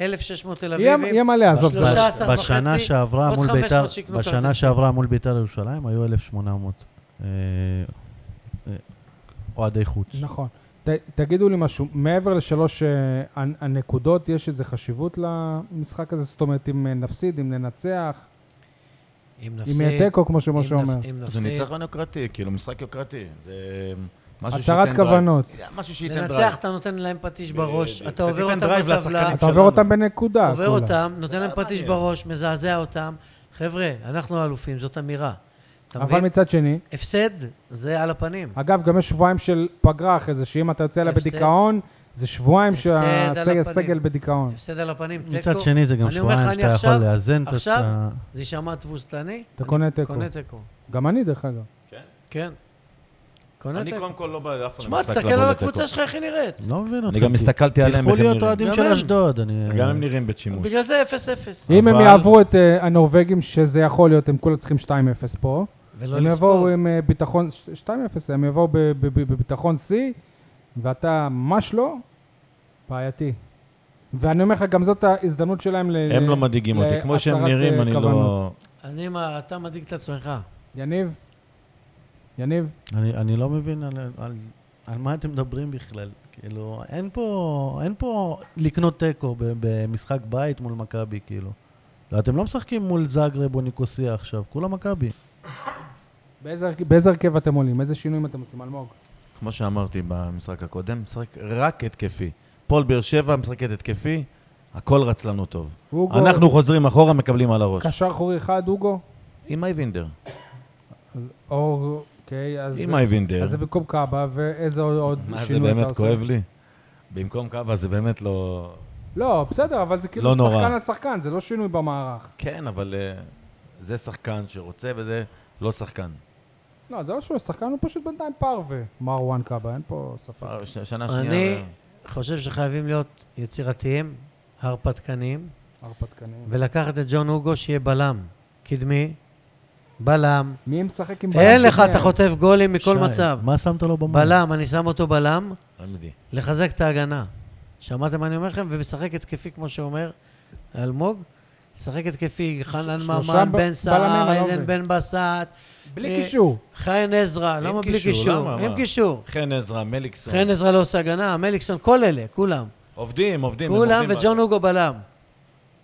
[SPEAKER 3] 1,600 תל
[SPEAKER 1] יהיה
[SPEAKER 3] אביבים.
[SPEAKER 1] יהיה מלא, עזוב. זה-
[SPEAKER 3] 13 וחצי,
[SPEAKER 2] בשנה שעברה
[SPEAKER 3] עוד
[SPEAKER 2] מול
[SPEAKER 3] 500
[SPEAKER 2] ביתר,
[SPEAKER 3] שיקנו
[SPEAKER 2] בשנה
[SPEAKER 3] כרטיסים.
[SPEAKER 2] שעברה מול ביתר ירושלים היו 1,800 אה, אה, אוהדי חוץ.
[SPEAKER 1] נכון. ת, תגידו לי משהו, מעבר לשלוש אה, הנ- הנקודות, יש איזה חשיבות למשחק הזה? זאת אומרת, אם אה, נפסיד, אם ננצח,
[SPEAKER 3] אם
[SPEAKER 1] אם יהיה תיקו, כמו שמשה אומר.
[SPEAKER 3] אם
[SPEAKER 4] זה
[SPEAKER 3] נפסיד.
[SPEAKER 4] ניצחון יוקרתי, כאילו, משחק יוקרתי. זה משהו שייתן
[SPEAKER 1] הצהרת
[SPEAKER 4] דרייב.
[SPEAKER 1] כוונות.
[SPEAKER 4] משהו שייתן דרייב.
[SPEAKER 3] לנצח, אתה נותן להם פטיש בראש,
[SPEAKER 4] בדיוק.
[SPEAKER 3] אתה עובר
[SPEAKER 4] תיתן
[SPEAKER 3] אותם
[SPEAKER 4] דרייב
[SPEAKER 3] בטבלה,
[SPEAKER 4] לשחקנים.
[SPEAKER 1] אתה עובר
[SPEAKER 4] שלנו.
[SPEAKER 1] אותם בנקודה. כאילו.
[SPEAKER 3] עובר
[SPEAKER 1] כולה.
[SPEAKER 3] אותם, נותן להם פטיש
[SPEAKER 4] מעניין.
[SPEAKER 3] בראש, מזעזע אותם. חבר'ה, אנחנו אלופים, זאת אמירה. אתה
[SPEAKER 1] אבל
[SPEAKER 3] מבין?
[SPEAKER 1] מצד שני,
[SPEAKER 3] הפסד, זה על הפנים.
[SPEAKER 1] אגב, גם יש שבועיים של פגרה אחרי זה, שאם אתה יוצא אליה
[SPEAKER 3] הפסד.
[SPEAKER 1] בדיכאון, זה שבועיים
[SPEAKER 3] הפסד על
[SPEAKER 1] שהסגל
[SPEAKER 3] הפנים.
[SPEAKER 1] סגל בדיכאון.
[SPEAKER 3] הפסד על הפנים, תיקו.
[SPEAKER 2] מצד שני זה גם
[SPEAKER 3] אני אומר לך,
[SPEAKER 2] שבועיים
[SPEAKER 3] אני
[SPEAKER 2] שאתה יכול
[SPEAKER 3] עכשיו-
[SPEAKER 2] לאזן את
[SPEAKER 3] עכשיו-
[SPEAKER 2] ה...
[SPEAKER 3] זה יישמע תבוסתני.
[SPEAKER 1] אתה
[SPEAKER 3] אני
[SPEAKER 1] קונה תיקו.
[SPEAKER 3] קונה תיקו.
[SPEAKER 1] גם אני, דרך אגב.
[SPEAKER 3] כן. קונה
[SPEAKER 4] אני
[SPEAKER 3] תיקו.
[SPEAKER 4] קודם כל לא בא לאף
[SPEAKER 3] שמע, תסתכל על הקבוצה שלך, איך היא נראית.
[SPEAKER 2] לא מבין אותך.
[SPEAKER 4] אני גם הסתכלתי עליהם,
[SPEAKER 2] תלכו
[SPEAKER 4] איך הם
[SPEAKER 2] להיות
[SPEAKER 4] נראים.
[SPEAKER 2] אוהדים
[SPEAKER 3] גם
[SPEAKER 2] של
[SPEAKER 3] הם.
[SPEAKER 2] אשדוד, אני...
[SPEAKER 4] גם הם נראים בית שימוש.
[SPEAKER 3] בגלל זה 0-0.
[SPEAKER 1] אם הם
[SPEAKER 4] אבל-
[SPEAKER 1] יעברו את אה, הנורבגים, שזה יכול להיות, הם כולה צריכים 2-0 פה.
[SPEAKER 3] ולא
[SPEAKER 1] הם יבואו
[SPEAKER 3] לא לספור.
[SPEAKER 1] עם אה, ביטחון, ש- 2-0, הם יבואו ב- ב- ב- בביטחון שיא, ואתה ממש לא, בעייתי. ואני אומר לך, גם זאת ההזדמנות שלהם ל...
[SPEAKER 4] הם לא מדאיגים אותי. כמו שהם
[SPEAKER 1] להצהרת,
[SPEAKER 4] נראים,
[SPEAKER 1] אה,
[SPEAKER 4] אני לא...
[SPEAKER 1] כוונות.
[SPEAKER 3] אני, מה, אתה מדאיג את עצמך.
[SPEAKER 1] יניב? יניב?
[SPEAKER 2] אני, אני לא מבין על, על, על מה אתם מדברים בכלל. כאילו, אין פה, אין פה לקנות תיקו ב- במשחק בית מול מכבי, כאילו. לא, אתם לא משחקים מול זאגרב או ניקוסיה עכשיו, כולה מכבי.
[SPEAKER 1] באיזה הרכב- באיזה הרכב אתם עולים? איזה שינויים אתם עושים? אלמוג.
[SPEAKER 4] כמו שאמרתי במשחק הקודם, משחק רק התקפי. פועל באר שבע משחקת התקפי, הכל רץ לנו טוב.
[SPEAKER 1] אוגו,
[SPEAKER 4] אנחנו חוזרים אחורה, מקבלים על הראש.
[SPEAKER 1] קשר אחורי אחד, אוגו?
[SPEAKER 4] עם אייבינדר.
[SPEAKER 1] אז- או, אוקיי, אז...
[SPEAKER 4] עם אייבינדר.
[SPEAKER 1] אז זה במקום קאבה, ואיזה עוד- עוד שינוי
[SPEAKER 4] מה,
[SPEAKER 1] אתה
[SPEAKER 4] זה
[SPEAKER 1] עושה?
[SPEAKER 4] באמת כואב לי? במקום קאבה זה באמת לא...
[SPEAKER 1] לא, בסדר, אבל זה כאילו
[SPEAKER 4] לא נורא.
[SPEAKER 1] שחקן על שחקן, זה לא שינוי במערך.
[SPEAKER 4] כן, אבל אה, זה שחקן שרוצה וזה לא שחקן.
[SPEAKER 1] לא, זה לא שהוא שחקן, הוא פשוט בינתיים פרווה. מרואן קאבה, אין פה ספק.
[SPEAKER 4] פעם- ש- שנה שנייה...
[SPEAKER 3] אני
[SPEAKER 4] אה,
[SPEAKER 3] חושב שחייבים להיות יצירתיים, הרפתקניים,
[SPEAKER 1] הרפתקנים.
[SPEAKER 3] ולקחת את ג'ון הוגו שיהיה בלם. קדמי, בלם.
[SPEAKER 1] מי משחק עם...
[SPEAKER 3] אין
[SPEAKER 1] בלם
[SPEAKER 3] לך,
[SPEAKER 1] קדמי? אה.
[SPEAKER 3] אתה חוטף גולים מכל
[SPEAKER 2] שי,
[SPEAKER 3] מצב.
[SPEAKER 2] מה שמת לו במה?
[SPEAKER 3] בלם, אני שם אותו בלם,
[SPEAKER 4] רמדי.
[SPEAKER 3] לחזק את ההגנה. שמעתם מה אני אומר לכם? ומשחק התקפי, כמו שאומר אלמוג. משחק התקפי, חנן
[SPEAKER 1] שלושה
[SPEAKER 3] ממן,
[SPEAKER 1] ב-
[SPEAKER 3] בן
[SPEAKER 1] בלמים,
[SPEAKER 3] סער,
[SPEAKER 1] אני לא
[SPEAKER 3] עדן
[SPEAKER 1] מבין.
[SPEAKER 3] בן בסט,
[SPEAKER 1] בלי
[SPEAKER 3] אה,
[SPEAKER 1] קישור.
[SPEAKER 3] חן עזרא,
[SPEAKER 4] עם
[SPEAKER 3] למה בלי
[SPEAKER 4] קישור,
[SPEAKER 3] קישור?
[SPEAKER 4] למה?
[SPEAKER 3] עם
[SPEAKER 4] מה?
[SPEAKER 3] קישור.
[SPEAKER 4] חן עזרא, מליקסון.
[SPEAKER 3] חן עזרא לא עושה הגנה, מליקסון, כל אלה, כולם.
[SPEAKER 4] עובדים, עובדים. הם
[SPEAKER 3] כולם
[SPEAKER 4] עובדים
[SPEAKER 3] וג'ון
[SPEAKER 4] על-
[SPEAKER 3] הוגו בלם.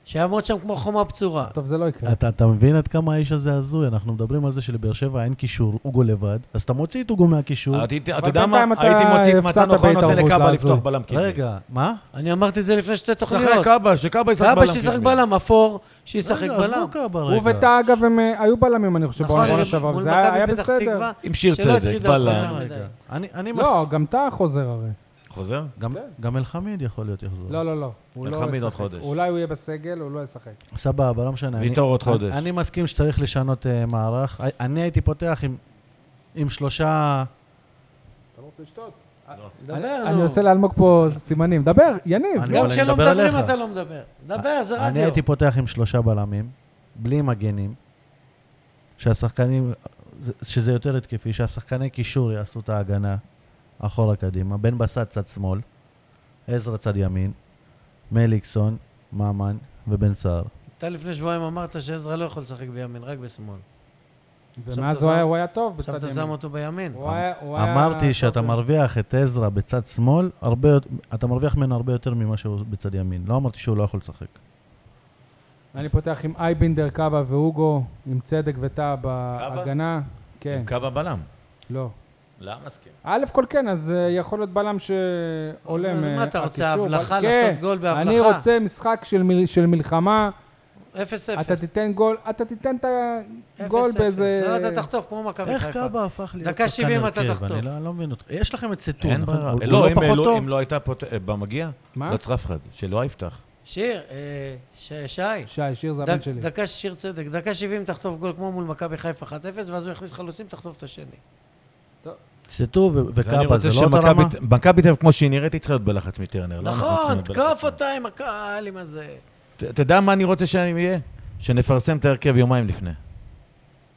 [SPEAKER 3] שיעמוד שם כמו חומה בצורה.
[SPEAKER 1] טוב, זה לא
[SPEAKER 4] כן.
[SPEAKER 1] יקרה.
[SPEAKER 2] אתה, אתה מבין עד כמה האיש הזה הזוי? אנחנו מדברים על זה שלבאר שבע אין קישור, אוגו לבד, אז אתה מוציא את אוגו מהקישור.
[SPEAKER 4] אה, הייתי-
[SPEAKER 1] אבל
[SPEAKER 4] אתה יודע מה?
[SPEAKER 1] בינתיים אתה
[SPEAKER 4] הייתי מוציא את מתן
[SPEAKER 1] הפסדת
[SPEAKER 4] אוחנה, נותן
[SPEAKER 1] בהתערבות
[SPEAKER 4] לקאבה
[SPEAKER 1] לעזור.
[SPEAKER 4] לפתוח בלם קדמי.
[SPEAKER 2] רגע, מה?
[SPEAKER 3] אני אמרתי את זה לפני שתי
[SPEAKER 4] שחק
[SPEAKER 3] תוכניות.
[SPEAKER 4] קאבה, שקאבה ישחק בלם
[SPEAKER 3] קאבה שישחק
[SPEAKER 4] קדמי.
[SPEAKER 3] בלם, אפור
[SPEAKER 1] לא,
[SPEAKER 3] שישחק
[SPEAKER 2] רגע,
[SPEAKER 3] בלם.
[SPEAKER 2] עזבו קאבה
[SPEAKER 4] לא
[SPEAKER 1] הוא
[SPEAKER 2] רגע.
[SPEAKER 1] וטאה, אגב, הם אה, היו בלמים, אני חושב,
[SPEAKER 3] נכון,
[SPEAKER 1] בעונה
[SPEAKER 3] מול
[SPEAKER 1] שעברה, וזה היה היה
[SPEAKER 3] מכבי פתח
[SPEAKER 1] בסדר.
[SPEAKER 3] תקווה.
[SPEAKER 4] עם שיר
[SPEAKER 3] שלא
[SPEAKER 4] צדק,
[SPEAKER 3] הטרידה אותך יותר
[SPEAKER 4] בלם.
[SPEAKER 3] מדי.
[SPEAKER 2] רגע. אני, אני מס...
[SPEAKER 1] לא, גם טאה חוזר הרי.
[SPEAKER 4] חוזר?
[SPEAKER 2] גם, כן. גם אלחמיד יכול להיות יחזור.
[SPEAKER 1] לא, לא, לא. הוא לא
[SPEAKER 4] אלחמיד עוד
[SPEAKER 1] ישחק.
[SPEAKER 4] חודש.
[SPEAKER 1] אולי הוא יהיה בסגל, הוא לא ישחק.
[SPEAKER 2] סבבה, לא משנה. אני-
[SPEAKER 4] ויטור עוד
[SPEAKER 2] אני-
[SPEAKER 4] חודש.
[SPEAKER 2] אני מסכים שצריך לשנות אה, מערך. אני- אני הייתי פותח עם- עם שלושה...
[SPEAKER 1] אתה לא רוצה לשתות? לא.
[SPEAKER 3] דבר,
[SPEAKER 1] אני
[SPEAKER 3] נו.
[SPEAKER 1] עושה לאלמוג פה סימנים. דבר, יניב.
[SPEAKER 2] אני-
[SPEAKER 3] גם
[SPEAKER 2] אבל
[SPEAKER 3] כשלא
[SPEAKER 2] מדבר
[SPEAKER 3] מדברים
[SPEAKER 2] עליך.
[SPEAKER 3] אתה לא מדבר. דבר, זה
[SPEAKER 2] אני
[SPEAKER 3] רדיו.
[SPEAKER 2] הייתי פותח עם שלושה בלמים, בלי מגנים, שהשחקנים, שזה יותר התקפי, שהשחקני קישור יעשו את ההגנה אחורה קדימה, בן בסט צד שמאל, עזרא צד ימין, מליקסון, ממן ובן סער.
[SPEAKER 3] אתה לפני שבועיים אמרת שעזרא לא יכול לשחק בימין, רק בשמאל.
[SPEAKER 1] ומאז
[SPEAKER 3] אתה
[SPEAKER 1] הוא
[SPEAKER 3] שם-
[SPEAKER 1] היה- הוא היה טוב
[SPEAKER 3] עכשיו
[SPEAKER 1] בצד
[SPEAKER 3] אתה שם
[SPEAKER 1] ימין.
[SPEAKER 3] אותו בימין.
[SPEAKER 1] הוא היה- הוא היה אוקיי.
[SPEAKER 2] אמרתי
[SPEAKER 1] טוב
[SPEAKER 2] שאתה
[SPEAKER 1] ב-
[SPEAKER 2] מרוויח את עזרא בצד שמאל, הרבה, יותר- אתה מרוויח ממנו הרבה יותר ממה שהוא בצד ימין. לא אמרתי שהוא לא יכול לשחק.
[SPEAKER 1] אני פותח עם אייבינדר, קאבה והוגו, עם צדק וטאה בהגנה. כן,
[SPEAKER 4] עם קאבה בלם.
[SPEAKER 1] לא.
[SPEAKER 4] למה מסכים?
[SPEAKER 1] א' כל כן, אז אה, יכול להיות בלם שעולם.
[SPEAKER 3] אז מה
[SPEAKER 1] אה,
[SPEAKER 3] אתה רוצה,
[SPEAKER 1] הקישור,
[SPEAKER 3] הבלחה?
[SPEAKER 1] אבל- כן,
[SPEAKER 3] לעשות גול בהבלחה?
[SPEAKER 1] אני רוצה משחק של מל- של מלחמה,
[SPEAKER 3] אפס
[SPEAKER 1] אתה
[SPEAKER 3] אפס.
[SPEAKER 1] תיתן גול, אתה תיתן את
[SPEAKER 3] אפס,
[SPEAKER 1] הגול
[SPEAKER 3] אפס.
[SPEAKER 1] באיזה...
[SPEAKER 3] לא, אתה תחטוף כמו מכבי
[SPEAKER 2] איך
[SPEAKER 3] חיפה.
[SPEAKER 2] קאבה הפך להיות
[SPEAKER 3] דקה
[SPEAKER 2] שחקן
[SPEAKER 3] 70 אתה
[SPEAKER 2] הרכב?
[SPEAKER 3] תחטוף.
[SPEAKER 2] אני לא- אני לא מבין אותך. יש לכם את סטון,
[SPEAKER 4] אין
[SPEAKER 2] נכון?
[SPEAKER 4] ברירה.
[SPEAKER 2] הוא- הוא
[SPEAKER 4] לא,
[SPEAKER 2] לא
[SPEAKER 4] אם
[SPEAKER 2] פחות
[SPEAKER 4] לא-
[SPEAKER 2] טוב?
[SPEAKER 4] אם לא הייתה פות- אה, במגיע,
[SPEAKER 1] מה?
[SPEAKER 4] לא צריך אף אחד, שלא יפתח.
[SPEAKER 3] שיר, אה, ש- שי.
[SPEAKER 1] שי, שיר זה
[SPEAKER 3] דק-
[SPEAKER 1] הבן שלי.
[SPEAKER 3] דקה שיר צדק, דקה 70 תחטוף גול כמו מול מכבי חיפה 1-0, ואז הוא יכניס חלוצים, תחטוף את השני.
[SPEAKER 2] סטו ו-
[SPEAKER 4] ואני
[SPEAKER 2] וקאבה, זה
[SPEAKER 4] רוצה
[SPEAKER 2] לא אותה רמה?
[SPEAKER 4] שמכבי- מכבי תל אביב, כמו שהיא נראית, היא צריכה להיות בלחץ מטרנר. לא אנחנו
[SPEAKER 3] נכון,
[SPEAKER 4] צריכים להיות בלחץ.
[SPEAKER 3] תקוף אותה עם הקהל, עם הזה.
[SPEAKER 4] ת- אתה יודע מה אני רוצה שהם יהיה? שנפרסם את ההרכב יומיים לפני.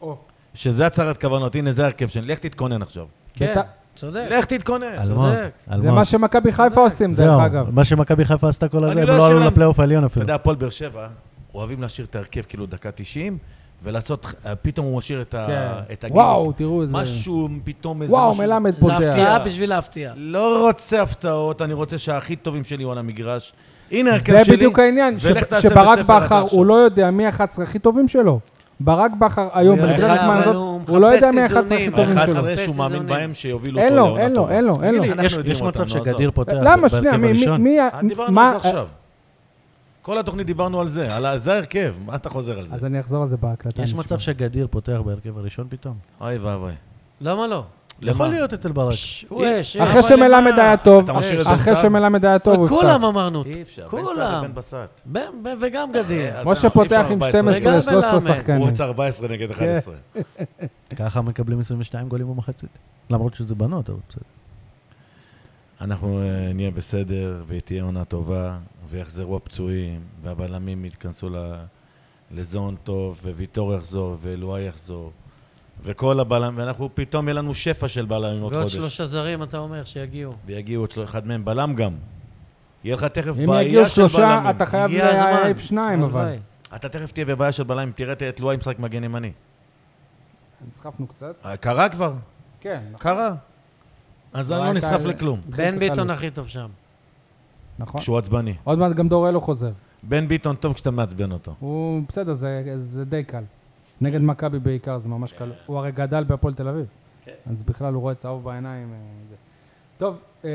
[SPEAKER 1] או.
[SPEAKER 4] שזה הצהרת כוונות, הנה זה ההרכב שלי. לך תתכונן עכשיו.
[SPEAKER 3] כן,
[SPEAKER 1] בת-
[SPEAKER 3] צודק.
[SPEAKER 4] לך תתכונן.
[SPEAKER 2] אלמוג,
[SPEAKER 3] צודק.
[SPEAKER 1] זה
[SPEAKER 2] אלמוג.
[SPEAKER 1] מה שמכבי חיפה עושים, דרך
[SPEAKER 2] זהו,
[SPEAKER 1] אגב.
[SPEAKER 2] מה שמכבי חיפה עשתה כל הזה,
[SPEAKER 4] אני
[SPEAKER 2] הם
[SPEAKER 4] לא
[SPEAKER 2] לא עלו
[SPEAKER 4] אשם.
[SPEAKER 2] לפלייאוף העליון
[SPEAKER 4] אתה
[SPEAKER 2] אפילו.
[SPEAKER 4] יודע, הפועל באר שבע, אוהבים להשאיר את ההרכב כאילו דקה 90, ולעשות, אה, פתאום הוא משאיר את ה-
[SPEAKER 1] כן.
[SPEAKER 4] את הגיל.
[SPEAKER 1] וואו, תראו איזה...
[SPEAKER 4] משהו, פתאום איזה
[SPEAKER 1] וואו,
[SPEAKER 4] משהו.
[SPEAKER 1] מלמד
[SPEAKER 3] זה
[SPEAKER 1] פותח.
[SPEAKER 3] הפתעה בשביל להפתיע.
[SPEAKER 4] לא רוצה הפתעות, אני רוצה שהכי טובים שלי יהיו על המגרש. הנה ההרכב
[SPEAKER 1] זה
[SPEAKER 4] שלי.
[SPEAKER 1] בדיוק העניין,
[SPEAKER 4] ולך
[SPEAKER 1] ש-
[SPEAKER 4] תעשה בית
[SPEAKER 1] שברק
[SPEAKER 4] ספר אתה
[SPEAKER 1] בכר, הוא
[SPEAKER 4] עכשיו.
[SPEAKER 1] לא יודע מי ה-11 הכי טובים שלו. ברק בכר היום,
[SPEAKER 3] הוא
[SPEAKER 1] בנקודת
[SPEAKER 4] יודע,
[SPEAKER 1] הזמן
[SPEAKER 3] אבל
[SPEAKER 1] הזאת,
[SPEAKER 3] הוא
[SPEAKER 1] הוא לא יודע
[SPEAKER 3] מחפש
[SPEAKER 1] מי ה-11 הכי
[SPEAKER 3] איזונים.
[SPEAKER 1] טובים
[SPEAKER 3] האחד
[SPEAKER 1] שלו.
[SPEAKER 3] עשרה.
[SPEAKER 4] ה-11 שהוא מאמין
[SPEAKER 3] איזונים.
[SPEAKER 4] בהם שיובילו
[SPEAKER 1] אין
[SPEAKER 4] אותו
[SPEAKER 1] לו,
[SPEAKER 4] לעונה
[SPEAKER 1] אין לו,
[SPEAKER 4] טובה.
[SPEAKER 1] אין לו, אין לו.
[SPEAKER 4] תגיד לי,
[SPEAKER 2] יש-
[SPEAKER 4] אנחנו
[SPEAKER 2] יש
[SPEAKER 4] יודעים
[SPEAKER 2] מצב
[SPEAKER 4] אותם, נו,
[SPEAKER 2] שגדיר
[SPEAKER 4] עזוב.
[SPEAKER 2] פותח
[SPEAKER 1] למה? שנייה,
[SPEAKER 2] בהרכב
[SPEAKER 1] מי- מי...
[SPEAKER 2] הראשון?
[SPEAKER 1] מי ה-
[SPEAKER 4] אה, דיברנו
[SPEAKER 1] מה-
[SPEAKER 4] על זה עכשיו. כל התוכנית דיברנו על זה, על ה- זה ההרכב, מה אתה חוזר על
[SPEAKER 1] אז
[SPEAKER 4] זה?
[SPEAKER 1] אני אחזור על זה בהקלטה.
[SPEAKER 2] יש
[SPEAKER 1] נשמע.
[SPEAKER 2] מצב שגדיר פותח בהרכב הראשון פתאום?
[SPEAKER 4] אוי ואבוי.
[SPEAKER 3] למה לא?
[SPEAKER 2] יכול להיות אצל ברק.
[SPEAKER 3] ש- הוא אש,
[SPEAKER 1] אחרי
[SPEAKER 3] אש.
[SPEAKER 5] אבל
[SPEAKER 1] שמלמד
[SPEAKER 5] למה?
[SPEAKER 1] היה טוב, אה,
[SPEAKER 5] אתה משאיר את בן
[SPEAKER 1] אחרי
[SPEAKER 5] סער?
[SPEAKER 1] שמלמד היה טוב, הוא יפתח.
[SPEAKER 3] אה, כולם אמרנו.
[SPEAKER 5] אי אפשר, בן סער
[SPEAKER 3] כולם.
[SPEAKER 5] ובן בסט.
[SPEAKER 3] ב- ב- וגם גדיר.
[SPEAKER 5] אז
[SPEAKER 1] משה
[SPEAKER 5] אי אפשר
[SPEAKER 1] פותח עם
[SPEAKER 5] 14.
[SPEAKER 1] 12,
[SPEAKER 3] וגם
[SPEAKER 1] 13
[SPEAKER 3] מלמד.
[SPEAKER 1] שחקנים.
[SPEAKER 5] הוא רוצה 14 נגד
[SPEAKER 1] כן.
[SPEAKER 5] 11.
[SPEAKER 2] ככה מקבלים 22 גולים במחצית. למרות שזה בנות, אבל בסדר.
[SPEAKER 4] אנחנו אה, נהיה בסדר, ותהיה עונה טובה, ויחזרו הפצועים, והבלמים יתכנסו ל- לזון טוב, וויטור יחזור, ואלוהי יחזור, וכל הבלמים, ואנחנו פתאום יהיה לנו שפע של בלמים עוד
[SPEAKER 3] ועוד
[SPEAKER 4] חודש.
[SPEAKER 3] שלושה זרים, אתה אומר, שיגיעו.
[SPEAKER 4] ויגיעו עוד שלושה, אחד מהם בלם גם. יהיה לך תכף
[SPEAKER 1] אם יגיעו
[SPEAKER 4] בעיה של
[SPEAKER 1] שלושה,
[SPEAKER 4] בלמים.
[SPEAKER 1] אתה חייב
[SPEAKER 3] הגיע הזמן.
[SPEAKER 1] להעיף שניים, אבל.
[SPEAKER 3] הלוואי.
[SPEAKER 4] אתה תכף תהיה בבעיה של בלמים, תראה את אלוהי משחק מגן ימני.
[SPEAKER 1] נסחפנו קצת.
[SPEAKER 4] אה, קרה כבר,
[SPEAKER 1] כן,
[SPEAKER 4] קרה. אז אני
[SPEAKER 1] לא
[SPEAKER 4] לא
[SPEAKER 1] הייתה-
[SPEAKER 4] נסחף לכלום,
[SPEAKER 3] בן ביטון
[SPEAKER 1] חלוץ.
[SPEAKER 3] הכי טוב שם.
[SPEAKER 1] נכון.
[SPEAKER 4] כשהוא עצבני.
[SPEAKER 1] עוד מעט גם דורלו חוזר.
[SPEAKER 4] בן ביטון טוב כשאתה מעצבן אותו.
[SPEAKER 1] הוא בסדר, זה- זה די קל. נגד מכבי בעיקר זה ממש קל. הוא הרי גדל בהפועל תל אביב. אז בכלל הוא רואה צהוב בעיניים. אה, זה. טוב, אה,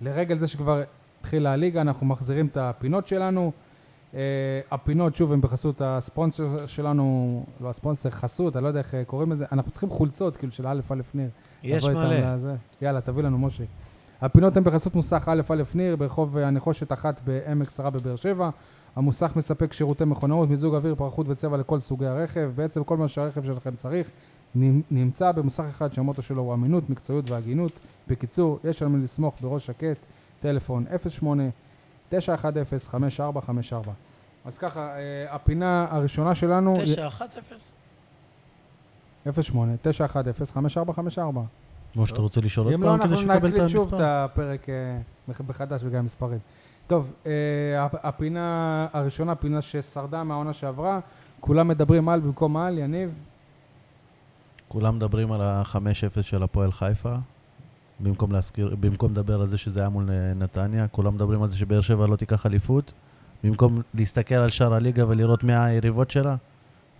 [SPEAKER 1] לרגל זה שכבר התחילה הליגה, אנחנו מחזירים את הפינות שלנו. אה, הפינות, שוב, הן בחסות הספונסר שלנו, לא הספונסר, חסות, אני לא יודע איך אה, קוראים לזה. אנחנו צריכים חולצות, כאילו, של א' א' ניר.
[SPEAKER 3] יש
[SPEAKER 1] תבוא איתם
[SPEAKER 3] מלא.
[SPEAKER 1] לזה. יאללה, תביא לנו, משה. הפינות הן בחסות מוסך א' א' ניר, ברחוב הנחושת אחת בעמק שרה בבאר שבע. המוסך מספק שירותי מכונאות, מיזוג אוויר, פרחות וצבע לכל סוגי הרכב. בעצם כל מה שהרכב שלכם צריך נמ- נמצא במוסך אחד שהמוטו שלו הוא אמינות, מקצועיות והגינות. בקיצור, יש על מי לסמוך בראש שקט, טלפון 08-910-5454. אז ככה, אה, הפינה הראשונה שלנו...
[SPEAKER 3] 9-1-0.
[SPEAKER 1] 08-910-5454.
[SPEAKER 2] או שאתה רוצה לשאול עוד
[SPEAKER 1] אם לא,
[SPEAKER 2] פעם
[SPEAKER 1] אנחנו
[SPEAKER 2] כדי שתקבל את
[SPEAKER 1] נקליט שוב את
[SPEAKER 2] המספר.
[SPEAKER 1] הפרק אה, מח- מחדש בגלל המספרים. טוב, אה, הפ- הפינה הראשונה, פינה ששרדה מהעונה שעברה, כולם מדברים על במקום על, יניב.
[SPEAKER 2] כולם מדברים על ה-5-0 של הפועל חיפה. במקום להזכיר, במקום לדבר על זה שזה היה מול אה, נתניה, כולם מדברים על זה שבאר שבע לא תיקח אליפות. במקום להסתכל על שאר הליגה ולראות מי היריבות שלה.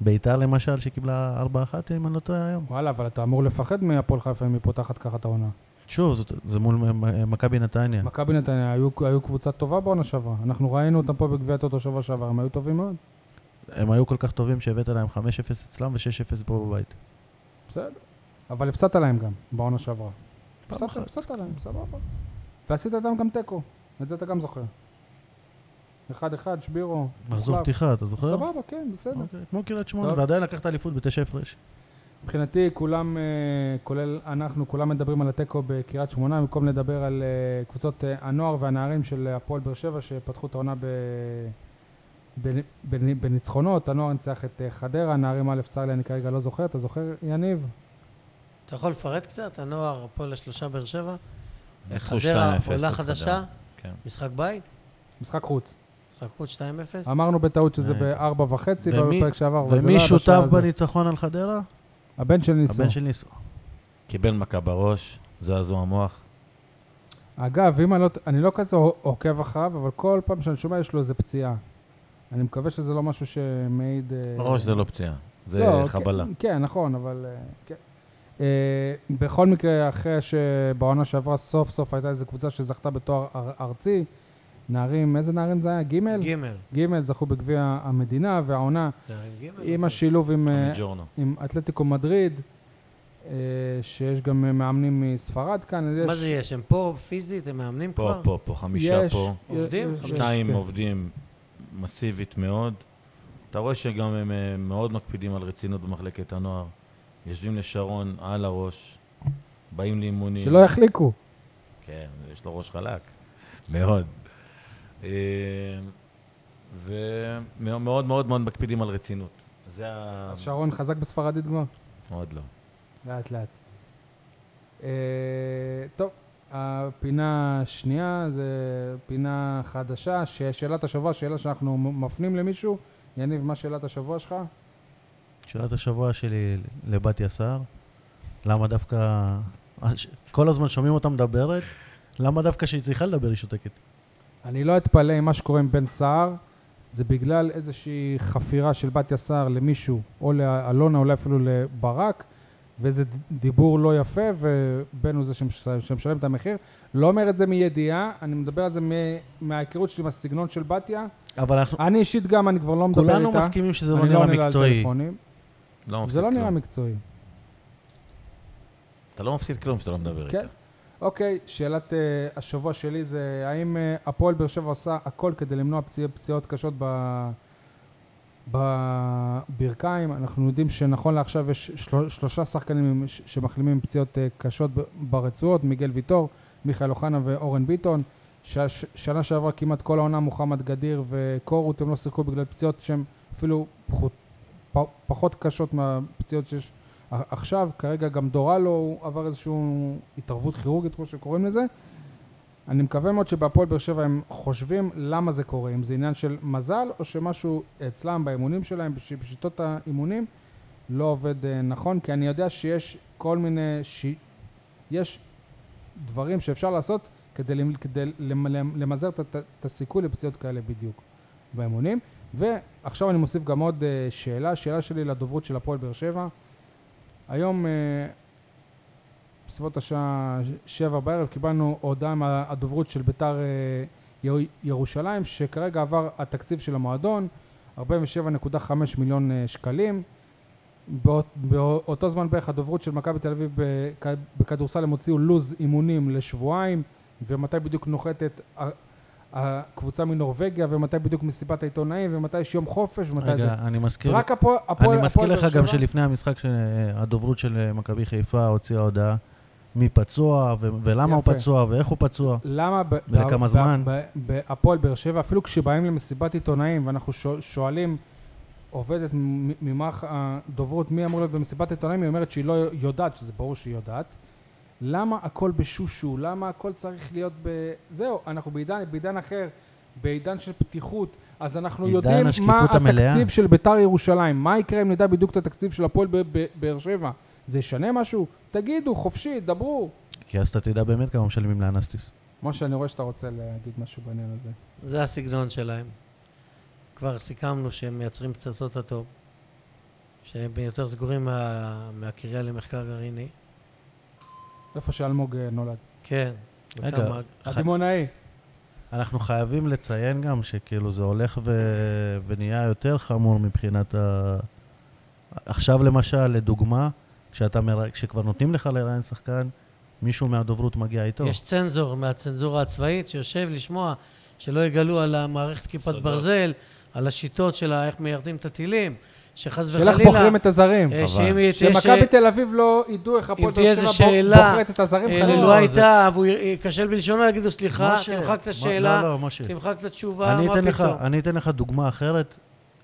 [SPEAKER 2] ביתר למשל, שקיבלה 4-1, אם אני לא טועה היום.
[SPEAKER 1] וואלה, אבל אתה אמור לפחד מהפועל חיפה אם היא פותחת ככה את העונה.
[SPEAKER 2] שוב, זאת- זה מול מ- מ- מכבי נתניה.
[SPEAKER 1] מכבי נתניה היו- היו קבוצה טובה בעונה שעברה. אנחנו ראינו אותם פה בגביע הטוטו שבוע שעבר, הם היו טובים מאוד.
[SPEAKER 2] הם היו כל כך טובים שהבאת להם 5-0 אצלם ו-6-0 פה בבית.
[SPEAKER 1] בסדר. אבל הפסדת להם גם, בעונה שעברה.
[SPEAKER 2] פעם
[SPEAKER 1] הפסדת-
[SPEAKER 2] אחת.
[SPEAKER 1] הפסדת להם, סבבה. ועשית איתם גם תיקו, את זה אתה גם זוכר. אחד אחד, שבירו.
[SPEAKER 2] מחזור
[SPEAKER 1] הוחלף.
[SPEAKER 2] פתיחה, אתה זוכר?
[SPEAKER 1] סבבה, כן, בסדר.
[SPEAKER 2] אוקיי, כמו קריית שמונה,
[SPEAKER 1] טוב.
[SPEAKER 2] ועדיין לקחת אליפות בתשע הפרש.
[SPEAKER 1] מבחינתי, כולם, אה, כולל אנחנו, כולם מדברים על התיקו בקריית שמונה, במקום לדבר על אה, קבוצות אה, הנוער והנערים של הפועל באר שבע, שפתחו את העונה ב... בנ- בנ- בניצחונות, הנוער ניצח את אה, חדרה, הנערים א' צר לי, אני כרגע לא זוכר, אתה זוכר, יניב?
[SPEAKER 3] אתה יכול לפרט קצת? הנוער, הפועל השלושה באר שבע.
[SPEAKER 4] ניצחו
[SPEAKER 3] חדרה,
[SPEAKER 4] 2-0
[SPEAKER 3] עולה
[SPEAKER 4] את
[SPEAKER 3] חדשה.
[SPEAKER 4] חדרה. כן.
[SPEAKER 3] משחק בית.
[SPEAKER 1] משחק חוץ.
[SPEAKER 3] משחק חוץ 2-0.
[SPEAKER 1] אמרנו בטעות שזה
[SPEAKER 2] אה.
[SPEAKER 1] בארבע וחצי, לא
[SPEAKER 2] ומי-
[SPEAKER 1] בפרק שעבר, אבל זה לא
[SPEAKER 2] ומי
[SPEAKER 1] היה בשעה
[SPEAKER 2] שותף
[SPEAKER 1] הזו.
[SPEAKER 2] בניצחון על חדרה?
[SPEAKER 1] הבן של ניסו.
[SPEAKER 2] הבן של ניסו.
[SPEAKER 4] קיבל מכה בראש, זעזוע המוח.
[SPEAKER 1] אגב, אם אני לא, אני לא כזה עוקב אחריו, אבל כל פעם שאני שומע יש לו איזה פציעה. אני מקווה שזה לא משהו שמעיד... אה,
[SPEAKER 4] ראש זה לא פציעה, זה
[SPEAKER 1] לא,
[SPEAKER 4] חבלה.
[SPEAKER 1] כן, כן, נכון, אבל... אה, כן. אה, בכל מקרה, אחרי שבעונה שעברה סוף סוף הייתה איזו קבוצה שזכתה בתואר אר- ארצי, נערים, איזה נערים זה היה? גימל?
[SPEAKER 3] גימל.
[SPEAKER 1] גימל זכו בגביע המדינה, והעונה
[SPEAKER 3] נערים גימל.
[SPEAKER 1] עם השילוב עם, אה,
[SPEAKER 4] ג'ורנו.
[SPEAKER 1] עם אתלטיקו מדריד, אה, שיש גם אה, מאמנים מספרד כאן. אז
[SPEAKER 3] מה
[SPEAKER 1] יש-
[SPEAKER 3] זה יש? הם פה פיזית? הם מאמנים
[SPEAKER 4] פה,
[SPEAKER 3] כבר?
[SPEAKER 4] פה, פה, חמישה
[SPEAKER 1] יש-
[SPEAKER 4] פה.
[SPEAKER 3] עובדים?
[SPEAKER 1] יש-
[SPEAKER 4] שניים
[SPEAKER 1] כן.
[SPEAKER 4] עובדים מסיבית מאוד. אתה רואה שגם הם אה, מאוד מקפידים על רצינות במחלקת הנוער. יושבים לשרון על הראש, באים לאימונים.
[SPEAKER 1] שלא יחליקו.
[SPEAKER 4] כן, יש לו ראש חלק. מאוד. אה, ומאוד מאוד מאוד מקפידים על רצינות. זה ה...
[SPEAKER 1] אז שרון חזק בספרדית כבר?
[SPEAKER 4] עוד לא.
[SPEAKER 1] לאט לאט. אה, טוב, הפינה השנייה זה פינה חדשה, ששאלת השבוע, שאלה שאנחנו מ- מפנים למישהו. יניב, מה שאלת השבוע שלך?
[SPEAKER 2] שאלת השבוע שלי לבת יסר, למה דווקא... כל הזמן שומעים אותה מדברת, למה דווקא כשהיא צריכה לדבר היא שותקת?
[SPEAKER 1] אני לא אתפלא אם מה שקורה עם בן סער, זה בגלל איזושהי חפירה של בתיה סער למישהו, או לאלונה, אולי אפילו לברק, ואיזה דיבור לא יפה, ובן הוא זה שמש- שמשלם את המחיר. לא אומר את זה מידיעה, אני מדבר על זה מ- מההיכרות שלי עם הסגנון של בתיה.
[SPEAKER 2] אבל אנחנו...
[SPEAKER 1] אני אישית גם, אה, אני כבר לא מדבר איתה.
[SPEAKER 2] כולנו מסכימים שזה
[SPEAKER 1] אני
[SPEAKER 2] לא נראה לא
[SPEAKER 1] עונה לה על לא
[SPEAKER 2] מקצועי.
[SPEAKER 1] טלפונים.
[SPEAKER 4] לא מפסיק
[SPEAKER 1] זה לא נראה
[SPEAKER 4] כלום.
[SPEAKER 1] מקצועי.
[SPEAKER 4] אתה לא מפסיד כלום כשאתה לא מדבר
[SPEAKER 1] כן.
[SPEAKER 4] איתה.
[SPEAKER 1] אוקיי, שאלת אה, השבוע שלי זה, האם אה, הפועל באר שבע עושה הכל כדי למנוע פציע- פציעות קשות ב- בברכיים? אנחנו יודעים שנכון לעכשיו יש של- שלושה שחקנים עם- ש- שמחלימים עם פציעות אה, קשות ב- ברצועות, מיגל ויטור, מיכאל אוחנה ואורן ביטון. ש- ש- שנה שעברה כמעט כל העונה מוחמד גדיר וקורות הם לא שיחקו בגלל פציעות שהן אפילו פחות, פ- פחות קשות מהפציעות שיש עכשיו, כרגע גם דורלו הוא עבר איזושהי התערבות כירורגית, כמו שקוראים לזה. אני מקווה מאוד שבהפועל באר שבע הם חושבים למה זה קורה, אם זה עניין של מזל או שמשהו אצלם באימונים שלהם, בש- בשיטות האימונים, לא עובד אה, נכון, כי אני יודע שיש כל מיני, ש... יש דברים שאפשר לעשות כדי, למ- כדי למ- למ- למזער את ה- את הסיכוי לפציעות כאלה בדיוק באימונים. ועכשיו אני מוסיף גם עוד אה, שאלה, שאלה שלי לדוברות של הפועל באר שבע. היום, אה, בסביבות השעה ש- שבע בערב, קיבלנו הודעה מהדוברות של בית"ר אה, יר- ירושלים, שכרגע עבר התקציב של המועדון, 47.5 מיליון אה, שקלים. באות- באותו זמן בערך הדוברות של מכבי תל אביב בכ- בכדורסל הם הוציאו לו"ז אימונים לשבועיים, ומתי בדיוק נוחתת ה- הקבוצה מנורבגיה, ומתי בדיוק מסיבת העיתונאים, ומתי יש יום חופש, ומתי זה.
[SPEAKER 2] רגע, אני מזכיר...
[SPEAKER 1] רק הפועל הפועל-
[SPEAKER 2] אני מזכיר
[SPEAKER 1] הפועל
[SPEAKER 2] לך
[SPEAKER 1] באר
[SPEAKER 2] גם
[SPEAKER 1] שבע-
[SPEAKER 2] שלפני המשחק שהדוברות של אה, מכבי חיפה הוציאה הודעה מי פצוע, ו- ולמה הוא
[SPEAKER 1] יפה.
[SPEAKER 2] פצוע, ואיך הוא פצוע.
[SPEAKER 1] למה ב-
[SPEAKER 2] ולכמה
[SPEAKER 1] ב-
[SPEAKER 2] זמן?
[SPEAKER 1] ב- בהפועל באר שבע, אפילו כשבאים למסיבת עיתונאים ואנחנו שו- שואלים עובדת מ- ממערך הדוברות מי אמור להיות במסיבת עיתונאים, היא אומרת שהיא לא יודעת, שזה ברור שהיא יודעת. למה הכל בשושו? למה הכל צריך להיות ב... זהו, אנחנו בעידן, בעידן אחר, בעידן של פתיחות, אז אנחנו
[SPEAKER 2] עידן
[SPEAKER 1] יודעים מה
[SPEAKER 2] השקיפות המלאה.
[SPEAKER 1] התקציב של ביתר ירושלים. מה יקרה אם נדע בדיוק את התקציב של הפועל ב- ב- באר שבע? זה ישנה משהו? תגידו, חופשי, דברו.
[SPEAKER 2] כי אז אתה תדע באמת כמה משלמים לאנסטיס.
[SPEAKER 1] משה, אני רואה שאתה רוצה להגיד משהו בעניין הזה.
[SPEAKER 3] זה הסגנון שלהם. כבר סיכמנו שהם מייצרים פצצות אטום, שהם יותר סגורים מה, מהקריה למחקר גרעיני.
[SPEAKER 1] איפה שאלמוג אה, נולד.
[SPEAKER 3] כן.
[SPEAKER 2] רגע,
[SPEAKER 3] וכמה-
[SPEAKER 2] ח-
[SPEAKER 1] הדימונאי.
[SPEAKER 2] אנחנו חייבים לציין גם שכאילו זה הולך ו... ונהיה יותר חמור מבחינת ה... עכשיו למשל, לדוגמה, כשאתה מר... כשכבר נותנים לך לראיין שחקן, מישהו מהדוברות מגיע איתו.
[SPEAKER 3] יש צנזור מהצנזורה הצבאית שיושב לשמוע שלא יגלו על המערכת כיפת
[SPEAKER 4] סודות.
[SPEAKER 3] ברזל, על השיטות שלה, איך מיירדים את הטילים, שחס
[SPEAKER 1] של איך
[SPEAKER 3] וחלילה...
[SPEAKER 1] בוחרים את הזרים.
[SPEAKER 3] אה,
[SPEAKER 4] חבל.
[SPEAKER 3] שאם תהיה ש-
[SPEAKER 1] שמכבי תל אביב לא ידעו איך הפועל
[SPEAKER 3] תהיה
[SPEAKER 1] באר
[SPEAKER 3] איזה
[SPEAKER 1] שבע בוח-
[SPEAKER 3] שאלה,
[SPEAKER 1] בוחרת את הזרים
[SPEAKER 3] אה,
[SPEAKER 1] חלילה.
[SPEAKER 3] לו
[SPEAKER 2] לא,
[SPEAKER 3] הייתה, והוא י- ייכשל בלשונו, יגידו, סליחה,
[SPEAKER 2] משה,
[SPEAKER 3] תמחק את
[SPEAKER 2] מה-
[SPEAKER 3] השאלה,
[SPEAKER 2] לא, לא, משה.
[SPEAKER 3] תמחק את התשובה,
[SPEAKER 2] אני
[SPEAKER 3] מה
[SPEAKER 2] אתן, לך,
[SPEAKER 3] פתאום?
[SPEAKER 2] אני אתן לך דוגמה אחרת.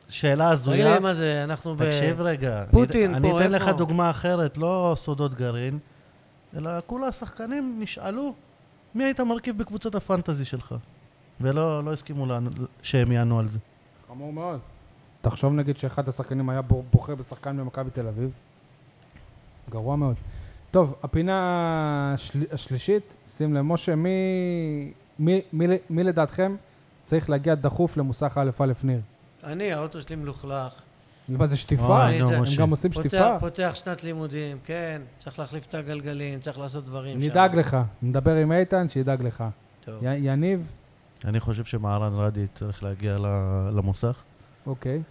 [SPEAKER 2] שאלה הזויה.
[SPEAKER 3] תגיד מה זה, אנחנו ב...
[SPEAKER 2] תקשיב רגע. אני-
[SPEAKER 3] פוטין
[SPEAKER 2] אני
[SPEAKER 3] פה,
[SPEAKER 2] אתן
[SPEAKER 3] איפה?
[SPEAKER 2] לך דוגמה אחרת, לא סודות גרעין, אלא כולה השחקנים נשאלו מי היית מרכיב בקבוצת הפנטזי שלך. ולא לא הסכימו לענו- שהם יענו על זה.
[SPEAKER 1] חמור מאוד. תחשוב נגיד שאחד השחקנים היה בור- בוחר בשחקן במכבי תל אביב. גרוע מאוד. טוב, הפינה השל... השלישית, שים לב, משה, מי... מי, מי, מי לדעתכם צריך להגיע דחוף למוסך א' ניר?
[SPEAKER 3] אני, האוטו שלי מלוכלך.
[SPEAKER 1] מה זה שטיפה?
[SPEAKER 2] אוי, נו,
[SPEAKER 3] הם
[SPEAKER 1] הם
[SPEAKER 2] משה.
[SPEAKER 1] גם עושים
[SPEAKER 3] פותח-
[SPEAKER 1] שטיפה?
[SPEAKER 3] פותח שנת לימודים, כן, צריך להחליף את הגלגלים, צריך לעשות דברים שם.
[SPEAKER 1] נדאג לך. נדבר עם איתן, שידאג לך.
[SPEAKER 3] טוב.
[SPEAKER 1] י- יניב,
[SPEAKER 2] אני חושב שמהרן רדי צריך להגיע ל- למוסך.
[SPEAKER 1] אוקיי.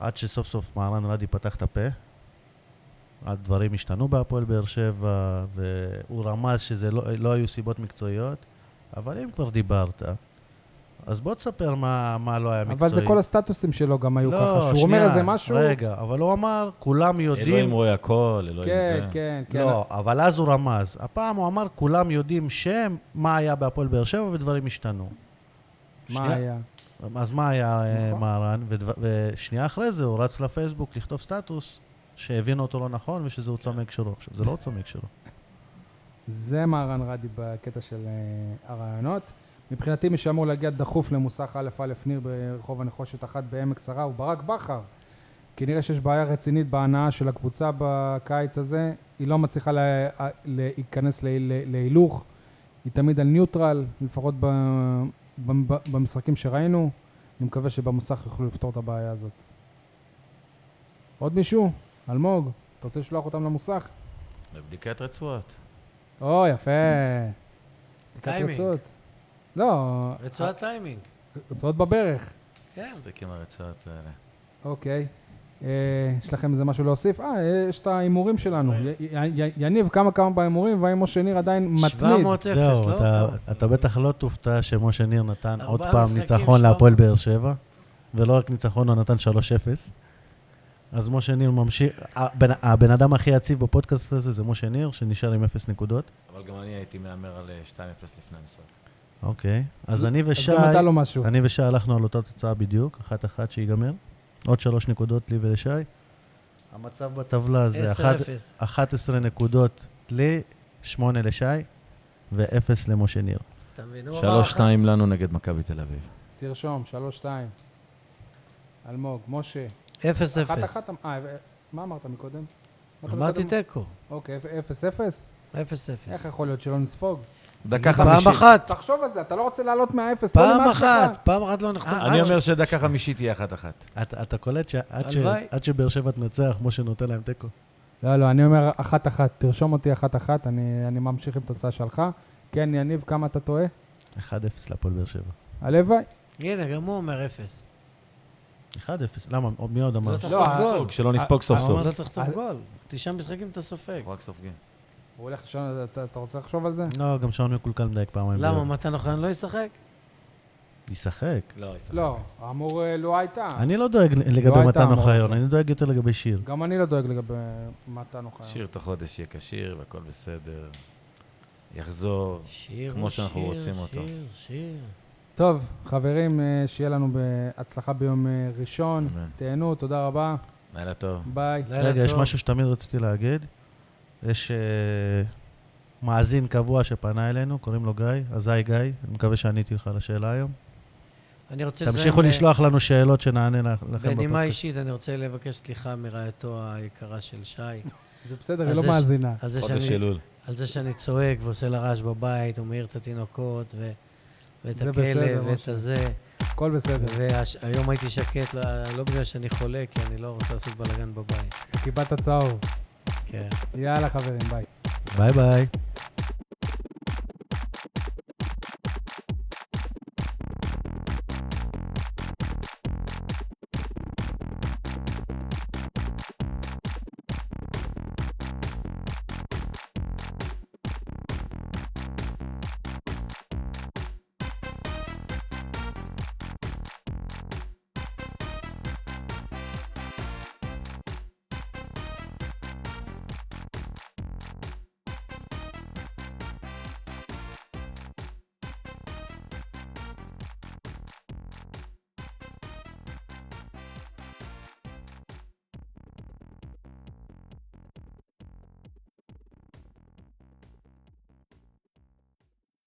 [SPEAKER 2] עד שסוף סוף מהרן רדי פתח את הפה. הדברים השתנו בהפועל באר שבע, והוא רמז שזה לא, לא היו סיבות מקצועיות, אבל אם כבר דיברת, אז בוא תספר מה, מה לא היה מקצועי.
[SPEAKER 1] אבל זה כל הסטטוסים שלו גם היו
[SPEAKER 2] לא,
[SPEAKER 1] ככה. שהוא
[SPEAKER 2] שנייה,
[SPEAKER 1] אומר איזה משהו...
[SPEAKER 2] רגע, אבל הוא אמר,
[SPEAKER 4] אלוהים
[SPEAKER 2] כולם יודעים...
[SPEAKER 4] רואה הכל, אלוהים
[SPEAKER 1] כן,
[SPEAKER 4] זה.
[SPEAKER 1] כן, כן.
[SPEAKER 2] לא, אבל אז הוא רמז. הפעם הוא אמר, כולם יודעים שם, מה היה בהפועל באר שבע ודברים השתנו.
[SPEAKER 1] מה
[SPEAKER 2] שנייה.
[SPEAKER 1] היה?
[SPEAKER 2] אז מה היה אה,
[SPEAKER 1] נכון.
[SPEAKER 2] מהרן? ודבר- ושנייה אחרי זה הוא רץ לפייסבוק לכתוב סטטוס שהבינו אותו לא נכון ושזה הוא צמק שלו. עכשיו, זה לא הוא צמק שלו.
[SPEAKER 1] זה מהרן רדי בקטע של אה, הרעיונות. מבחינתי מי שאמור להגיע דחוף למוסך א' א' ניר ברחוב הנחושת אחת בעמק שרה הוא ברק בכר. כנראה שיש בעיה רצינית בהנאה של הקבוצה בקיץ הזה. היא לא מצליחה לה- להיכנס לה- לה- להילוך. היא תמיד על ניוטרל, לפחות ב- ב- ב- במשחקים שראינו. אני מקווה שבמוסך יוכלו לפתור את הבעיה הזאת. עוד מישהו? אלמוג, אתה רוצה לשלוח אותם למוסך?
[SPEAKER 4] לבדיקת רצועות.
[SPEAKER 1] או, יפה. בדיקת
[SPEAKER 3] טיימינג.
[SPEAKER 1] רצועות. לא,
[SPEAKER 3] רצועת טיימינג,
[SPEAKER 1] רצועות בברך.
[SPEAKER 3] כן.
[SPEAKER 4] מספיק עם הרצועות האלה.
[SPEAKER 1] אוקיי. אה, יש לכם איזה משהו להוסיף? אה, אה, יש את ההימורים שלנו. י- י- י- יניב כמה כמה בהימורים, והאם משה ניר עדיין מתמיד.
[SPEAKER 3] 700 0,
[SPEAKER 2] זהו,
[SPEAKER 3] לא?
[SPEAKER 2] אתה-
[SPEAKER 3] כמה?
[SPEAKER 2] אתה בטח לא תופתע שמשה ניר נתן
[SPEAKER 3] ארבעה
[SPEAKER 2] עוד פעם
[SPEAKER 3] משחקים,
[SPEAKER 2] ניצחון
[SPEAKER 3] 700.
[SPEAKER 2] להפועל באר שבע, ולא רק ניצחון, הוא נתן 3-0. אז משה ניר ממשיך, הבן, הבן אדם הכי יציב בפודקאסט הזה זה משה ניר, שנשאר עם 0 נקודות.
[SPEAKER 4] אבל גם אני הייתי מהמר על אה, 2-0 לפני המשחק.
[SPEAKER 2] אוקיי, אז אני
[SPEAKER 1] אז
[SPEAKER 2] ושי,
[SPEAKER 1] גם אתה לא משהו.
[SPEAKER 2] אני ושי הלכנו על אותה תוצאה בדיוק, אחת-אחת שיגמר. עוד שלוש נקודות לי ולשי. המצב בטבלה זה
[SPEAKER 3] 10-0.
[SPEAKER 2] אחת- 11 נקודות לי, 8 לשי ו-0 למשה ניר.
[SPEAKER 3] אתה מבין? הוא אמר לך-
[SPEAKER 4] 3-2 לנו נגד מכבי תל אביב.
[SPEAKER 1] תרשום, שלוש, שתיים. אלמוג, משה. אחת
[SPEAKER 3] 0 0.
[SPEAKER 1] אחת, אה, ו- מה אמרת מקודם? אמרת
[SPEAKER 3] אמרתי
[SPEAKER 1] מקודם-
[SPEAKER 3] תיקו.
[SPEAKER 1] אוקיי, אפס אפס?
[SPEAKER 3] 0
[SPEAKER 1] איך
[SPEAKER 3] 0.
[SPEAKER 1] יכול להיות שלא נספוג?
[SPEAKER 4] דקה
[SPEAKER 3] פעם
[SPEAKER 4] חמישית.
[SPEAKER 3] אחת,
[SPEAKER 1] תחשוב על זה, אתה לא רוצה לעלות מהאפס. לא
[SPEAKER 3] פעם
[SPEAKER 1] נמאס לך?
[SPEAKER 3] אחת, פעם אחת לא נחתום.
[SPEAKER 4] אני אומר שדקה חמישית תהיה אחת-אחת.
[SPEAKER 2] אתה, אתה קולט שעד ש-
[SPEAKER 3] הלוואי.
[SPEAKER 2] עד שבאר שבע תנצח, משה נותן להם תיקו.
[SPEAKER 1] לא, לא, אני אומר אחת אחת. תרשום אותי אחת אחת, אני אני ממשיך עם תוצאה שלך. כן, יניב, כמה אתה טועה?
[SPEAKER 2] 1-0 להפועל באר שבע.
[SPEAKER 1] הלוואי.
[SPEAKER 3] הנה, גם הוא אומר 0.
[SPEAKER 2] 1-0, למה? עוד- מי עוד אמר?
[SPEAKER 3] לא
[SPEAKER 1] לא,
[SPEAKER 3] תחטוף גול.
[SPEAKER 4] שלא נספוג סוף נכון, סוף.
[SPEAKER 3] לא תחטוף
[SPEAKER 1] אז-
[SPEAKER 3] גול. תשעה משחקים אתה סופג.
[SPEAKER 4] אנחנו רק סופגים.
[SPEAKER 1] הוא הולך לישון, אתה אתה רוצה לחשוב על זה?
[SPEAKER 2] לא, גם שעון מקולקל מדייק פעמיים.
[SPEAKER 3] למה,
[SPEAKER 2] ביום.
[SPEAKER 3] מתן אוחיון לא ישחק?
[SPEAKER 2] ישחק.
[SPEAKER 4] לא, ישראל.
[SPEAKER 1] לא, אמור אה, לו הייתה.
[SPEAKER 2] אני לא דואג לגבי
[SPEAKER 1] הייתה
[SPEAKER 2] מתן
[SPEAKER 1] אמורה.
[SPEAKER 2] אוחיון, אני דואג יותר לגבי שיר.
[SPEAKER 1] גם אני לא דואג לגבי מתן אוחיון.
[SPEAKER 4] אה. שיר את החודש יהיה כשיר והכל בסדר. יחזור.
[SPEAKER 3] שיר,
[SPEAKER 4] כמו שאנחנו
[SPEAKER 3] שיר,
[SPEAKER 4] רוצים אותו.
[SPEAKER 3] שיר, שיר.
[SPEAKER 1] טוב, חברים, אה, שיהיה לנו בהצלחה ביום אה, ראשון.
[SPEAKER 4] אמן.
[SPEAKER 1] תהנו, תודה רבה.
[SPEAKER 4] לילה טוב.
[SPEAKER 1] ביי.
[SPEAKER 3] לילה
[SPEAKER 2] רגע, יש
[SPEAKER 3] טוב.
[SPEAKER 2] משהו שתמיד רציתי להגיד. יש אה, מאזין קבוע שפנה אלינו, קוראים לו גיא. אז היי גיא, אני מקווה שעניתי לך על השאלה היום.
[SPEAKER 3] אני רוצה לציין
[SPEAKER 2] תמשיכו
[SPEAKER 3] ב-
[SPEAKER 2] לשלוח לנו שאלות שנענה לכ- לכם
[SPEAKER 3] בנימה
[SPEAKER 2] בפודקאסט.
[SPEAKER 3] אישית, אני רוצה לבקש סליחה מרעייתו היקרה של שי,
[SPEAKER 1] זה בסדר,
[SPEAKER 3] אז
[SPEAKER 1] היא לא
[SPEAKER 3] יש-
[SPEAKER 1] מאזינה.
[SPEAKER 3] על זה
[SPEAKER 4] חודש
[SPEAKER 3] שאני-
[SPEAKER 4] אלול.
[SPEAKER 3] על זה שאני צועק ועושה לה רעש בבית, ומעיר את התינוקות, ו- ואת
[SPEAKER 1] זה בסדר,
[SPEAKER 3] הכלב, ואת
[SPEAKER 1] משה.
[SPEAKER 3] הזה.
[SPEAKER 1] הכל בסדר.
[SPEAKER 3] והיום הייתי שקט, לא- לא בגלל שאני חולה, כי אני לא רוצה לעשות בלאגן בבית.
[SPEAKER 1] קיבלת צהוב.
[SPEAKER 3] כן.
[SPEAKER 1] יאללה, חברים, ביי.
[SPEAKER 2] ביי ביי.